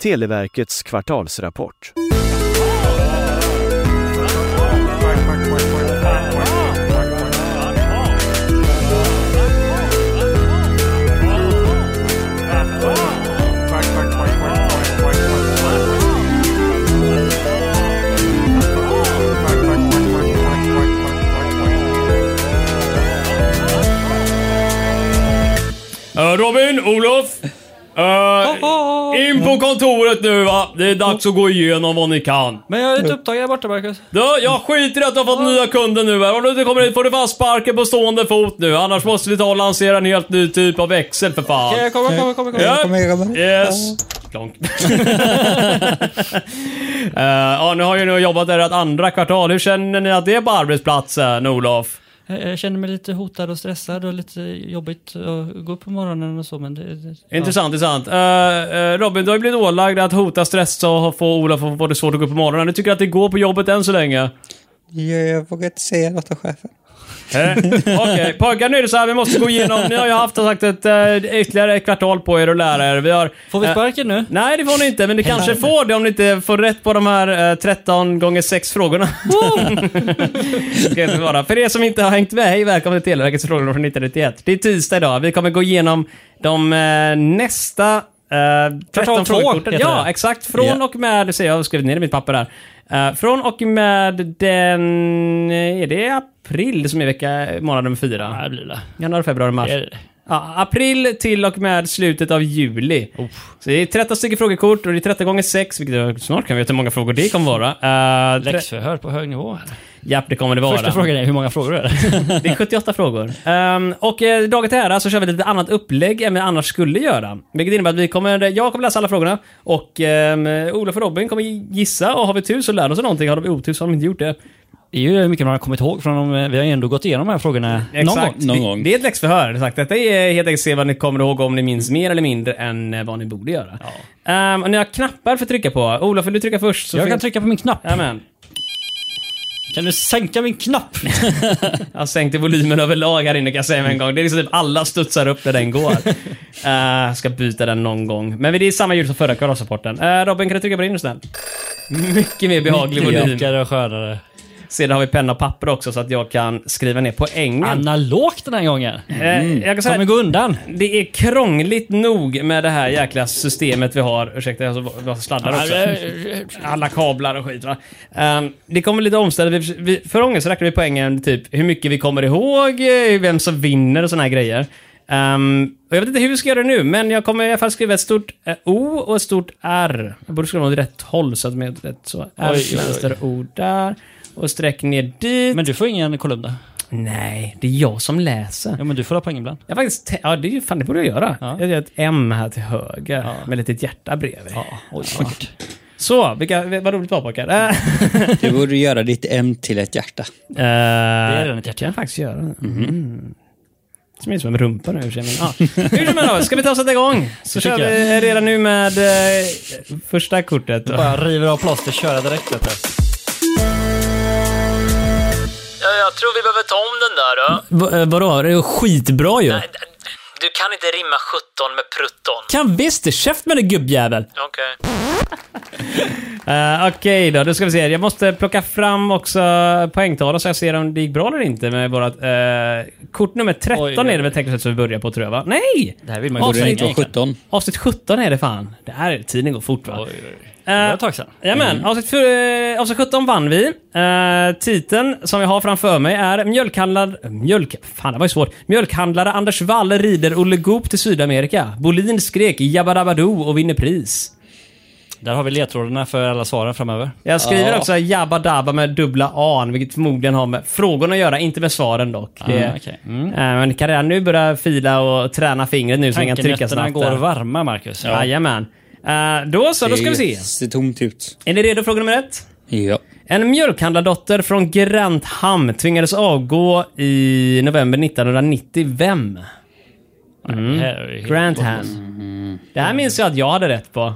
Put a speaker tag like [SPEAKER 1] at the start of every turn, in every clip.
[SPEAKER 1] Televerkets kvartalsrapport.
[SPEAKER 2] Eh, Robin, Olof. eh, in på kontoret nu va. Det är dags att gå igenom vad ni kan.
[SPEAKER 3] Men jag är lite upptagen där borta Marcus.
[SPEAKER 2] Du, jag skiter i att du har fått nya kunder nu här. Om du inte kommer hit får du fan sparken på stående fot nu. Annars måste vi ta och lansera en helt ny typ av växel för fan.
[SPEAKER 3] Kan jag komma, komma, komma, komma?
[SPEAKER 2] Ja.
[SPEAKER 4] Kom igen, grabbar.
[SPEAKER 2] Yes. Klonk. Eh, ja, nu har ju ni jobbat där ett andra kvartal. Hur känner ni att det är på arbetsplatsen, Olof?
[SPEAKER 3] Jag jag känner mig lite hotad och stressad och lite jobbigt att gå upp på morgonen och så men det... det
[SPEAKER 2] Intressant, intressant. Eh, eh, Robin, du har ju blivit ålagd att hota, stressa och få Olof att få det svårt att gå upp på morgonen. Du tycker att det går på jobbet än så länge?
[SPEAKER 4] Ja, jag vågar inte säga något om chefen.
[SPEAKER 2] Eh, Okej, pojkar nu är det så här, vi måste gå igenom. Ni har ju haft som sagt ett, eh, ytterligare ett kvartal på er att lära er. Vi har,
[SPEAKER 3] Ja. Får vi
[SPEAKER 2] eh,
[SPEAKER 3] sparken nu?
[SPEAKER 2] Nej, det får ni inte, men ni kanske får det om ni inte får rätt på de här eh, 13 gånger 6 frågorna. Ska inte vara. För er som inte har hängt med, hej välkommen till Televerkets frågor från 1991. Det är tisdag idag, vi kommer gå igenom de eh, nästa eh,
[SPEAKER 3] två
[SPEAKER 2] 13 frågekorten.
[SPEAKER 3] heter
[SPEAKER 2] Ja,
[SPEAKER 3] det.
[SPEAKER 2] exakt. Från och med, ser jag, jag har skrivit ner det i mitt papper här. Eh, från och med den, eh, är det april som är vecka, månad nummer fyra?
[SPEAKER 3] Nej, det blir det.
[SPEAKER 2] Januari, februari, mars.
[SPEAKER 3] Det är det.
[SPEAKER 2] Ja, april till och med slutet av juli. Så det är 13 stycken frågekort och det är 13 gånger 6, vilket är- snart kan vi veta hur många frågor det kommer vara. Uh,
[SPEAKER 3] Läxförhör på hög nivå. här.
[SPEAKER 2] Japp, det kommer det vara.
[SPEAKER 3] Första frågan är hur många frågor är det?
[SPEAKER 2] Det är 78 frågor. Ehm, och eh, dagen till ära så kör vi lite annat upplägg än vi annars skulle göra. Vilket innebär att vi kommer, eh, jag kommer läsa alla frågorna och um, Olof och Robin kommer gissa och har vi tur så lär de sig någonting. Har de otur så har de inte gjort det.
[SPEAKER 3] Det är ju mycket man har kommit ihåg från dem. Vi har ju ändå gått igenom de här frågorna någon gång.
[SPEAKER 2] Exakt.
[SPEAKER 5] någon
[SPEAKER 2] det,
[SPEAKER 5] gång.
[SPEAKER 2] det är ett läxförhör. Exakt. Detta är helt enkelt se vad ni kommer ihåg om ni minns mer eller mindre än eh, vad ni borde göra. Ehm, och ni har knappar för att trycka på. Olof, vill du trycka först? Så
[SPEAKER 3] Jag
[SPEAKER 2] fin-
[SPEAKER 3] kan trycka på min knapp.
[SPEAKER 2] Jajamän.
[SPEAKER 3] Kan du sänka min knapp?
[SPEAKER 2] Jag sänkte volymen överlag här inne kan jag säga med en
[SPEAKER 3] Mm.
[SPEAKER 2] gång. Det är liksom typ alla studsar upp när den går. Eh, ska byta den någon gång. Men det är samma ljud som förra kvartalsrapporten. Eh, Robin, kan du trycka på din snäll? Mycket mer behaglig volym.
[SPEAKER 3] Mjukare och skönare.
[SPEAKER 2] Sedan har vi penna och papper också så att jag kan skriva ner poängen.
[SPEAKER 3] Analogt den här gången.
[SPEAKER 2] Eh, jag kan
[SPEAKER 3] Kommer
[SPEAKER 2] säga,
[SPEAKER 3] Mm. gå undan.
[SPEAKER 2] Det är krångligt nog med det här jäkla systemet vi har. Ursäkta, jag har sladdar också. Alla kablar och skit va. Ehm, det kommer lite omständigt. Vi, vi, förra gången så räknade vi poängen typ hur mycket vi kommer ihåg, eh, vem som vinner och såna här grejer. Ehm, och jag vet inte hur vi ska göra det nu, men jag kommer i alla fall skriva ett stort eh, O och ett stort R. Jag borde skriva åt rätt håll så att med rätt så. R,
[SPEAKER 3] Oj,
[SPEAKER 2] till
[SPEAKER 3] oj, oj.
[SPEAKER 2] vänster, O där. Och sträck ner dit.
[SPEAKER 3] Men du får ingen kolumn där.
[SPEAKER 2] nej, det är jag som läser.
[SPEAKER 3] Ja, men du får ha poäng ibland.
[SPEAKER 2] Jag har faktiskt te- ja, det är ju fan det borde jag göra.
[SPEAKER 3] Ja.
[SPEAKER 2] Jag gör ett M här till höger med ett litet hjärta bredvid.
[SPEAKER 3] Oj,
[SPEAKER 2] Så, vilka, vad roligt det var pojkar. Äh,
[SPEAKER 4] Du borde göra ditt M till ett hjärta.
[SPEAKER 2] det är
[SPEAKER 3] redan ett hjärta.
[SPEAKER 2] kan Eh, jag faktiskt göra. Mm. Som är som en rumpa nu i och för sig, men, ja. Hur som helst, då, ska vi ta och sätta igång? Så kör
[SPEAKER 3] tycker
[SPEAKER 2] vi redan nu med eh, första kortet. Då.
[SPEAKER 3] Bara river av plåster, köra direkt vet du.
[SPEAKER 6] Jag tror vi behöver ta om den där då.
[SPEAKER 2] eh,
[SPEAKER 3] vadå? Det är skitbra ju.
[SPEAKER 6] Du kan inte rimma 17 med prutton.
[SPEAKER 3] Kan visst det. Käft med dig gubbjävel.
[SPEAKER 6] Okej.
[SPEAKER 2] Eh, Okej då, då ska vi se. Jag måste plocka fram också poängtalen så jag ser om det gick bra eller inte med vårat... eh, kort nummer 13
[SPEAKER 3] Oj,
[SPEAKER 2] är
[SPEAKER 3] oj,
[SPEAKER 2] det väl tekniskt sett som vi börjar på tror jag va? Nej!
[SPEAKER 3] Det här vill man ju
[SPEAKER 2] Avsnitt-
[SPEAKER 4] Borde
[SPEAKER 3] gå
[SPEAKER 4] det
[SPEAKER 3] direkt
[SPEAKER 4] inte vara
[SPEAKER 3] egentligen.
[SPEAKER 4] 17?
[SPEAKER 2] Avsnitt 17 är det fan. Det här, tiden går fort va?
[SPEAKER 3] Det var
[SPEAKER 2] Eh,
[SPEAKER 3] ett tag sedan. Mm.
[SPEAKER 2] Jajamän, avsnitt, för, eh, avsnitt 17 vann vi. Eh, titeln som jag har framför mig är Mjölkhandlare... Mjölk... Fan, det var ju svårt. Mjölkhandlare Anders Wall rider Olle Goop till Sydamerika. Bolin skrek Jabba Dabba Doo och vinner pris.
[SPEAKER 3] Där har vi ledtrådarna för alla svaren framöver.
[SPEAKER 2] Jag skriver också Jabba Dabba med dubbla A, vilket förmodligen har med frågorna att göra, inte med svaren dock. Det,
[SPEAKER 3] Ah, okej. Mm.
[SPEAKER 2] eh, men ni kan redan nu börja fila och träna fingret nu så ni kan trycka
[SPEAKER 3] Tankenötterna
[SPEAKER 2] snabbt.
[SPEAKER 3] går
[SPEAKER 2] där.
[SPEAKER 3] varma, Marcus.
[SPEAKER 2] Jajamän. Eh, då så, då ska vi se.
[SPEAKER 4] Det ser tomt ut.
[SPEAKER 2] Är ni redo för fråga nummer ett?
[SPEAKER 4] Ja.
[SPEAKER 2] En mjölkhandlardotter från Grantham tvingades avgå i november 1990. Vem? Mm.
[SPEAKER 3] Det här är ju helt-
[SPEAKER 2] Grantham. Det här minns jag att jag hade rätt på.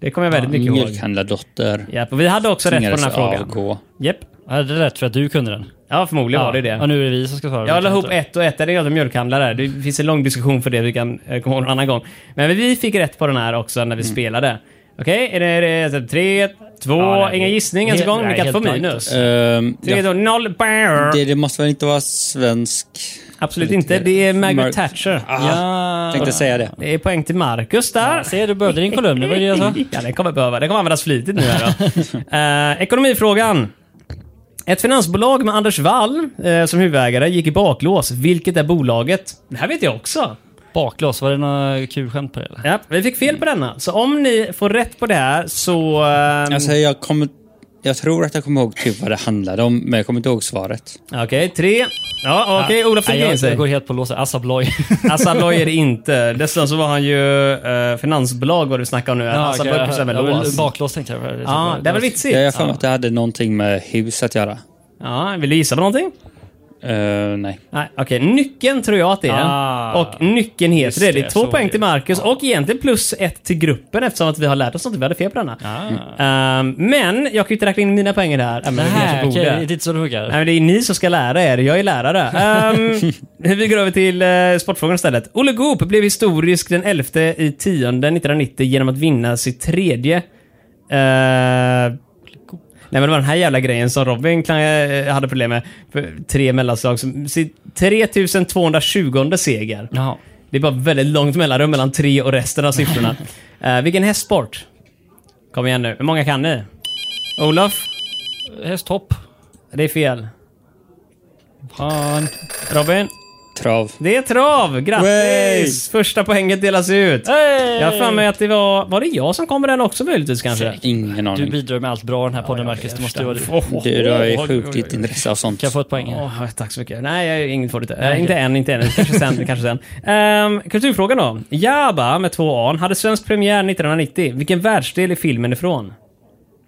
[SPEAKER 2] Det kommer jag väldigt mycket ihåg.
[SPEAKER 4] Mjölkhandlardotter.
[SPEAKER 2] Japp, och vi hade också rätt på den här
[SPEAKER 4] Tvingades
[SPEAKER 2] frågan.
[SPEAKER 4] avgå.
[SPEAKER 2] Japp.
[SPEAKER 3] Jag hade rätt för att du kunde den.
[SPEAKER 2] Ja, förmodligen var det
[SPEAKER 3] Ja,
[SPEAKER 2] det.
[SPEAKER 3] nu är det vi som ska svara.
[SPEAKER 2] Jag la ihop ett och ett. Det är jag som mjölkhandlare. Det finns en lång diskussion för det. Vi kan eh, komma ihåg en annan gång. Men vi fick rätt på den här också när vi spelade. Okej, är det- är det typ tre, två,
[SPEAKER 5] Ja, nej,
[SPEAKER 2] ingen gissning ens en
[SPEAKER 5] helt-
[SPEAKER 2] gång?
[SPEAKER 5] nej,
[SPEAKER 2] Vilka
[SPEAKER 5] helt
[SPEAKER 2] får
[SPEAKER 5] blankt.
[SPEAKER 2] minus?
[SPEAKER 4] Ehm,
[SPEAKER 2] Tre,
[SPEAKER 4] ja.
[SPEAKER 2] två, noll.
[SPEAKER 4] det, det måste väl inte vara svensk?
[SPEAKER 2] Absolut inte. Det är Margaret Thatcher.
[SPEAKER 4] Ja, tänkte säga det.
[SPEAKER 2] Det är poäng till Marcus där.
[SPEAKER 3] Ja, se, du behövde din kolumn, det var alltså- det jag sa.
[SPEAKER 2] Ja, den kommer behöva. Den kommer användas flitigt nu. Här då. Eh, ekonomifrågan. Ett finansbolag med Anders Wall eh, som huvudägare gick i baklås. Vilket är bolaget? Det här vet jag också.
[SPEAKER 3] Baklås, var det några kul skämt på det eller?
[SPEAKER 2] Ja, vi fick fel på denna. Så om ni får rätt på det här så... ehm,
[SPEAKER 4] Alltså, jag, kommer, jag tror att jag kommer ihåg typ vad det handlade om, men jag kommer inte ihåg svaret.
[SPEAKER 2] Okej, tre. Ja, okej. Olof
[SPEAKER 3] Nej,
[SPEAKER 2] fick in
[SPEAKER 3] jag,
[SPEAKER 2] sig.
[SPEAKER 3] jag går helt på låset. Assa Bloy.
[SPEAKER 2] Assa Abloy är det inte. Dessutom så var han ju eh, finansbolag vad du snackar om nu. Ja, Assa
[SPEAKER 3] okej,
[SPEAKER 2] Abloy pysslar med
[SPEAKER 3] jag- jag-
[SPEAKER 2] lås.
[SPEAKER 3] Baklås tänkte jag. Det
[SPEAKER 2] Ja, det var
[SPEAKER 4] Jag
[SPEAKER 2] vitsigt.
[SPEAKER 4] jag har för mig att det hade någonting med hus att göra.
[SPEAKER 2] Ja, vill du gissa på någonting?
[SPEAKER 4] Eh, nej.
[SPEAKER 2] Nej, okej. Nyckeln tror jag att det är.
[SPEAKER 3] Ah.
[SPEAKER 2] och nyckeln heter
[SPEAKER 3] Just
[SPEAKER 2] det. Det är
[SPEAKER 3] det,
[SPEAKER 2] två
[SPEAKER 3] så är
[SPEAKER 2] poäng
[SPEAKER 3] det.
[SPEAKER 2] till Marcus och egentligen plus ett till gruppen eftersom att vi har lärt oss att vi hade fel på denna. Ehm, men jag kan ju inte räkna in mina poäng i det här. även om jag kanske
[SPEAKER 3] Nej, okej,
[SPEAKER 2] borde.
[SPEAKER 3] det är inte så det
[SPEAKER 2] Nej,
[SPEAKER 3] funkar.
[SPEAKER 2] men det är ni som ska lära er. Jag är lärare. Ehm, vi går över till uh, sportfrågan istället. Olle Goop blev historisk den 11 i 10 1990 genom att vinna sitt tredje... eh, Nej men det var den här jävla grejen som Robin klang- eh, hade problem med. För tre mellanslag. som- Sitt 3220 seger.
[SPEAKER 3] Jaha.
[SPEAKER 2] Det är bara väldigt långt mellanrum mellan tre och resten av siffrorna. Eh, vilken hästsport? Kom igen nu. Hur många kan ni? Olof?
[SPEAKER 3] Hästhopp.
[SPEAKER 2] Det är fel.
[SPEAKER 3] Fan.
[SPEAKER 2] Robin?
[SPEAKER 4] Trav.
[SPEAKER 2] Det är trav! Grattis!
[SPEAKER 4] Wey!
[SPEAKER 2] Första poänget delas ut.
[SPEAKER 3] Hey!
[SPEAKER 2] Jag har för mig att det var... Var det jag som kom med den också möjligtvis kanske?
[SPEAKER 4] Ingen
[SPEAKER 3] Du
[SPEAKER 2] Mm.
[SPEAKER 4] aning. Du,
[SPEAKER 3] bidrar med allt bra i den här podden Marcus. Det måste ju vara du. Kan
[SPEAKER 4] du, har ju sjukt ditt intresse av sånt.
[SPEAKER 3] jag få ett poäng? här?
[SPEAKER 2] Åh, tack så mycket. Nej, jag är inget för det. Eh, inte än, inte än. Kanske sen. kanske sen. Ehm, kulturfrågan då. Jabba med två A hade svensk premiär 1990. Vilken världsdel är filmen ifrån?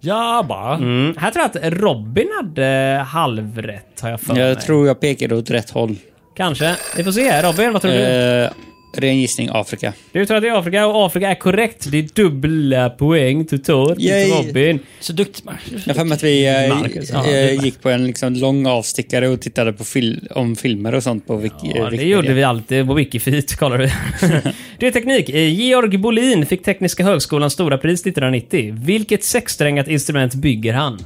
[SPEAKER 3] Jabba.
[SPEAKER 2] Mm. Här tror jag att Robin hade halvrätt, har jag för mig.
[SPEAKER 4] Jag tror jag pekade åt rätt håll.
[SPEAKER 2] Kanske. Vi får se. Robin, vad tror du?
[SPEAKER 4] Eh, ren gissning Afrika.
[SPEAKER 2] Du tror att det är Afrika och Afrika är korrekt. Det är dubbla poäng totalt
[SPEAKER 4] Yay!
[SPEAKER 2] till Robin.
[SPEAKER 3] Så duktig Marcus.
[SPEAKER 4] Jag har för mig att vi eh,
[SPEAKER 2] Marcus, ja,
[SPEAKER 4] eh, gick på en liksom, lång avstickare och tittade på fil- om filmer och sånt på Wik-
[SPEAKER 2] Ja, det gjorde vi alltid på Wikifeet, kollar vi. det är teknik. Eh, Georg Bolin fick Tekniska högskolans stora pris 1990. Vilket sexsträngat instrument bygger han?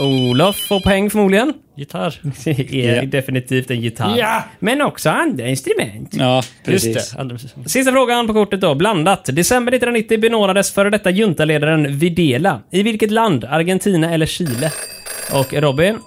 [SPEAKER 2] Olof får poäng förmodligen.
[SPEAKER 3] Gitarr.
[SPEAKER 2] Det är
[SPEAKER 4] Ja.
[SPEAKER 2] definitivt en gitarr.
[SPEAKER 3] Ja!
[SPEAKER 2] Men också andra instrument.
[SPEAKER 4] Ja, precis.
[SPEAKER 3] Just det. Andra musiken.
[SPEAKER 2] Sista frågan på kortet då. Blandat. December 1990 benådades före detta juntaledaren Videla. I vilket land? Argentina eller Chile? Och Robin,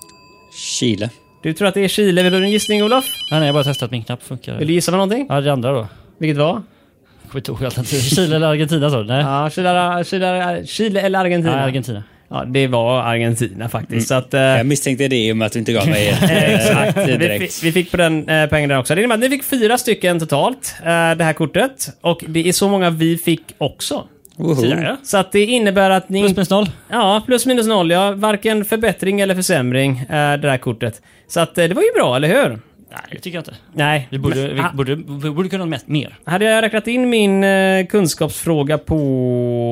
[SPEAKER 4] Chile.
[SPEAKER 2] du tror att det är Chile. Vill du ha en gissning, Olof?
[SPEAKER 3] Nej, nej, jag har bara testat att min knapp
[SPEAKER 2] Vill
[SPEAKER 3] funkar.
[SPEAKER 2] du gissa på någonting?
[SPEAKER 3] Ja, det andra då.
[SPEAKER 2] Vilket var?
[SPEAKER 3] Kommer inte ihåg alternativet. Chile eller Argentina sa du? Nej.
[SPEAKER 2] Ja, Chile, Chile, Chile eller Argentina?
[SPEAKER 3] Nej, Argentina.
[SPEAKER 2] Ja, det var Argentina faktiskt. Så att, eh,
[SPEAKER 4] Jag misstänkte det i och med att du inte gav mig eh,
[SPEAKER 2] Exakt.
[SPEAKER 4] det
[SPEAKER 2] Vi,
[SPEAKER 4] direkt.
[SPEAKER 2] fick- vi fick på den eh, pengen där också. Det innebär att ni fick fyra stycken totalt, eh, det här kortet. Och det är så många vi fick också.
[SPEAKER 4] Woho.
[SPEAKER 2] Så att det innebär att ni...
[SPEAKER 3] Plus minus noll.
[SPEAKER 2] ja, plus minus noll. Ja, varken förbättring eller försämring, eh, det där kortet. Så att eh, det var ju bra, eller hur?
[SPEAKER 3] Nej, det tycker jag inte.
[SPEAKER 2] Nej.
[SPEAKER 3] Vi borde,
[SPEAKER 2] Men,
[SPEAKER 3] vi,
[SPEAKER 2] ah,
[SPEAKER 3] borde, vi borde kunna mätt mer.
[SPEAKER 2] Hade jag räknat in min eh, kunskapsfråga på...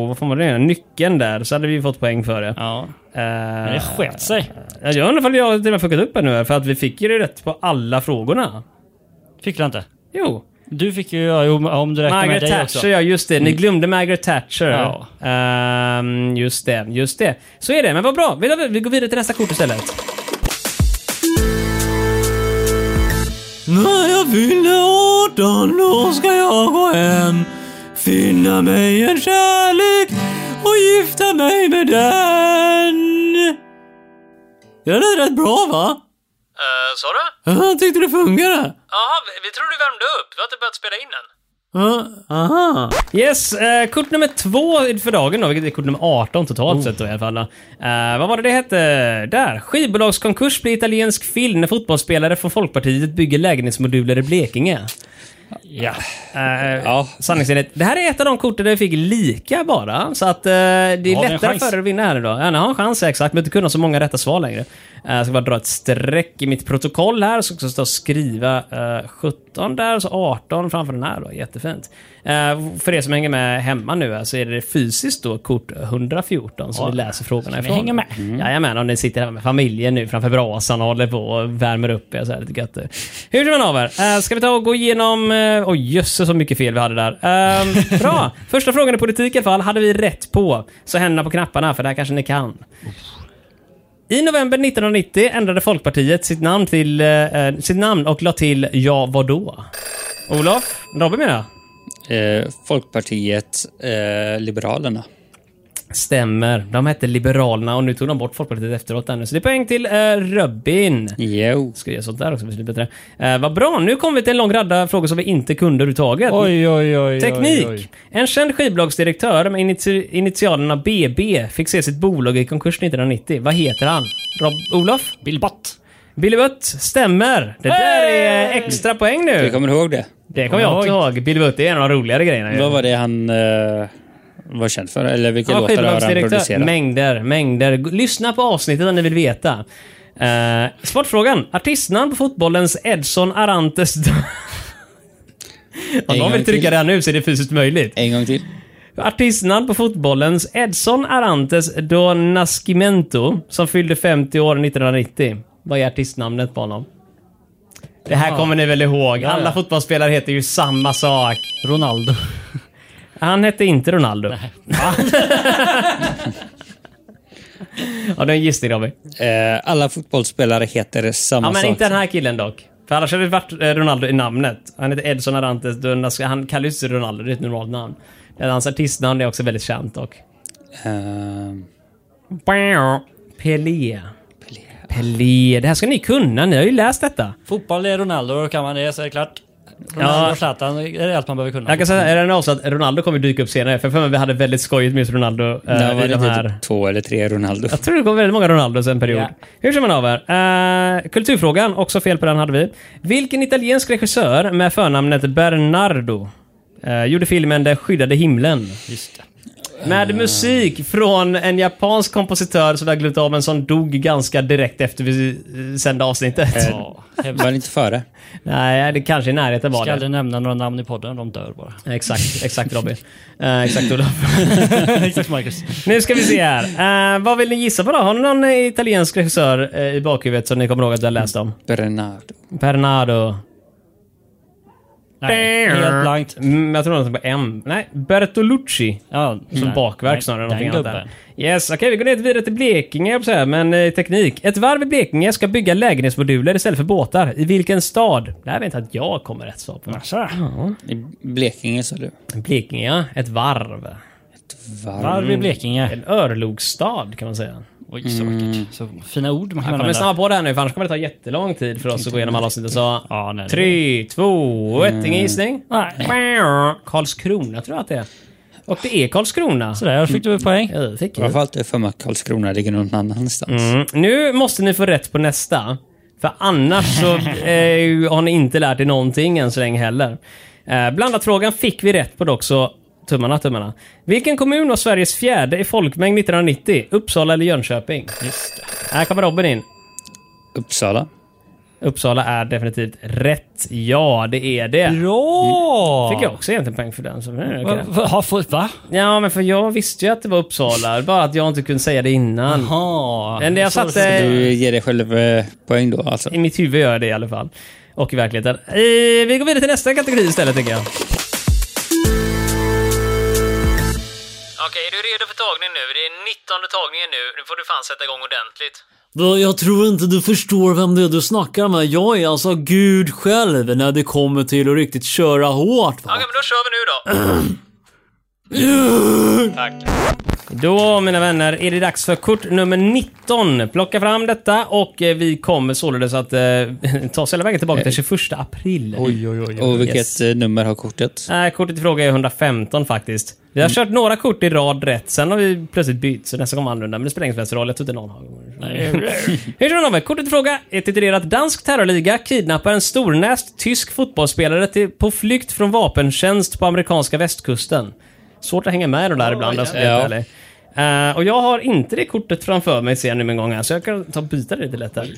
[SPEAKER 2] Vad fan var det? Nyckeln där, så hade vi fått poäng för det.
[SPEAKER 3] Ja.
[SPEAKER 2] Eh,
[SPEAKER 3] Men det sket sig.
[SPEAKER 2] Ja, Jag undrar om jag till och med fuckat upp här nu här, för att vi fick ju det rätt på alla frågorna.
[SPEAKER 3] Fick du inte?
[SPEAKER 2] Jo.
[SPEAKER 3] Du fick ju, ja, jo, om du räknar med
[SPEAKER 2] Margaret
[SPEAKER 3] dig Mm.
[SPEAKER 2] Thatcher, ja just det. Ni glömde Margaret Thatcher.
[SPEAKER 3] Ja.
[SPEAKER 2] Ehm, just det, just det. Så är det, men vad bra. Vi, vi går vidare till nästa kort istället.
[SPEAKER 5] När jag fyller 18 då ska jag gå hem Finna mig en kärlek och gifta mig med den Den är rätt bra va?
[SPEAKER 6] Uh, sa du?
[SPEAKER 5] Jag tyckte det funkade.
[SPEAKER 6] Jaha, vi, vi tror du värmde upp. Vi har inte börjat spela in än.
[SPEAKER 5] Ja, Aha.
[SPEAKER 2] Yes, eh, kort nummer två för dagen då, vilket är kort nummer 18 totalt sett då i alla fall. då. Eh, vad var det det hette? Där! Skivbolagskonkurs blir italiensk film när fotbollsspelare från Folkpartiet bygger lägenhetsmoduler i Blekinge.
[SPEAKER 3] Ja.
[SPEAKER 2] Eh,
[SPEAKER 4] Ja.
[SPEAKER 2] Sanningsenligt. Det här är ett av de korten där vi fick lika bara. Så att eh, det är
[SPEAKER 3] har en
[SPEAKER 2] lättare
[SPEAKER 3] chans.
[SPEAKER 2] för er att vinna här idag. Ja, ni har en chans, ja, exakt. Men inte kunna så många rätta svar längre. Eh, Jag ska bara dra ett streck i mitt protokoll här, så ska jag stå och skriva eh, 17 där, så 18 framför den här då. Jättefint. Eh, För er som hänger med hemma nu här, så är det fysiskt då kort 114 som vi läser frågorna ifrån. Hänger med. Jajamän, om ni sitter hemma med familjen nu framför brasan och håller på och värmer upp er så här lite gött. Hur som man av er? Eh, Ska vi ta och gå igenom... eh, Oj jösses så mycket fel vi hade där. Eh, Bra! Första frågan i politik i alla fall hade vi rätt på. Så händerna på knapparna, för det här kanske ni kan. I november 1990 ändrade Folkpartiet sitt namn, till, eh, sitt namn och la till Ja vadå? Olof? Robin menar jag.
[SPEAKER 4] Eh, Folkpartiet, eh, Liberalerna.
[SPEAKER 2] Stämmer. De hette Liberalerna och nu tog de bort Folkpartiet efteråt. Där nu. Så det är poäng till eh, Robin.
[SPEAKER 4] Jo.
[SPEAKER 2] Ska jag sånt där också, betydligt bättre. Eh, vad bra, nu kommer vi till en lång radda frågor som vi inte kunde överhuvudtaget.
[SPEAKER 5] Oj, oj, oj.
[SPEAKER 2] Teknik!
[SPEAKER 5] Oj, oj.
[SPEAKER 2] En känd skivbolagsdirektör med initi- initialerna BB fick se sitt bolag i konkurs 1990. Vad heter han? Rob Olof? Billy Butt. Billy Butt, stämmer! Det där är extra poäng nu.
[SPEAKER 4] Du kommer ihåg det?
[SPEAKER 2] Det kommer jag också ihåg. Billy Butt det är en av de roligare grejerna. ju.
[SPEAKER 4] Vad var det han eh, var känd för? Eller vilka
[SPEAKER 2] Ja,
[SPEAKER 4] låtar har han
[SPEAKER 2] skivbolagsdirektör.
[SPEAKER 4] producerat?
[SPEAKER 2] Mängder, mängder. G- Lyssna på avsnittet om ni vill veta. Eh, sportfrågan. Artistnamn på fotbollens Edson Arantes... Om
[SPEAKER 4] En
[SPEAKER 2] någon
[SPEAKER 4] gång
[SPEAKER 2] vill trycka
[SPEAKER 4] till.
[SPEAKER 2] det här nu så är det fysiskt möjligt.
[SPEAKER 4] En gång till.
[SPEAKER 2] Artistnamn på fotbollens Edson Arantes do Nascimento som fyllde 50 år 1990. Vad är artistnamnet på honom? Det här kommer ni väl ihåg? Alla fotbollsspelare heter ju samma sak.
[SPEAKER 3] Ronaldo.
[SPEAKER 2] Han hette inte Ronaldo. ja, det är en gissning Robin.
[SPEAKER 4] Eh, alla fotbollsspelare heter samma
[SPEAKER 2] Ja, men
[SPEAKER 4] sak.
[SPEAKER 2] inte den här killen dock. För annars hade det varit eh, Ronaldo i namnet. Han heter Edson Arantes. do Nas- Han kallar ju sig Ronaldo, det är ett normalt namn. Men Hans artistnamn är också väldigt känt dock.
[SPEAKER 4] Ehm,
[SPEAKER 2] Pelé. Pelé. Det här ska ni kunna, ni har ju läst detta.
[SPEAKER 3] Fotboll är Ronaldo, då kan man det så är det klart. Ronaldo
[SPEAKER 2] Ja.
[SPEAKER 3] och Zlatan är det allt man behöver kunna.
[SPEAKER 2] Jag kan säga är det också att Ronaldo kommer dyka upp senare, för jag för mig vi hade väldigt skojigt med just Ronaldo eh,
[SPEAKER 4] där var
[SPEAKER 2] i
[SPEAKER 4] det
[SPEAKER 2] de här...
[SPEAKER 4] typ två eller tre Ronaldo.
[SPEAKER 2] Jag tror det kom väldigt många Ronaldos en period.
[SPEAKER 3] Ja.
[SPEAKER 2] Hur ser man av er? Eh, kulturfrågan, också fel på den hade vi. Vilken italiensk regissör med förnamnet Bernardo eh, gjorde filmen Den skyddade himlen? Med musik från en japansk kompositör som vi har glömt av, men som dog ganska direkt efter vi eh, sände avsnittet.
[SPEAKER 3] Ja, hemskt.
[SPEAKER 4] Var det inte före?
[SPEAKER 2] Nej, det kanske i närheten var
[SPEAKER 3] Ska
[SPEAKER 2] det.
[SPEAKER 3] aldrig nämna några namn i podden, de dör bara.
[SPEAKER 2] Exakt, exakt Robin. Eh, exakt Olof.
[SPEAKER 3] Exakt Marcus.
[SPEAKER 2] Nu ska vi se här. Eh, vad vill ni gissa på då? Har ni någon eh, italiensk regissör eh, i bakhuvudet som ni kommer ihåg att jag har läst om?
[SPEAKER 4] Bernardo.
[SPEAKER 2] Bernardo.
[SPEAKER 3] Nej, helt blankt.
[SPEAKER 2] Mm, jag tror någonting på M. Nej, Bertolucci.
[SPEAKER 3] Ja,
[SPEAKER 2] Som
[SPEAKER 3] nej.
[SPEAKER 2] bakverk
[SPEAKER 3] Nej,
[SPEAKER 2] snarare än
[SPEAKER 3] den
[SPEAKER 2] någonting annat.
[SPEAKER 3] gubben.
[SPEAKER 2] Där. Yes, okej vi går ner till- vidare till Blekinge, jag säga, men eh, teknik. Ett varv i Blekinge ska bygga lägenhetsmoduler istället för båtar. I vilken stad? Det här vet jag att jag kommer rätt svar på.
[SPEAKER 3] Alltså,
[SPEAKER 4] I Blekinge sa du?
[SPEAKER 2] Blekinge, ja. Ett varv.
[SPEAKER 4] Varv.
[SPEAKER 3] Varv i Blekinge.
[SPEAKER 2] En örlogsstad kan man säga.
[SPEAKER 3] Oj, så
[SPEAKER 2] Mm.
[SPEAKER 3] vackert. Så fina ord man kan
[SPEAKER 2] Jag kommer
[SPEAKER 3] använda.
[SPEAKER 2] snabba på det här nu för annars kommer det ta jättelång tid för oss att gå igenom alla avsnitt. Så
[SPEAKER 3] Ja, nej, det-
[SPEAKER 2] tre, två, och ett. Ingen gissning? Mm. Nej. Karlskrona tror jag att det är. Och det är Karlskrona.
[SPEAKER 3] Sådär, fick du poäng.
[SPEAKER 2] Ja, det fick jag.
[SPEAKER 4] Varför alltid jag för mig att Karlskrona ligger någon annanstans?
[SPEAKER 2] Mm. Nu måste ni få rätt på nästa. För annars så eh, har ni inte lärt er någonting än så länge heller. Eh, blandat frågan fick vi rätt på dock, så tummarna, tummarna. Vilken kommun var Sveriges fjärde i folkmängd 1990? Uppsala eller Jönköping? Här kommer Robin in.
[SPEAKER 4] Uppsala.
[SPEAKER 2] Uppsala är definitivt rätt. Ja, det är det.
[SPEAKER 3] Bra!
[SPEAKER 2] Mm. Fick jag också egentligen poäng för den. Så, nu,
[SPEAKER 3] Va? va- Har fått, va?
[SPEAKER 2] Ja, men för jag visste ju att det var Uppsala. Bara att jag inte kunde säga det innan.
[SPEAKER 3] Jaha.
[SPEAKER 2] Men jag
[SPEAKER 3] Så-
[SPEAKER 2] satte...
[SPEAKER 4] Du ger dig själv eh, poäng då alltså?
[SPEAKER 2] I mitt huvud gör jag det i alla fall. Och i verkligheten. Eh, vi går vidare till nästa kategori istället tycker jag.
[SPEAKER 6] Okej, är du redo för tagning nu? Det är 19 tagningen nu. Nu får du fan sätta igång ordentligt.
[SPEAKER 5] Du, Jag tror inte du förstår vem det är du snackar med. Jag är alltså Gud själv när det kommer till att riktigt köra hårt. Va?
[SPEAKER 6] Okej, men då kör vi nu då. Tack.
[SPEAKER 2] Då mina vänner är det dags för kort nummer 19. Plocka fram detta och eh, vi kommer således att eh, ta oss hela vägen tillbaka till 21 april.
[SPEAKER 3] Oj, oj, oj.
[SPEAKER 4] Och vilket
[SPEAKER 2] Yes.
[SPEAKER 4] eh, nummer har kortet?
[SPEAKER 2] Nej, kortet i fråga är 115 faktiskt. Vi har kört några kort i rad rätt, sen har vi plötsligt bytt så nästa gång var annorlunda. Men det spelar ingen som helst roll, jag tror inte någon har. Hur som helst, kortet i fråga är titulerat Dansk terrorliga kidnappar en stornäst tysk fotbollsspelare till, på flykt från vapentjänst på amerikanska västkusten. Svårt att hänga med i de där ibland, alltså,
[SPEAKER 4] ja.
[SPEAKER 2] ja. Eh, och jag har inte det kortet framför mig ser jag nu en gång här, så jag kan ta och byta det lite lätt här.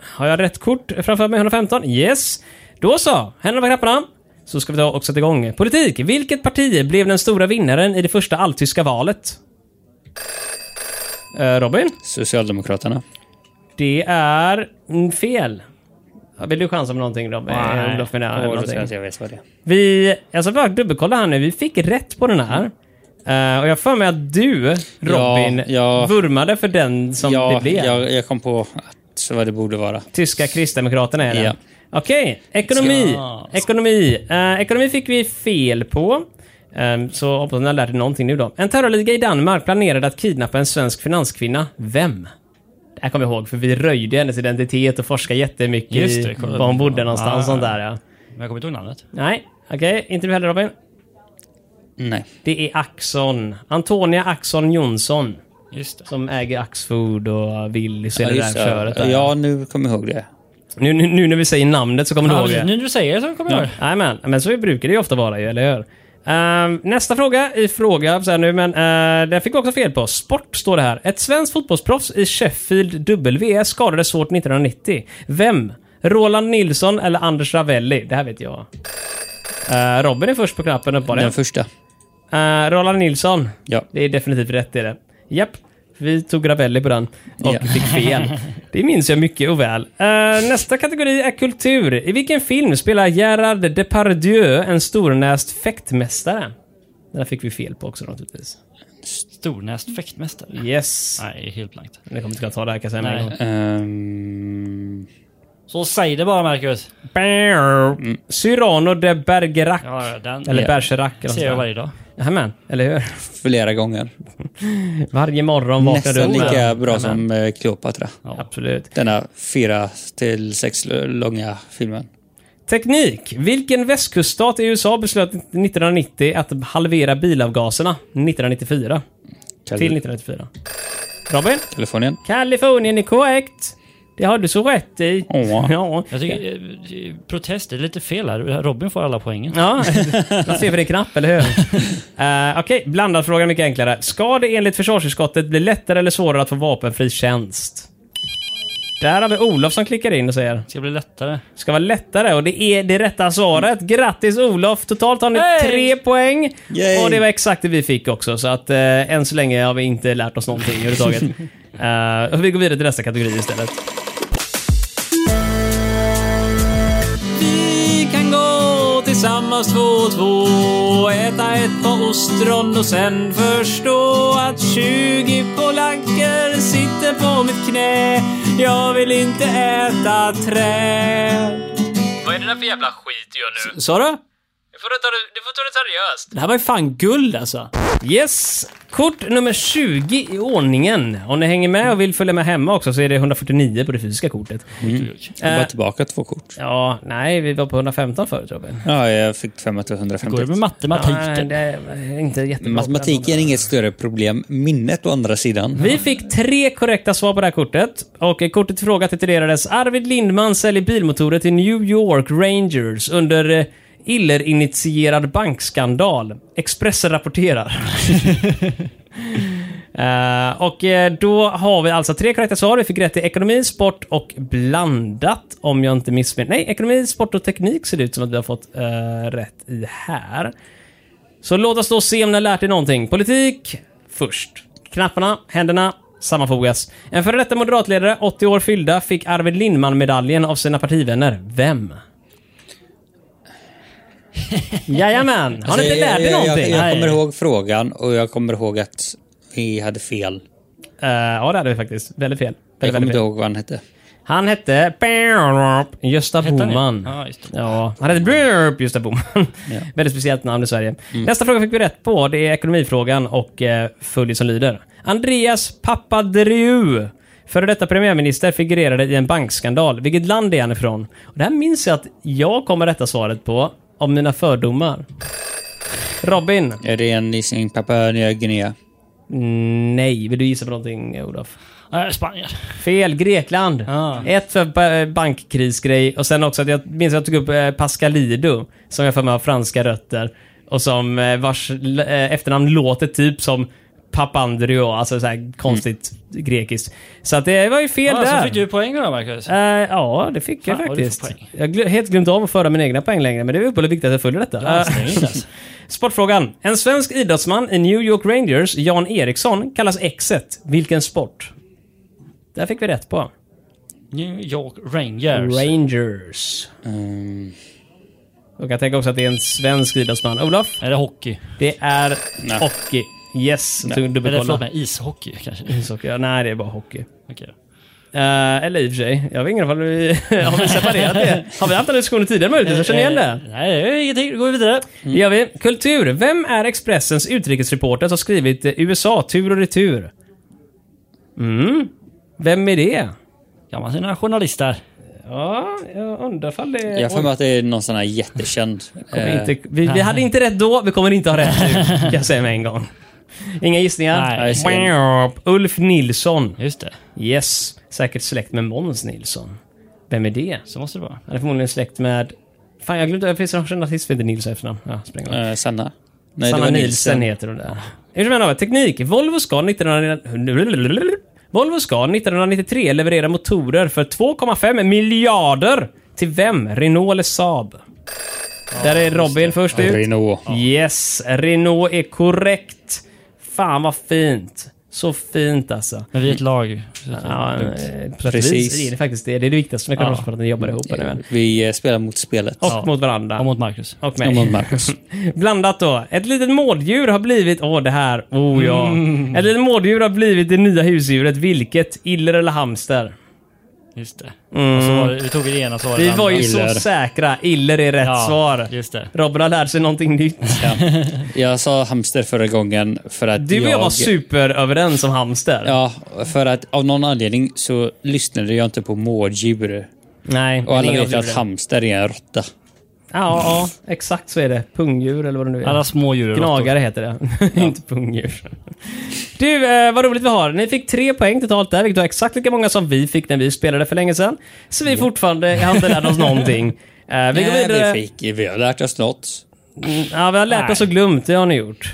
[SPEAKER 2] Har jag rätt kort framför mig? 115? Yes! Då så, händerna på knapparna. Så ska vi ta och sätta igång. Politik. Vilket parti blev den stora vinnaren i det första alltyska valet? Eh, Robin?
[SPEAKER 4] Socialdemokraterna.
[SPEAKER 2] Det är mm, fel. Ja, Vill du chansa på någonting Eh, Robin?
[SPEAKER 4] Nej.
[SPEAKER 2] Olof, menar jag,
[SPEAKER 4] Åh,
[SPEAKER 2] eller
[SPEAKER 4] då
[SPEAKER 2] någonting.
[SPEAKER 4] ska jag se, jag vet vad det är.
[SPEAKER 2] Vi, jag ska bara dubbelkolla här nu. Vi fick rätt på den här. Eh, och jag har för mig att du, Robin,
[SPEAKER 4] Ja, Mm. ja.
[SPEAKER 2] vurmade för den som
[SPEAKER 4] ja,
[SPEAKER 2] det blev.
[SPEAKER 4] Jag, jag kom på att vad det borde vara.
[SPEAKER 2] Tyska Kristdemokraterna är den.
[SPEAKER 4] Ja.
[SPEAKER 2] Okej, ekonomi. Ekonomi. Eh, ekonomi fick vi fel på. Ehm, så hoppas ni har lärt er någonting nu då. En terrorliga i Danmark planerade att kidnappa en svensk finanskvinna. Vem? Det här kommer jag ihåg, för vi röjde hennes identitet och forskade jättemycket
[SPEAKER 3] Just det,
[SPEAKER 2] i
[SPEAKER 3] kolla.
[SPEAKER 2] var hon bodde någonstans.
[SPEAKER 3] Ah.
[SPEAKER 2] Sånt där, ja.
[SPEAKER 3] Men jag kommer inte ihåg namnet.
[SPEAKER 2] Nej, okej. Inte du heller Robin?
[SPEAKER 4] Nej.
[SPEAKER 2] Det är Axon. Antonia Axon Jonsson.
[SPEAKER 3] Just det.
[SPEAKER 2] Som äger Axfood och Willys och
[SPEAKER 4] Ja,
[SPEAKER 2] hela det
[SPEAKER 4] just
[SPEAKER 2] där köret.
[SPEAKER 4] det.
[SPEAKER 2] Där.
[SPEAKER 4] ja, nu kommer jag ihåg det.
[SPEAKER 2] Nu, nu, nu när vi säger namnet så kommer du
[SPEAKER 3] Ja,
[SPEAKER 2] ihåg det.
[SPEAKER 3] precis. nu när du säger det så kommer jag ihåg.
[SPEAKER 2] Jajamän, men så brukar det ju ofta vara ju, eller hur? Ehm, nästa fråga i fråga, så här nu, men eh, den fick vi också fel på. Sport står det här. Ett svenskt fotbollsproffs i Sheffield W skadades svårt 1990. Vem? Roland Nilsson eller Anders Ravelli? Det här vet jag. Eh, Robin är först på knappen uppenbarligen.
[SPEAKER 4] Den första.
[SPEAKER 2] Uh, Roland Nilsson.
[SPEAKER 4] Ja.
[SPEAKER 2] Det är definitivt rätt i det. Japp. Vi tog Ravelli på den och
[SPEAKER 4] Ja.
[SPEAKER 2] fick fel. Det minns jag mycket och väl. Eh, nästa kategori är kultur. I vilken film spelar Gerard Depardieu en stornäst fäktmästare? Den här fick vi fel på också naturligtvis.
[SPEAKER 3] Stornäst fäktmästare.
[SPEAKER 2] Yes.
[SPEAKER 3] Nej, helt blankt.
[SPEAKER 2] Ni kommer inte kunna ta det här kan jag säga.
[SPEAKER 3] Nej.
[SPEAKER 2] Nej.
[SPEAKER 4] Ehm,
[SPEAKER 3] Så säg det bara Marcus.
[SPEAKER 2] Cyrano de Bergerac.
[SPEAKER 3] Mm. Ja, ja, den
[SPEAKER 2] Eller
[SPEAKER 3] Ja.
[SPEAKER 2] Bergerac. eller något
[SPEAKER 3] ser jag
[SPEAKER 2] sånt där.
[SPEAKER 3] varje dag.
[SPEAKER 2] Jajamän, eller hur?
[SPEAKER 4] flera gånger.
[SPEAKER 2] Varje morgon vaknar du
[SPEAKER 4] Nästan
[SPEAKER 2] upp med-
[SPEAKER 4] lika bra som eh, Cleopatra.
[SPEAKER 2] Absolut.
[SPEAKER 4] Denna fyra till sex l- långa filmen.
[SPEAKER 2] Teknik. Vilken västkuststat i USA beslöt 1990 att halvera bilavgaserna 1994?
[SPEAKER 4] Kal-
[SPEAKER 2] Till 1994. Robin?
[SPEAKER 4] Kalifornien.
[SPEAKER 2] Kalifornien är korrekt. Det har du så rätt i.
[SPEAKER 4] Åh.
[SPEAKER 2] Ja.
[SPEAKER 3] Jag tycker eh, eh, protest är lite fel här. Robin får alla poängen.
[SPEAKER 2] Ja, man ser för din knapp, eller hur? Eh, Okej, blandad fråga mycket enklare. Ska det enligt försvarsutskottet bli lättare eller svårare att få vapenfri tjänst? Där har vi Olof som klickar in och säger
[SPEAKER 3] Det ska bli lättare.
[SPEAKER 2] ska vara lättare och det är det rätta svaret. Grattis Olof! Totalt har ni
[SPEAKER 3] Hey!
[SPEAKER 2] tre poäng.
[SPEAKER 4] Yay!
[SPEAKER 2] Och det var exakt det vi fick också, så att eh, än så länge har vi inte lärt oss någonting överhuvudtaget. Eh, och vi går vidare till nästa kategori istället.
[SPEAKER 5] Vi kan gå tillsammans två och två Äta ett par ostron och sen förstå att 20 polacker sitter på mitt knä Jag vill inte äta träd
[SPEAKER 6] Vad är det där för jävla skit du gör nu?
[SPEAKER 5] Sa du?
[SPEAKER 6] Du får ta det, du får ta det seriöst.
[SPEAKER 5] Det här var ju fan guld alltså.
[SPEAKER 2] Yes! Kort nummer 20 i ordningen. Om ni hänger med och vill följa med hemma också så är det 149 på det fysiska kortet. Eh,
[SPEAKER 4] Jag var tillbaka två kort.
[SPEAKER 2] Ja, nej, vi var på 115 förut Robin.
[SPEAKER 4] Ja, jag fick
[SPEAKER 3] Går det med
[SPEAKER 4] 550.
[SPEAKER 2] Nej,
[SPEAKER 3] matematiken?
[SPEAKER 2] det är inte jättebra.
[SPEAKER 4] Matematiken är inget större problem. Minnet å andra sidan.
[SPEAKER 2] Vi fick tre korrekta svar på det här kortet. Och eh, kortet i fråga titulerades Arvid Lindman säljer bilmotorer till New York Rangers under eh, illerinitierad bankskandal. Expressen rapporterar. Eh, och eh, då har vi alltså tre korrekta svar. Vi fick rätt i ekonomi, sport och blandat. Om jag inte missminner Nej, ekonomi, sport och teknik ser det ut som att vi har fått eh, rätt i här. Så låt oss då se om ni har lärt er någonting. Politik först. Knapparna, händerna sammanfogas. En före detta moderatledare, 80 år fyllda, fick Arvid Lindman-medaljen av sina partivänner. Vem? Jajamän! Har ni inte lärt er
[SPEAKER 4] Alltså, jag, jag,
[SPEAKER 2] någonting?
[SPEAKER 4] jag kommer
[SPEAKER 2] Nej.
[SPEAKER 4] ihåg frågan och jag kommer ihåg att vi hade fel.
[SPEAKER 2] Eh, ja, det hade vi faktiskt. Väldigt fel. Väldigt,
[SPEAKER 4] Jag kommer
[SPEAKER 2] väldigt
[SPEAKER 4] inte
[SPEAKER 2] fel.
[SPEAKER 4] ihåg vad han hette.
[SPEAKER 2] Han hette... Gösta
[SPEAKER 3] Hette han det?
[SPEAKER 2] Boman.
[SPEAKER 3] Ja, just det.
[SPEAKER 2] Ja, han hette Burp, Gösta Boman. Väldigt speciellt namn i Sverige.
[SPEAKER 3] Mm.
[SPEAKER 2] Nästa fråga fick vi rätt på. Det är ekonomifrågan och eh, följer som lyder. Andreas Papadreou, före detta premiärminister, figurerade i en bankskandal. Vilket land är han ifrån? Och det här minns jag att jag kommer rätta svaret på av mina fördomar. Robin?
[SPEAKER 4] Är det en gissning? Papua Nya Guinea?
[SPEAKER 2] Mm, Nej, vill du gissa på någonting, Olof?
[SPEAKER 3] Nej, Äh, Spanien.
[SPEAKER 2] Fel, Grekland.
[SPEAKER 3] Ah.
[SPEAKER 2] Ett för ba- bankkrisgrej och sen också att jag minns att jag tog upp eh, Pascalido som jag för mig har franska rötter och som eh, vars l- eh, efternamn låter typ som Papandreou, alltså så här konstigt grekiskt. Så att det var ju
[SPEAKER 3] Mm.
[SPEAKER 2] fel
[SPEAKER 3] Ja,
[SPEAKER 2] där.
[SPEAKER 3] så fick du poäng då Marcus.
[SPEAKER 2] Eh, ja, det fick jag
[SPEAKER 3] Fan, vad du
[SPEAKER 2] faktiskt.
[SPEAKER 3] får poäng.
[SPEAKER 2] Jag har helt glömt av att föra mina egna poäng längre, men det är väl viktigt att jag följer detta. Eh,
[SPEAKER 3] Ansträngd alltså.
[SPEAKER 2] sportfrågan. En svensk idrottsman i New York Rangers, Jan Eriksson, kallas Exet. Vilken sport? Där fick vi rätt på.
[SPEAKER 3] New York Rangers.
[SPEAKER 2] Rangers. Eh,
[SPEAKER 4] Ehm,
[SPEAKER 2] Och jag tänker också att det är en svensk idrottsman. Olof,
[SPEAKER 3] Är det hockey?
[SPEAKER 2] det är
[SPEAKER 4] Nej.
[SPEAKER 2] hockey. Yes, du
[SPEAKER 3] Eller förlåt
[SPEAKER 2] dubbelkolla.
[SPEAKER 3] mig, ishockey kanske?
[SPEAKER 2] Ishockey, ja. Nej, det är bara hockey.
[SPEAKER 3] Okej.
[SPEAKER 2] Eh, eller i och för sig, jag vet inte om vi har vi separerat det. Har vi haft den diskussionen tidigare möjligtvis? Jag känner igen det.
[SPEAKER 3] Eh, Nej, det är ingenting. Då går vi vidare.
[SPEAKER 2] Det gör vi. Kultur. Vem är Expressens utrikesreporter som skrivit eh, USA tur och retur? Mm. Vem är det?
[SPEAKER 3] Kan man sina journalister?
[SPEAKER 2] Ja, jag undrar ifall det...
[SPEAKER 4] jag har för mig att det är någon sån här jättekänd.
[SPEAKER 2] Kommer
[SPEAKER 4] Eh,
[SPEAKER 2] inte, vi, vi hade inte rätt då, vi kommer inte ha rätt nu. kan jag säga med en gång. Inga gissningar?
[SPEAKER 3] Nej.
[SPEAKER 2] Ulf Nilsson.
[SPEAKER 3] Just det.
[SPEAKER 2] Yes. Säkert släkt med Måns Nilsson. Vem är det?
[SPEAKER 3] Så måste det vara.
[SPEAKER 2] Han är förmodligen släkt med... Fan, jag glömde. Det finns en journalist som heter Nils i efternamn. Ja, spräng det.
[SPEAKER 4] eh, Sanna? Nej,
[SPEAKER 2] Sanna Nilsen heter hon där. Hur som helst, av teknik. Volvo ska 1900... Volvo ska 1993 leverera motorer för 2,5 miljarder till vem? Renault eller Saab? där är Robin först ut.
[SPEAKER 4] Renault.
[SPEAKER 2] Yes, Renault är korrekt. Fan vad fint. Så fint alltså.
[SPEAKER 3] Men vi är ett lag. Så att-
[SPEAKER 2] Ja, eh, på sätt och
[SPEAKER 4] Precis.
[SPEAKER 2] vis är det faktiskt det. Det är det viktigaste med konferensen, att jobbar ihop. nu, men.
[SPEAKER 4] Vi eh, spelar mot spelet.
[SPEAKER 2] Och mot varandra.
[SPEAKER 3] Och mot Marcus.
[SPEAKER 2] Och
[SPEAKER 4] Och mot
[SPEAKER 2] mig.
[SPEAKER 4] Marcus.
[SPEAKER 2] Blandat då. Ett litet mårddjur har blivit... Åh, det här. Oh ja. Ett litet mårddjur har blivit det nya husdjuret. Vilket? Iller eller hamster?
[SPEAKER 3] Just det. Och så var det, vi tog det ena så var det
[SPEAKER 2] Mm.
[SPEAKER 3] det
[SPEAKER 2] Vi var ju
[SPEAKER 3] andra.
[SPEAKER 2] så
[SPEAKER 4] Iller.
[SPEAKER 2] säkra. Iller är rätt
[SPEAKER 3] Ja,
[SPEAKER 2] svar.
[SPEAKER 3] Just det.
[SPEAKER 2] Robin har lärt sig någonting nytt.
[SPEAKER 4] Jag sa hamster förra gången för att
[SPEAKER 2] Du och jag var superöverens om hamster.
[SPEAKER 4] Ja, för att av någon anledning så lyssnade jag inte på mårddjur.
[SPEAKER 2] Nej,
[SPEAKER 4] Och alla
[SPEAKER 2] ingen av
[SPEAKER 4] vet ju att
[SPEAKER 2] djuren.
[SPEAKER 4] hamster är en råtta.
[SPEAKER 2] Ja, ja, exakt så är det. Pungdjur eller vad det nu är.
[SPEAKER 3] Alla små djur. är råttor.
[SPEAKER 2] Gnagare heter det. Inte pungdjur. Du, eh, vad roligt vi har. Ni fick tre poäng totalt där, vilket var exakt lika många som vi fick när vi spelade för länge sedan. Så vi fortfarande har inte lärt oss någonting. Eh, vi går
[SPEAKER 4] Nej,
[SPEAKER 2] vidare.
[SPEAKER 4] vi, fick, vi har lärt oss något.
[SPEAKER 2] Mm, Ja, vi har lärt oss och glömt, det har ni gjort.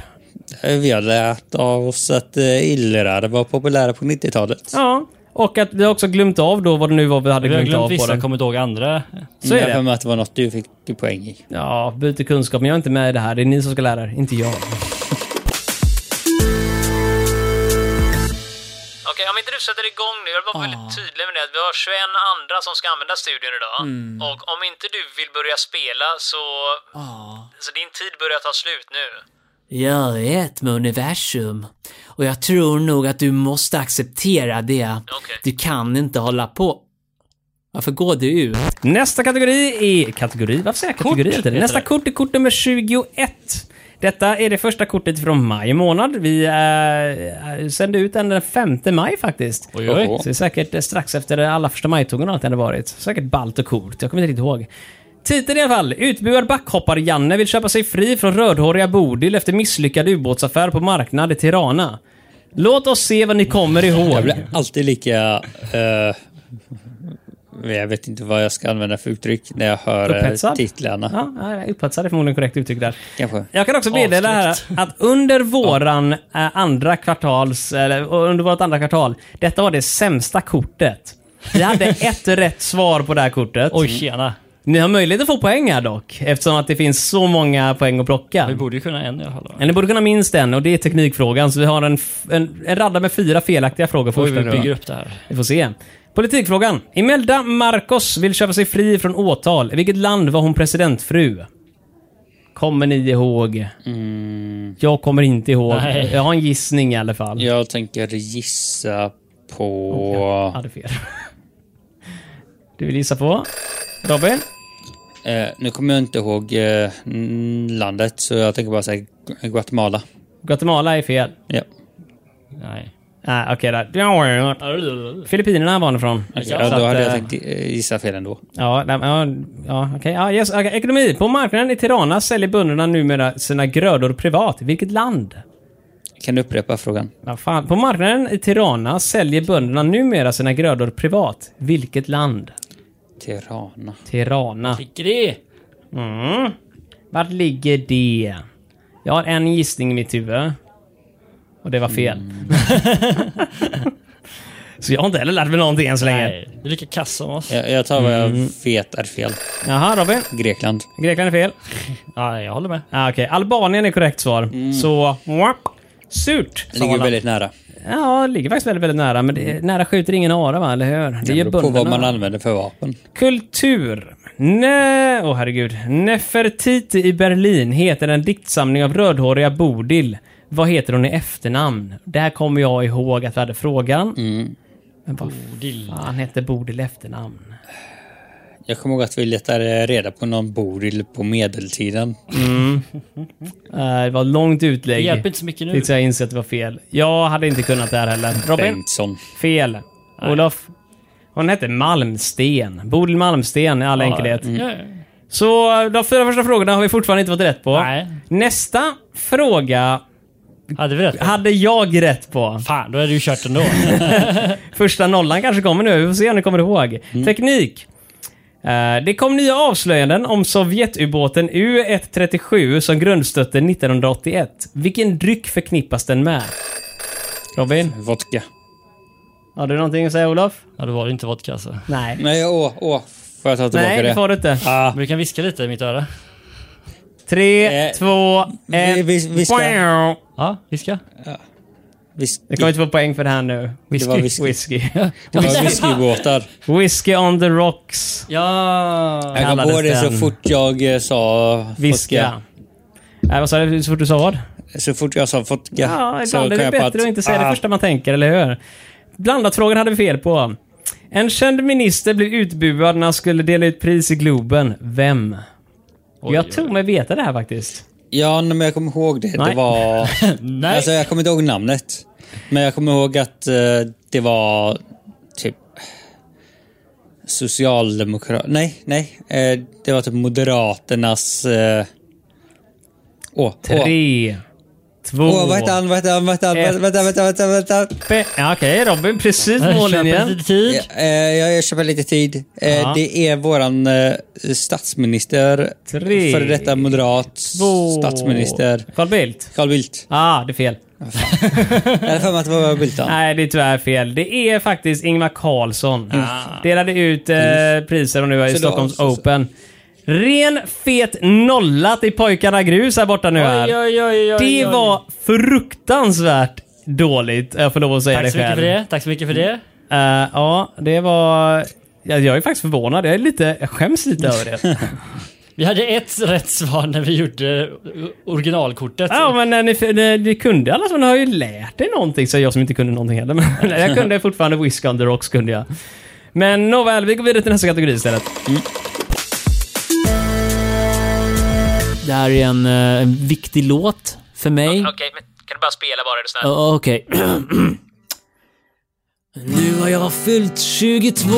[SPEAKER 4] Eh, Vi har lärt oss att eh, illrar var populära på 90-talet.
[SPEAKER 2] Ja, och att vi har också glömt av då vad det nu var vi hade
[SPEAKER 3] Vi har
[SPEAKER 2] glömt,
[SPEAKER 3] glömt
[SPEAKER 2] av på
[SPEAKER 3] vissa,
[SPEAKER 2] den.
[SPEAKER 3] kommit ihåg andra.
[SPEAKER 2] Så
[SPEAKER 4] jag
[SPEAKER 2] är
[SPEAKER 4] har
[SPEAKER 2] det.
[SPEAKER 4] för mig att det var något du fick poäng i.
[SPEAKER 2] Ja, byter kunskap, men jag är inte med i det här. Det är ni som ska lära er, inte jag.
[SPEAKER 6] Okej, om inte du sätter igång nu, jag vill vara väldigt tydlig med det att vi har 21 andra som ska använda studion idag.
[SPEAKER 2] Mm.
[SPEAKER 6] Och om inte du vill börja spela så... Så din tid börjar ta slut nu.
[SPEAKER 7] Jag är ett med universum. Och jag tror nog att du måste acceptera det.
[SPEAKER 6] Okej.
[SPEAKER 7] Du kan inte hålla på. Varför går du ut?
[SPEAKER 2] Nästa kategori är... Kategori? Varför säger jag kategori hela tiden? Nästa kort är kort nummer 21. Detta är det första kortet från maj månad. Vi äh, sände ut den den 5 maj faktiskt.
[SPEAKER 3] Oj, oj.
[SPEAKER 2] Så det är säkert eh, strax efter alla första majtågen och allt det hade varit. Säkert ballt och coolt. Jag kommer inte riktigt ihåg. Titeln i alla fall. Utbuad backhoppar-Janne vill köpa sig fri från rödhåriga Bodil efter misslyckad ubåtsaffär på marknad i Tirana. Låt oss se vad ni kommer
[SPEAKER 4] Jag
[SPEAKER 2] ihåg.
[SPEAKER 4] blir alltid lika... eh, jag vet inte vad jag ska använda för uttryck när jag hör eh,
[SPEAKER 2] Upphetsad?
[SPEAKER 4] titlarna.
[SPEAKER 2] Ja, ja, upphetsad är förmodligen korrekt uttryck där.
[SPEAKER 4] Kanske.
[SPEAKER 2] Jag kan också meddela här att under våran eh, andra kvartals, eller under vårt andra kvartal, detta var det sämsta kortet. Vi hade ett rätt svar på det här kortet.
[SPEAKER 3] Oj, tjena.
[SPEAKER 2] Ni har möjlighet att få poäng här dock, eftersom att det finns så många poäng att plocka.
[SPEAKER 3] Vi borde ju kunna en i alla fall. va?
[SPEAKER 2] Men ni borde kunna minst en, och det är teknikfrågan. Så vi har en, f- en, en radda med fyra felaktiga frågor
[SPEAKER 3] Oj,
[SPEAKER 2] först.
[SPEAKER 3] vi
[SPEAKER 2] nu då.
[SPEAKER 3] bygger upp det här.
[SPEAKER 2] Vi får se. Politikfrågan. Imelda Marcos vill köpa sig fri från åtal. I vilket land var hon presidentfru? Kommer ni ihåg?
[SPEAKER 4] Mm.
[SPEAKER 2] Jag kommer inte ihåg.
[SPEAKER 3] Nej.
[SPEAKER 2] Jag har en gissning i alla fall.
[SPEAKER 4] Jag tänker gissa
[SPEAKER 2] Jag
[SPEAKER 4] på...
[SPEAKER 2] hade fel. Du vill gissa på? Robin?
[SPEAKER 4] Eh, nu kommer jag inte ihåg eh, n- landet, så jag tänker bara säga Gu- Guatemala.
[SPEAKER 2] Guatemala är fel.
[SPEAKER 4] Ja.
[SPEAKER 3] Nej.
[SPEAKER 2] Nej, okej där. Filippinerna var han ifrån.
[SPEAKER 4] Ja,
[SPEAKER 2] Så
[SPEAKER 4] då
[SPEAKER 2] att,
[SPEAKER 4] hade jag
[SPEAKER 2] eh,
[SPEAKER 4] tänkt eh, gissa fel ändå.
[SPEAKER 2] Ja, nej, men, ja, ja okej. Ja, yes, okej. Ekonomi. På marknaden i Tirana säljer bönderna numera sina grödor privat. I vilket land?
[SPEAKER 4] Kan du upprepa frågan?
[SPEAKER 2] Ja, fan. På marknaden i Tirana säljer bönderna numera sina grödor privat. Vilket land?
[SPEAKER 4] Tirana.
[SPEAKER 2] Tirana.
[SPEAKER 3] Fick det?
[SPEAKER 2] Mm. Vart ligger det? Jag har en gissning i mitt huvud. Och det var fel. så jag har inte heller lärt mig någonting än så länge.
[SPEAKER 3] Mm. Nej, du är lika kass som oss.
[SPEAKER 4] Jag, jag tar vad jag vet är fel.
[SPEAKER 2] Jaha, Robin.
[SPEAKER 4] Grekland.
[SPEAKER 2] Grekland är fel.
[SPEAKER 3] Ja, jag håller med.
[SPEAKER 2] Ah, Okej, Albanien är korrekt svar. Så... mwap, Surt!
[SPEAKER 4] Det Mm. ligger väldigt nära.
[SPEAKER 2] Ja, det ligger faktiskt väldigt, väldigt nära. Men det, nära skjuter ingen ara, va? Eller hur? Det är
[SPEAKER 4] Det
[SPEAKER 2] ju
[SPEAKER 4] beror på vad
[SPEAKER 2] bönderna.
[SPEAKER 4] man använder för vapen.
[SPEAKER 2] Kultur. Nej, åh herregud. Nefertiti i Berlin heter en diktsamling av rödhåriga Bodil. Vad heter hon i efternamn? Där kommer jag ihåg att vi hade frågan. Men vad
[SPEAKER 3] Bodil.
[SPEAKER 2] fan hette Bodil i efternamn?
[SPEAKER 4] Jag kommer ihåg att vi letade reda på någon Boril på medeltiden.
[SPEAKER 2] Eh, det var ett långt utlägg.
[SPEAKER 3] Det hjälper inte så mycket nu.
[SPEAKER 2] Tills jag inser att det var fel. Jag hade inte kunnat det här heller. Robin?
[SPEAKER 4] Bengtsson.
[SPEAKER 2] Fel. Olof? Hon hette Malmsten. Bodil Malmsten i all enkelhet.
[SPEAKER 8] mm.
[SPEAKER 3] Ja, ja.
[SPEAKER 2] Så de fyra första frågorna har vi fortfarande inte fått rätt på.
[SPEAKER 3] Nej.
[SPEAKER 2] Nästa fråga
[SPEAKER 3] Hade vi rätt?
[SPEAKER 2] hade jag rätt på.
[SPEAKER 3] Fan, då är det ju kört ändå.
[SPEAKER 2] Första nollan kanske kommer nu. Vi får se om ni kommer ihåg.
[SPEAKER 4] Mm.
[SPEAKER 2] Teknik. Eh, Det kom nya avslöjanden om Sovjetubåten U137 som grundstötte 1981. Vilken dryck förknippas den med? Robin,
[SPEAKER 4] Vodka.
[SPEAKER 2] har du någonting att säga Olof?
[SPEAKER 3] ja, då var det inte vodka alltså.
[SPEAKER 2] Nej.
[SPEAKER 4] Nej, åh, åh. Får jag ta tillbaka
[SPEAKER 2] Nej,
[SPEAKER 4] det? Ah,
[SPEAKER 2] det får du inte.
[SPEAKER 3] Men du kan viska lite i mitt öra.
[SPEAKER 2] Tre,
[SPEAKER 4] Eh,
[SPEAKER 2] två, ett.
[SPEAKER 4] vi- vi- vi ska-
[SPEAKER 2] Wow.
[SPEAKER 3] Ja, viska.
[SPEAKER 4] Vis-
[SPEAKER 2] Jag kommer inte få poäng för det här nu.
[SPEAKER 4] Det var whisky.
[SPEAKER 2] Whisky.
[SPEAKER 4] det var whiskybåtar.
[SPEAKER 2] Whisky on the rocks.
[SPEAKER 3] Ja.
[SPEAKER 4] Jag kom
[SPEAKER 2] Kallades
[SPEAKER 4] på det så
[SPEAKER 2] den.
[SPEAKER 4] fort jag eh, sa
[SPEAKER 2] Viska.
[SPEAKER 4] vodka.
[SPEAKER 2] Nej, Äh, vad sa du? Så fort du sa vad?
[SPEAKER 4] Så fort jag sa vodka.
[SPEAKER 2] Ja,
[SPEAKER 4] så
[SPEAKER 2] ibland är
[SPEAKER 4] kom
[SPEAKER 2] det
[SPEAKER 4] jag på
[SPEAKER 2] bättre att inte säga det
[SPEAKER 4] ah,
[SPEAKER 2] första man tänker, eller hur? Blandat-frågan hade vi fel på. En känd minister blev utbuad när han skulle dela ut pris i Globen. Vem? jag tror mig veta det här faktiskt.
[SPEAKER 4] Ja, nej, men jag kommer ihåg det.
[SPEAKER 2] Nej.
[SPEAKER 4] Det var...
[SPEAKER 3] Nej.
[SPEAKER 4] Alltså, jag kommer inte ihåg namnet. Men jag kommer ihåg att eh, det var typ socialdemokrat... Nej, nej. Eh, det var typ moderaternas... Eh... Åh, åh.
[SPEAKER 2] Tre, två...
[SPEAKER 4] Åh, vad hette han? Vad hette han? Vad hette han?
[SPEAKER 2] Ett.
[SPEAKER 4] Vänta, vänta, vänta, vänta.
[SPEAKER 2] Be- ja, Okej, Robin. Precis på
[SPEAKER 3] Köper
[SPEAKER 2] mållinjen.
[SPEAKER 3] lite tid.
[SPEAKER 4] Ja, eh, jag, jag köper lite tid. Eh,
[SPEAKER 2] Ja.
[SPEAKER 4] Det är våran eh, statsminister,
[SPEAKER 2] Tre.
[SPEAKER 4] före detta moderat,
[SPEAKER 2] Två.
[SPEAKER 4] statsminister.
[SPEAKER 2] Carl Bildt.
[SPEAKER 4] Carl Bildt.
[SPEAKER 2] Ah, det är fel.
[SPEAKER 4] Jag hade för mig att det var Bildt. han.
[SPEAKER 2] Nej, det är tyvärr fel. Det är faktiskt Ingvar Carlsson. Delade ut eh, priser och nu är i
[SPEAKER 4] Så då-
[SPEAKER 2] Stockholms
[SPEAKER 4] så- så-
[SPEAKER 2] Open. Ren fet nolla till pojkarna grus här borta nu här.
[SPEAKER 3] Oj, oj, oj, oj,
[SPEAKER 2] Det
[SPEAKER 3] oj.
[SPEAKER 2] var fruktansvärt dåligt, jag får lov att säga
[SPEAKER 3] Tack
[SPEAKER 2] det
[SPEAKER 3] så mycket
[SPEAKER 2] själv.
[SPEAKER 3] för det. Tack så mycket för det.
[SPEAKER 2] Eh, ja, det var... Ja, jag är faktiskt förvånad. Jag, är lite... jag skäms lite över det.
[SPEAKER 3] Vi hade ett rätt svar när vi gjorde originalkortet.
[SPEAKER 2] ja, men eh, ni, ni, ni kunde alla som ni har ju lärt er någonting, så jag som inte kunde någonting heller. Men jag kunde fortfarande Whisk on the Rocks, kunde jag. Men nåväl, vi går vidare till nästa kategori istället.
[SPEAKER 7] Det här är en, eh, en viktig låt för mig.
[SPEAKER 6] Okej, men kan du bara spela bara är du snäll?
[SPEAKER 7] Ja, Okej. nu har jag fyllt 22.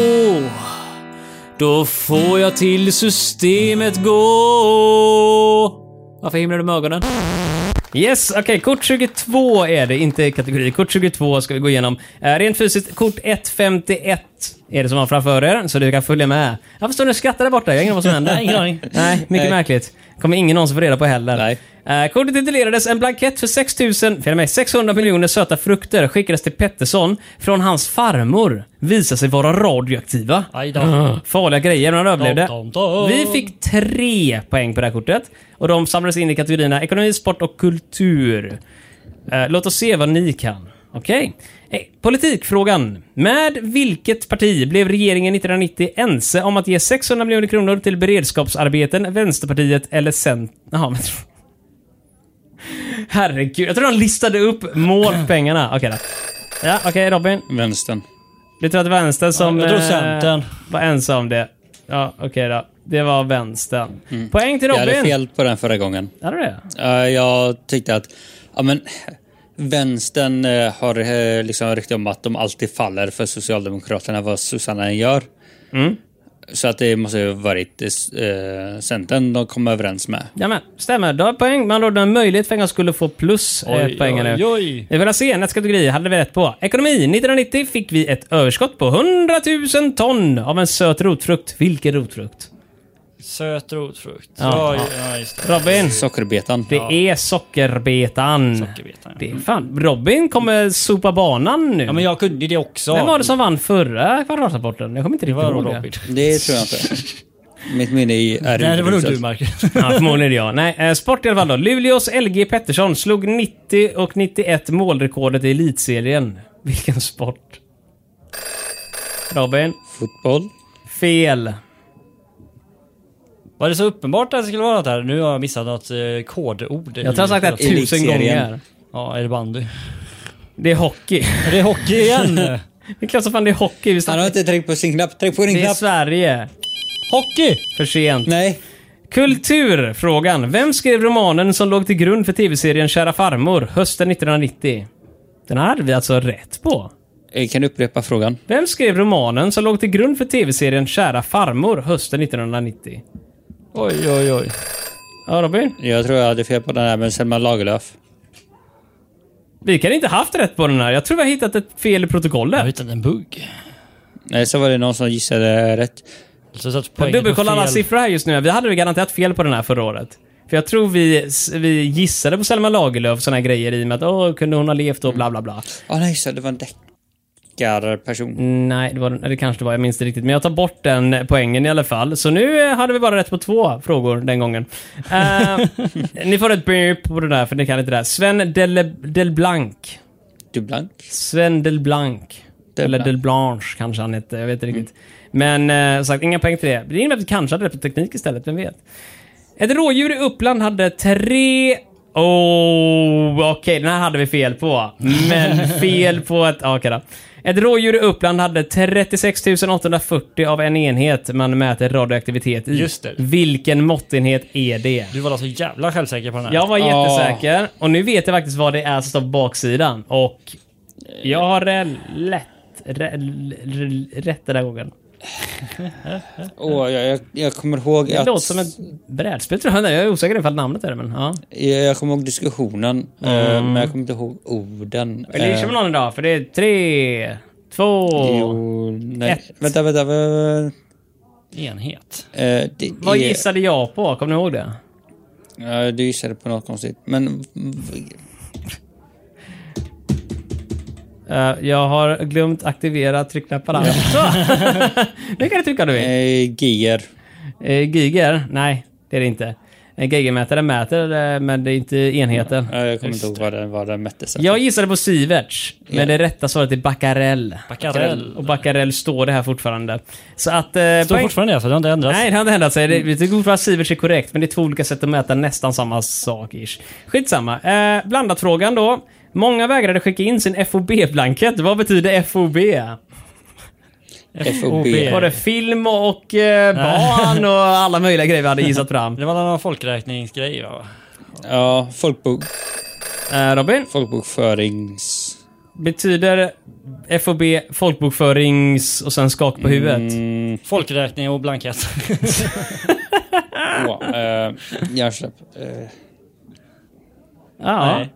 [SPEAKER 7] Då får jag till systemet gå. Varför himlar du med ögonen?
[SPEAKER 2] Yes, okej. Kort 22 är det, inte kategori. Kort 22 ska vi gå igenom. Eh, rent fysiskt, kort 151 är det som var framför er, så du kan följa med. Jag förstår, ni skrattar där borta. Jag har ingen aning vad som händer.
[SPEAKER 3] Nej, ingen aning.
[SPEAKER 2] Nej, mycket märkligt. Kommer ingen någonsin få reda på heller.
[SPEAKER 4] Nej.
[SPEAKER 2] Eh, kortet titulerades En blankett för 6 000, fel mig, 600 miljoner söta frukter skickades till Pettersson från hans farmor. Visar sig vara radioaktiva. Mm.
[SPEAKER 3] Aj då.
[SPEAKER 2] Farliga grejer, men han överlevde.
[SPEAKER 3] Dom, dom, dom.
[SPEAKER 2] Vi fick tre poäng på det här kortet. Och de samlades in i kategorierna ekonomi, sport och kultur. Eh, låt oss se vad ni kan. Okej. Eh, Politikfrågan. Med vilket parti blev regeringen 1990 ense om att ge 600 miljoner kronor till beredskapsarbeten, Vänsterpartiet eller Cent... Jaha, men... Herregud, jag tror de listade upp mål för pengarna. Okej då. Ja, okej Robin.
[SPEAKER 4] Vänstern.
[SPEAKER 2] Du tror att vänstern som...
[SPEAKER 3] Ja, jag tror
[SPEAKER 2] eh,
[SPEAKER 3] Centern.
[SPEAKER 2] Var ensam om det. Ja, okej då. Det var vänstern. Poäng till
[SPEAKER 4] Jag
[SPEAKER 2] Robin.
[SPEAKER 4] hade fel på den förra gången.
[SPEAKER 2] Hade du det?
[SPEAKER 4] Eh, jag tyckte att ja, men, vänstern eh, har eh, liksom rykte om att de alltid faller för Socialdemokraterna vad sossarna än gör.
[SPEAKER 2] Mm.
[SPEAKER 4] Så att det måste ju varit eh, Centern de kom överens med.
[SPEAKER 2] Jajamän, stämmer. Du har poäng. Man hade en möjlighet för en gång skulle få plus
[SPEAKER 3] Oj,
[SPEAKER 2] ett poäng här
[SPEAKER 3] oj,
[SPEAKER 2] nu.
[SPEAKER 3] oj.
[SPEAKER 2] Vi vill se nästa kategori. Hade vi rätt på. Ekonomi. 1990 fick vi ett överskott på 100 000 ton av en söt rotfrukt. Vilken rotfrukt?
[SPEAKER 3] Söt rotfrukt.
[SPEAKER 2] Ja.
[SPEAKER 3] Ja, ja. just det.
[SPEAKER 2] Robin!
[SPEAKER 4] Sockerbetan.
[SPEAKER 2] Det är sockerbetan.
[SPEAKER 3] Sockerbetan, ja.
[SPEAKER 2] Det är fan, Robin kommer sopa banan nu.
[SPEAKER 3] Ja, men jag kunde det också.
[SPEAKER 2] Vem var det som vann förra kvadratrapporten? Jag kommer inte riktigt
[SPEAKER 3] var
[SPEAKER 2] ihåg
[SPEAKER 3] Robin.
[SPEAKER 2] det.
[SPEAKER 4] Det tror jag inte. Mitt minne i- är
[SPEAKER 3] Nej, det var nog
[SPEAKER 4] urusel.
[SPEAKER 3] du Marcus.
[SPEAKER 2] Ja, förmodligen är det jag. Nej, eh, sport i alla fall då. Luleås LG Pettersson slog 90 och 91 målrekordet i elitserien. Vilken sport? Robin?
[SPEAKER 4] Fotboll.
[SPEAKER 2] Fel.
[SPEAKER 3] Var det så uppenbart att det skulle vara något här? Nu har jag missat något eh, kodord.
[SPEAKER 2] Jag tror jag har sagt det här tusen
[SPEAKER 4] Elitserien.
[SPEAKER 2] gånger.
[SPEAKER 3] Ja, är det bandy?
[SPEAKER 2] Det är hockey.
[SPEAKER 3] Är det hockey igen?
[SPEAKER 2] Det är klart som fan det är hockey. Vi
[SPEAKER 4] Han
[SPEAKER 2] snackar.
[SPEAKER 4] har inte tryckt på sin knapp. Tryck på din
[SPEAKER 2] Det är
[SPEAKER 4] knapp.
[SPEAKER 2] Sverige.
[SPEAKER 3] hockey!
[SPEAKER 2] För sent.
[SPEAKER 4] Nej.
[SPEAKER 2] Kulturfrågan. Vem skrev romanen som låg till grund för tv-serien Kära farmor hösten 1990? Den här hade vi alltså rätt på.
[SPEAKER 4] Eh, Kan du upprepa frågan?
[SPEAKER 2] Vem skrev romanen som låg till grund för tv-serien Kära farmor hösten 1990?
[SPEAKER 3] Oj, oj, oj.
[SPEAKER 2] Ja, Robin?
[SPEAKER 4] Jag tror jag hade fel på den här, men Selma Lagerlöf.
[SPEAKER 2] Vi kan inte haft rätt på den här. Jag tror vi har hittat ett fel i
[SPEAKER 3] Jag har
[SPEAKER 2] protokollet.
[SPEAKER 3] hittat en bugg.
[SPEAKER 4] Nej, så var det någon som gissade rätt.
[SPEAKER 3] Så satt
[SPEAKER 2] Jag
[SPEAKER 3] poängen på
[SPEAKER 2] dubbelkollar alla
[SPEAKER 3] fel.
[SPEAKER 2] siffror här just nu. Vi hade väl garanterat fel på den här förra året. För jag tror vi, vi gissade på Selma Lagerlöf såna här grejer i och med att åh, kunde hon ha levt och bla bla bla.
[SPEAKER 4] Ja, nej, så det var en deckarperson.
[SPEAKER 2] Nej, det, var, eller kanske det var. Jag minns inte riktigt. Men jag tar bort den poängen i alla fall. Så nu eh, hade vi bara rätt på två frågor den gången. Eh, ni får ett beep på det där, för ni kan inte det där. Sven Del, Del Blanc.
[SPEAKER 4] Du blank.
[SPEAKER 2] Sven Del Blanc.
[SPEAKER 4] Del
[SPEAKER 2] Eller
[SPEAKER 4] Blanc.
[SPEAKER 2] Del Blanche kanske han hette. Jag vet inte riktigt. Men eh, som sagt, inga poäng till det. Det innebär att vi kanske hade rätt på teknik istället. Vem vet? Ett rådjur i Uppland hade tre... Oh, okej, den här hade vi fel på. Men fel på ett... ja, Okej då. Ett rådjur i Uppland hade 36 840 av en enhet man mäter radioaktivitet i.
[SPEAKER 3] Just det.
[SPEAKER 2] Vilken måttenhet är det?
[SPEAKER 3] Du var alltså jävla självsäker på den här.
[SPEAKER 2] Jag var
[SPEAKER 4] Ah.
[SPEAKER 2] jättesäker och nu vet jag faktiskt vad det är som står på baksidan. Och jag har eh, lätt re- re- rätt den här gången.
[SPEAKER 4] Åh, jag, jag, jag kommer ihåg
[SPEAKER 2] Det
[SPEAKER 4] att...
[SPEAKER 2] låter som ett brädspel tror jag. Jag är osäker ifall namnet är det, men
[SPEAKER 4] Eh.
[SPEAKER 2] ja.
[SPEAKER 4] Jag, jag kommer ihåg diskussionen, eh, men jag kommer inte ihåg orden.
[SPEAKER 2] Mm. Eller kör vi någon idag? För det är tre, två...
[SPEAKER 4] Eh, Jo, nej.
[SPEAKER 2] Ett.
[SPEAKER 4] Vänta, vänta. vänta.
[SPEAKER 3] Enhet.
[SPEAKER 4] Eh, det
[SPEAKER 2] Vad
[SPEAKER 4] är-
[SPEAKER 2] gissade jag på? Kommer ni ihåg det?
[SPEAKER 4] Ja, du gissade på något konstigt. Men v-
[SPEAKER 2] Eh, jag har glömt aktivera tryckknapparna. Så! nu kan du trycka om du vill.
[SPEAKER 4] eh, Gear.
[SPEAKER 2] Eh, Giger? Nej, det är det inte. En gigermätare mäter, eh, men det är inte enheten.
[SPEAKER 4] Ja, jag kommer inte ihåg vad den, vad den mätte sig.
[SPEAKER 2] Jag gissade på Sieverts, men det rätta svaret är Baccarell.
[SPEAKER 3] Baccarell.
[SPEAKER 2] Och Baccarell står det här fortfarande. Så att... Eh,
[SPEAKER 3] Står
[SPEAKER 2] poäng-
[SPEAKER 3] fortfarande det, för det har inte ändrats.
[SPEAKER 2] Nej, det har inte hänt sig. Det- Vi tycker fortfarande att Sieverts är korrekt, men det är två olika sätt att mäta nästan samma sak. -ish. Skitsamma. Eh, Blandat-frågan då. Många vägrade skicka in sin FOB-blankett. Vad betyder FOB?
[SPEAKER 4] FOB.
[SPEAKER 3] OB.
[SPEAKER 2] Var det film och eh, barn och alla möjliga grejer vi hade gissat fram?
[SPEAKER 3] Det var någon folkräkningsgrej va?
[SPEAKER 4] Ja, folkbok,
[SPEAKER 2] Eh, Robin?
[SPEAKER 4] folkbokförings...
[SPEAKER 2] Betyder FOB folkbokförings och sen skak på huvudet?
[SPEAKER 3] Mm,
[SPEAKER 4] Mm,
[SPEAKER 3] Folkräkning och blankett.
[SPEAKER 4] Åh, eh, jag släpp. Eh,
[SPEAKER 2] Ja.
[SPEAKER 3] Nej.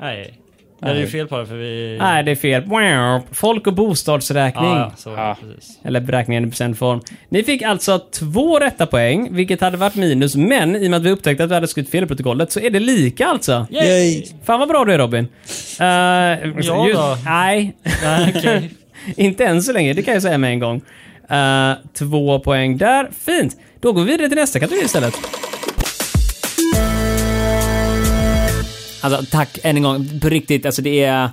[SPEAKER 3] Nej. Det är ju fel på det för vi...
[SPEAKER 2] Nej, det är fel. Wow. Folk och bostadsräkning.
[SPEAKER 3] Ja, ja, så,
[SPEAKER 4] Ja.
[SPEAKER 3] precis.
[SPEAKER 2] Eller beräkningen i procentform. Ni fick alltså två rätta poäng, vilket hade varit minus. Men i och med att vi upptäckte att vi hade skrivit fel i protokollet så är det lika alltså.
[SPEAKER 4] yay!
[SPEAKER 2] Fan vad bra du är Robin. Uh,
[SPEAKER 6] Alltså,
[SPEAKER 3] Ja då.
[SPEAKER 2] Nej.
[SPEAKER 3] Nej, okej.
[SPEAKER 2] Inte än så länge, det kan jag säga med en gång. Eh, två poäng där. Fint. Då går vi vidare till nästa kategori istället.
[SPEAKER 7] Alltså tack än en gång, på riktigt. Alltså det är...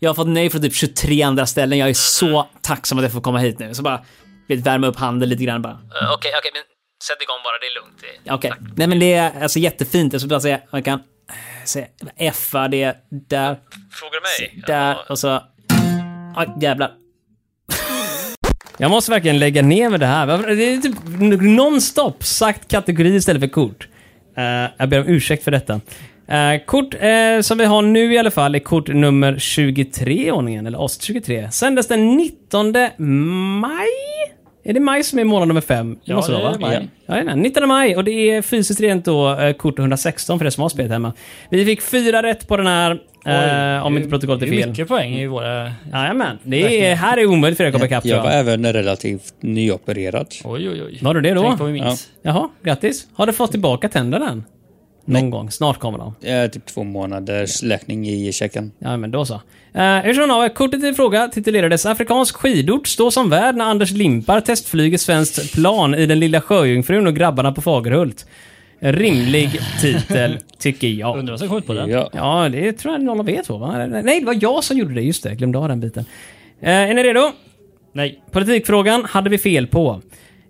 [SPEAKER 7] Jag har fått nej från typ 23 andra ställen. Jag är så tacksam att jag får komma hit nu. Så bara, vet, värma upp handen lite grann bara.
[SPEAKER 6] Eh, Okej, okej, men sätt igång bara. Det är lugnt. Det-
[SPEAKER 7] Ja, Okej. Nej men det är alltså jättefint. Jag skulle bara säga, man kan säga F, det är där,
[SPEAKER 6] Frågar du mig?
[SPEAKER 7] där och så... Oj, jävlar.
[SPEAKER 2] Jag måste verkligen lägga ner med det här. Varför- Det är typ nonstop sagt kategori istället för kort. Eh, jag ber om ursäkt för detta. Eh, kort eh, som vi har nu i alla fall är kort nummer 23 i ordningen, eller ost 23. Sändes den 19 maj? Är det maj som är månad nummer 5?
[SPEAKER 3] Ja,
[SPEAKER 2] måste det
[SPEAKER 3] det
[SPEAKER 2] vara,
[SPEAKER 3] är
[SPEAKER 2] va?
[SPEAKER 3] maj.
[SPEAKER 2] Ja. Jajamän, 19 maj och det är fysiskt rent då eh, kort 116 för det som har spelet hemma. Vi fick fyra rätt på den här Eh, om inte protokollet är
[SPEAKER 8] Det är
[SPEAKER 2] fel.
[SPEAKER 8] mycket poäng i våra...
[SPEAKER 2] Jajamän. Det är, här är omöjligt för er att komma ikapp.
[SPEAKER 4] Jag var
[SPEAKER 2] tror jag.
[SPEAKER 4] även relativt nyopererad.
[SPEAKER 8] Oj, oj, oj.
[SPEAKER 2] Var du det då?
[SPEAKER 8] Tänk vad vi minns.
[SPEAKER 2] Jaha, grattis. Har du fått tillbaka tänderna än? Någon gång. Snart kommer de.
[SPEAKER 4] Eh, typ två månaders läkning i käken.
[SPEAKER 2] Ja, men då så. Eh, hur som helst, kortet i fråga titulerades “Afrikansk skidort står som värd när Anders Limpar testflyger svenskt plan i Den lilla sjöjungfrun och grabbarna på Fagerhult”. Rimlig titel, tycker jag.
[SPEAKER 8] Undrar vad som kommit på den.
[SPEAKER 4] Ja.
[SPEAKER 2] Ja, det tror jag någon av er två, va? Nej, det var jag som gjorde det. Just det, jag glömde av den biten. Eh, är ni redo?
[SPEAKER 8] Nej.
[SPEAKER 2] Politikfrågan hade vi fel på.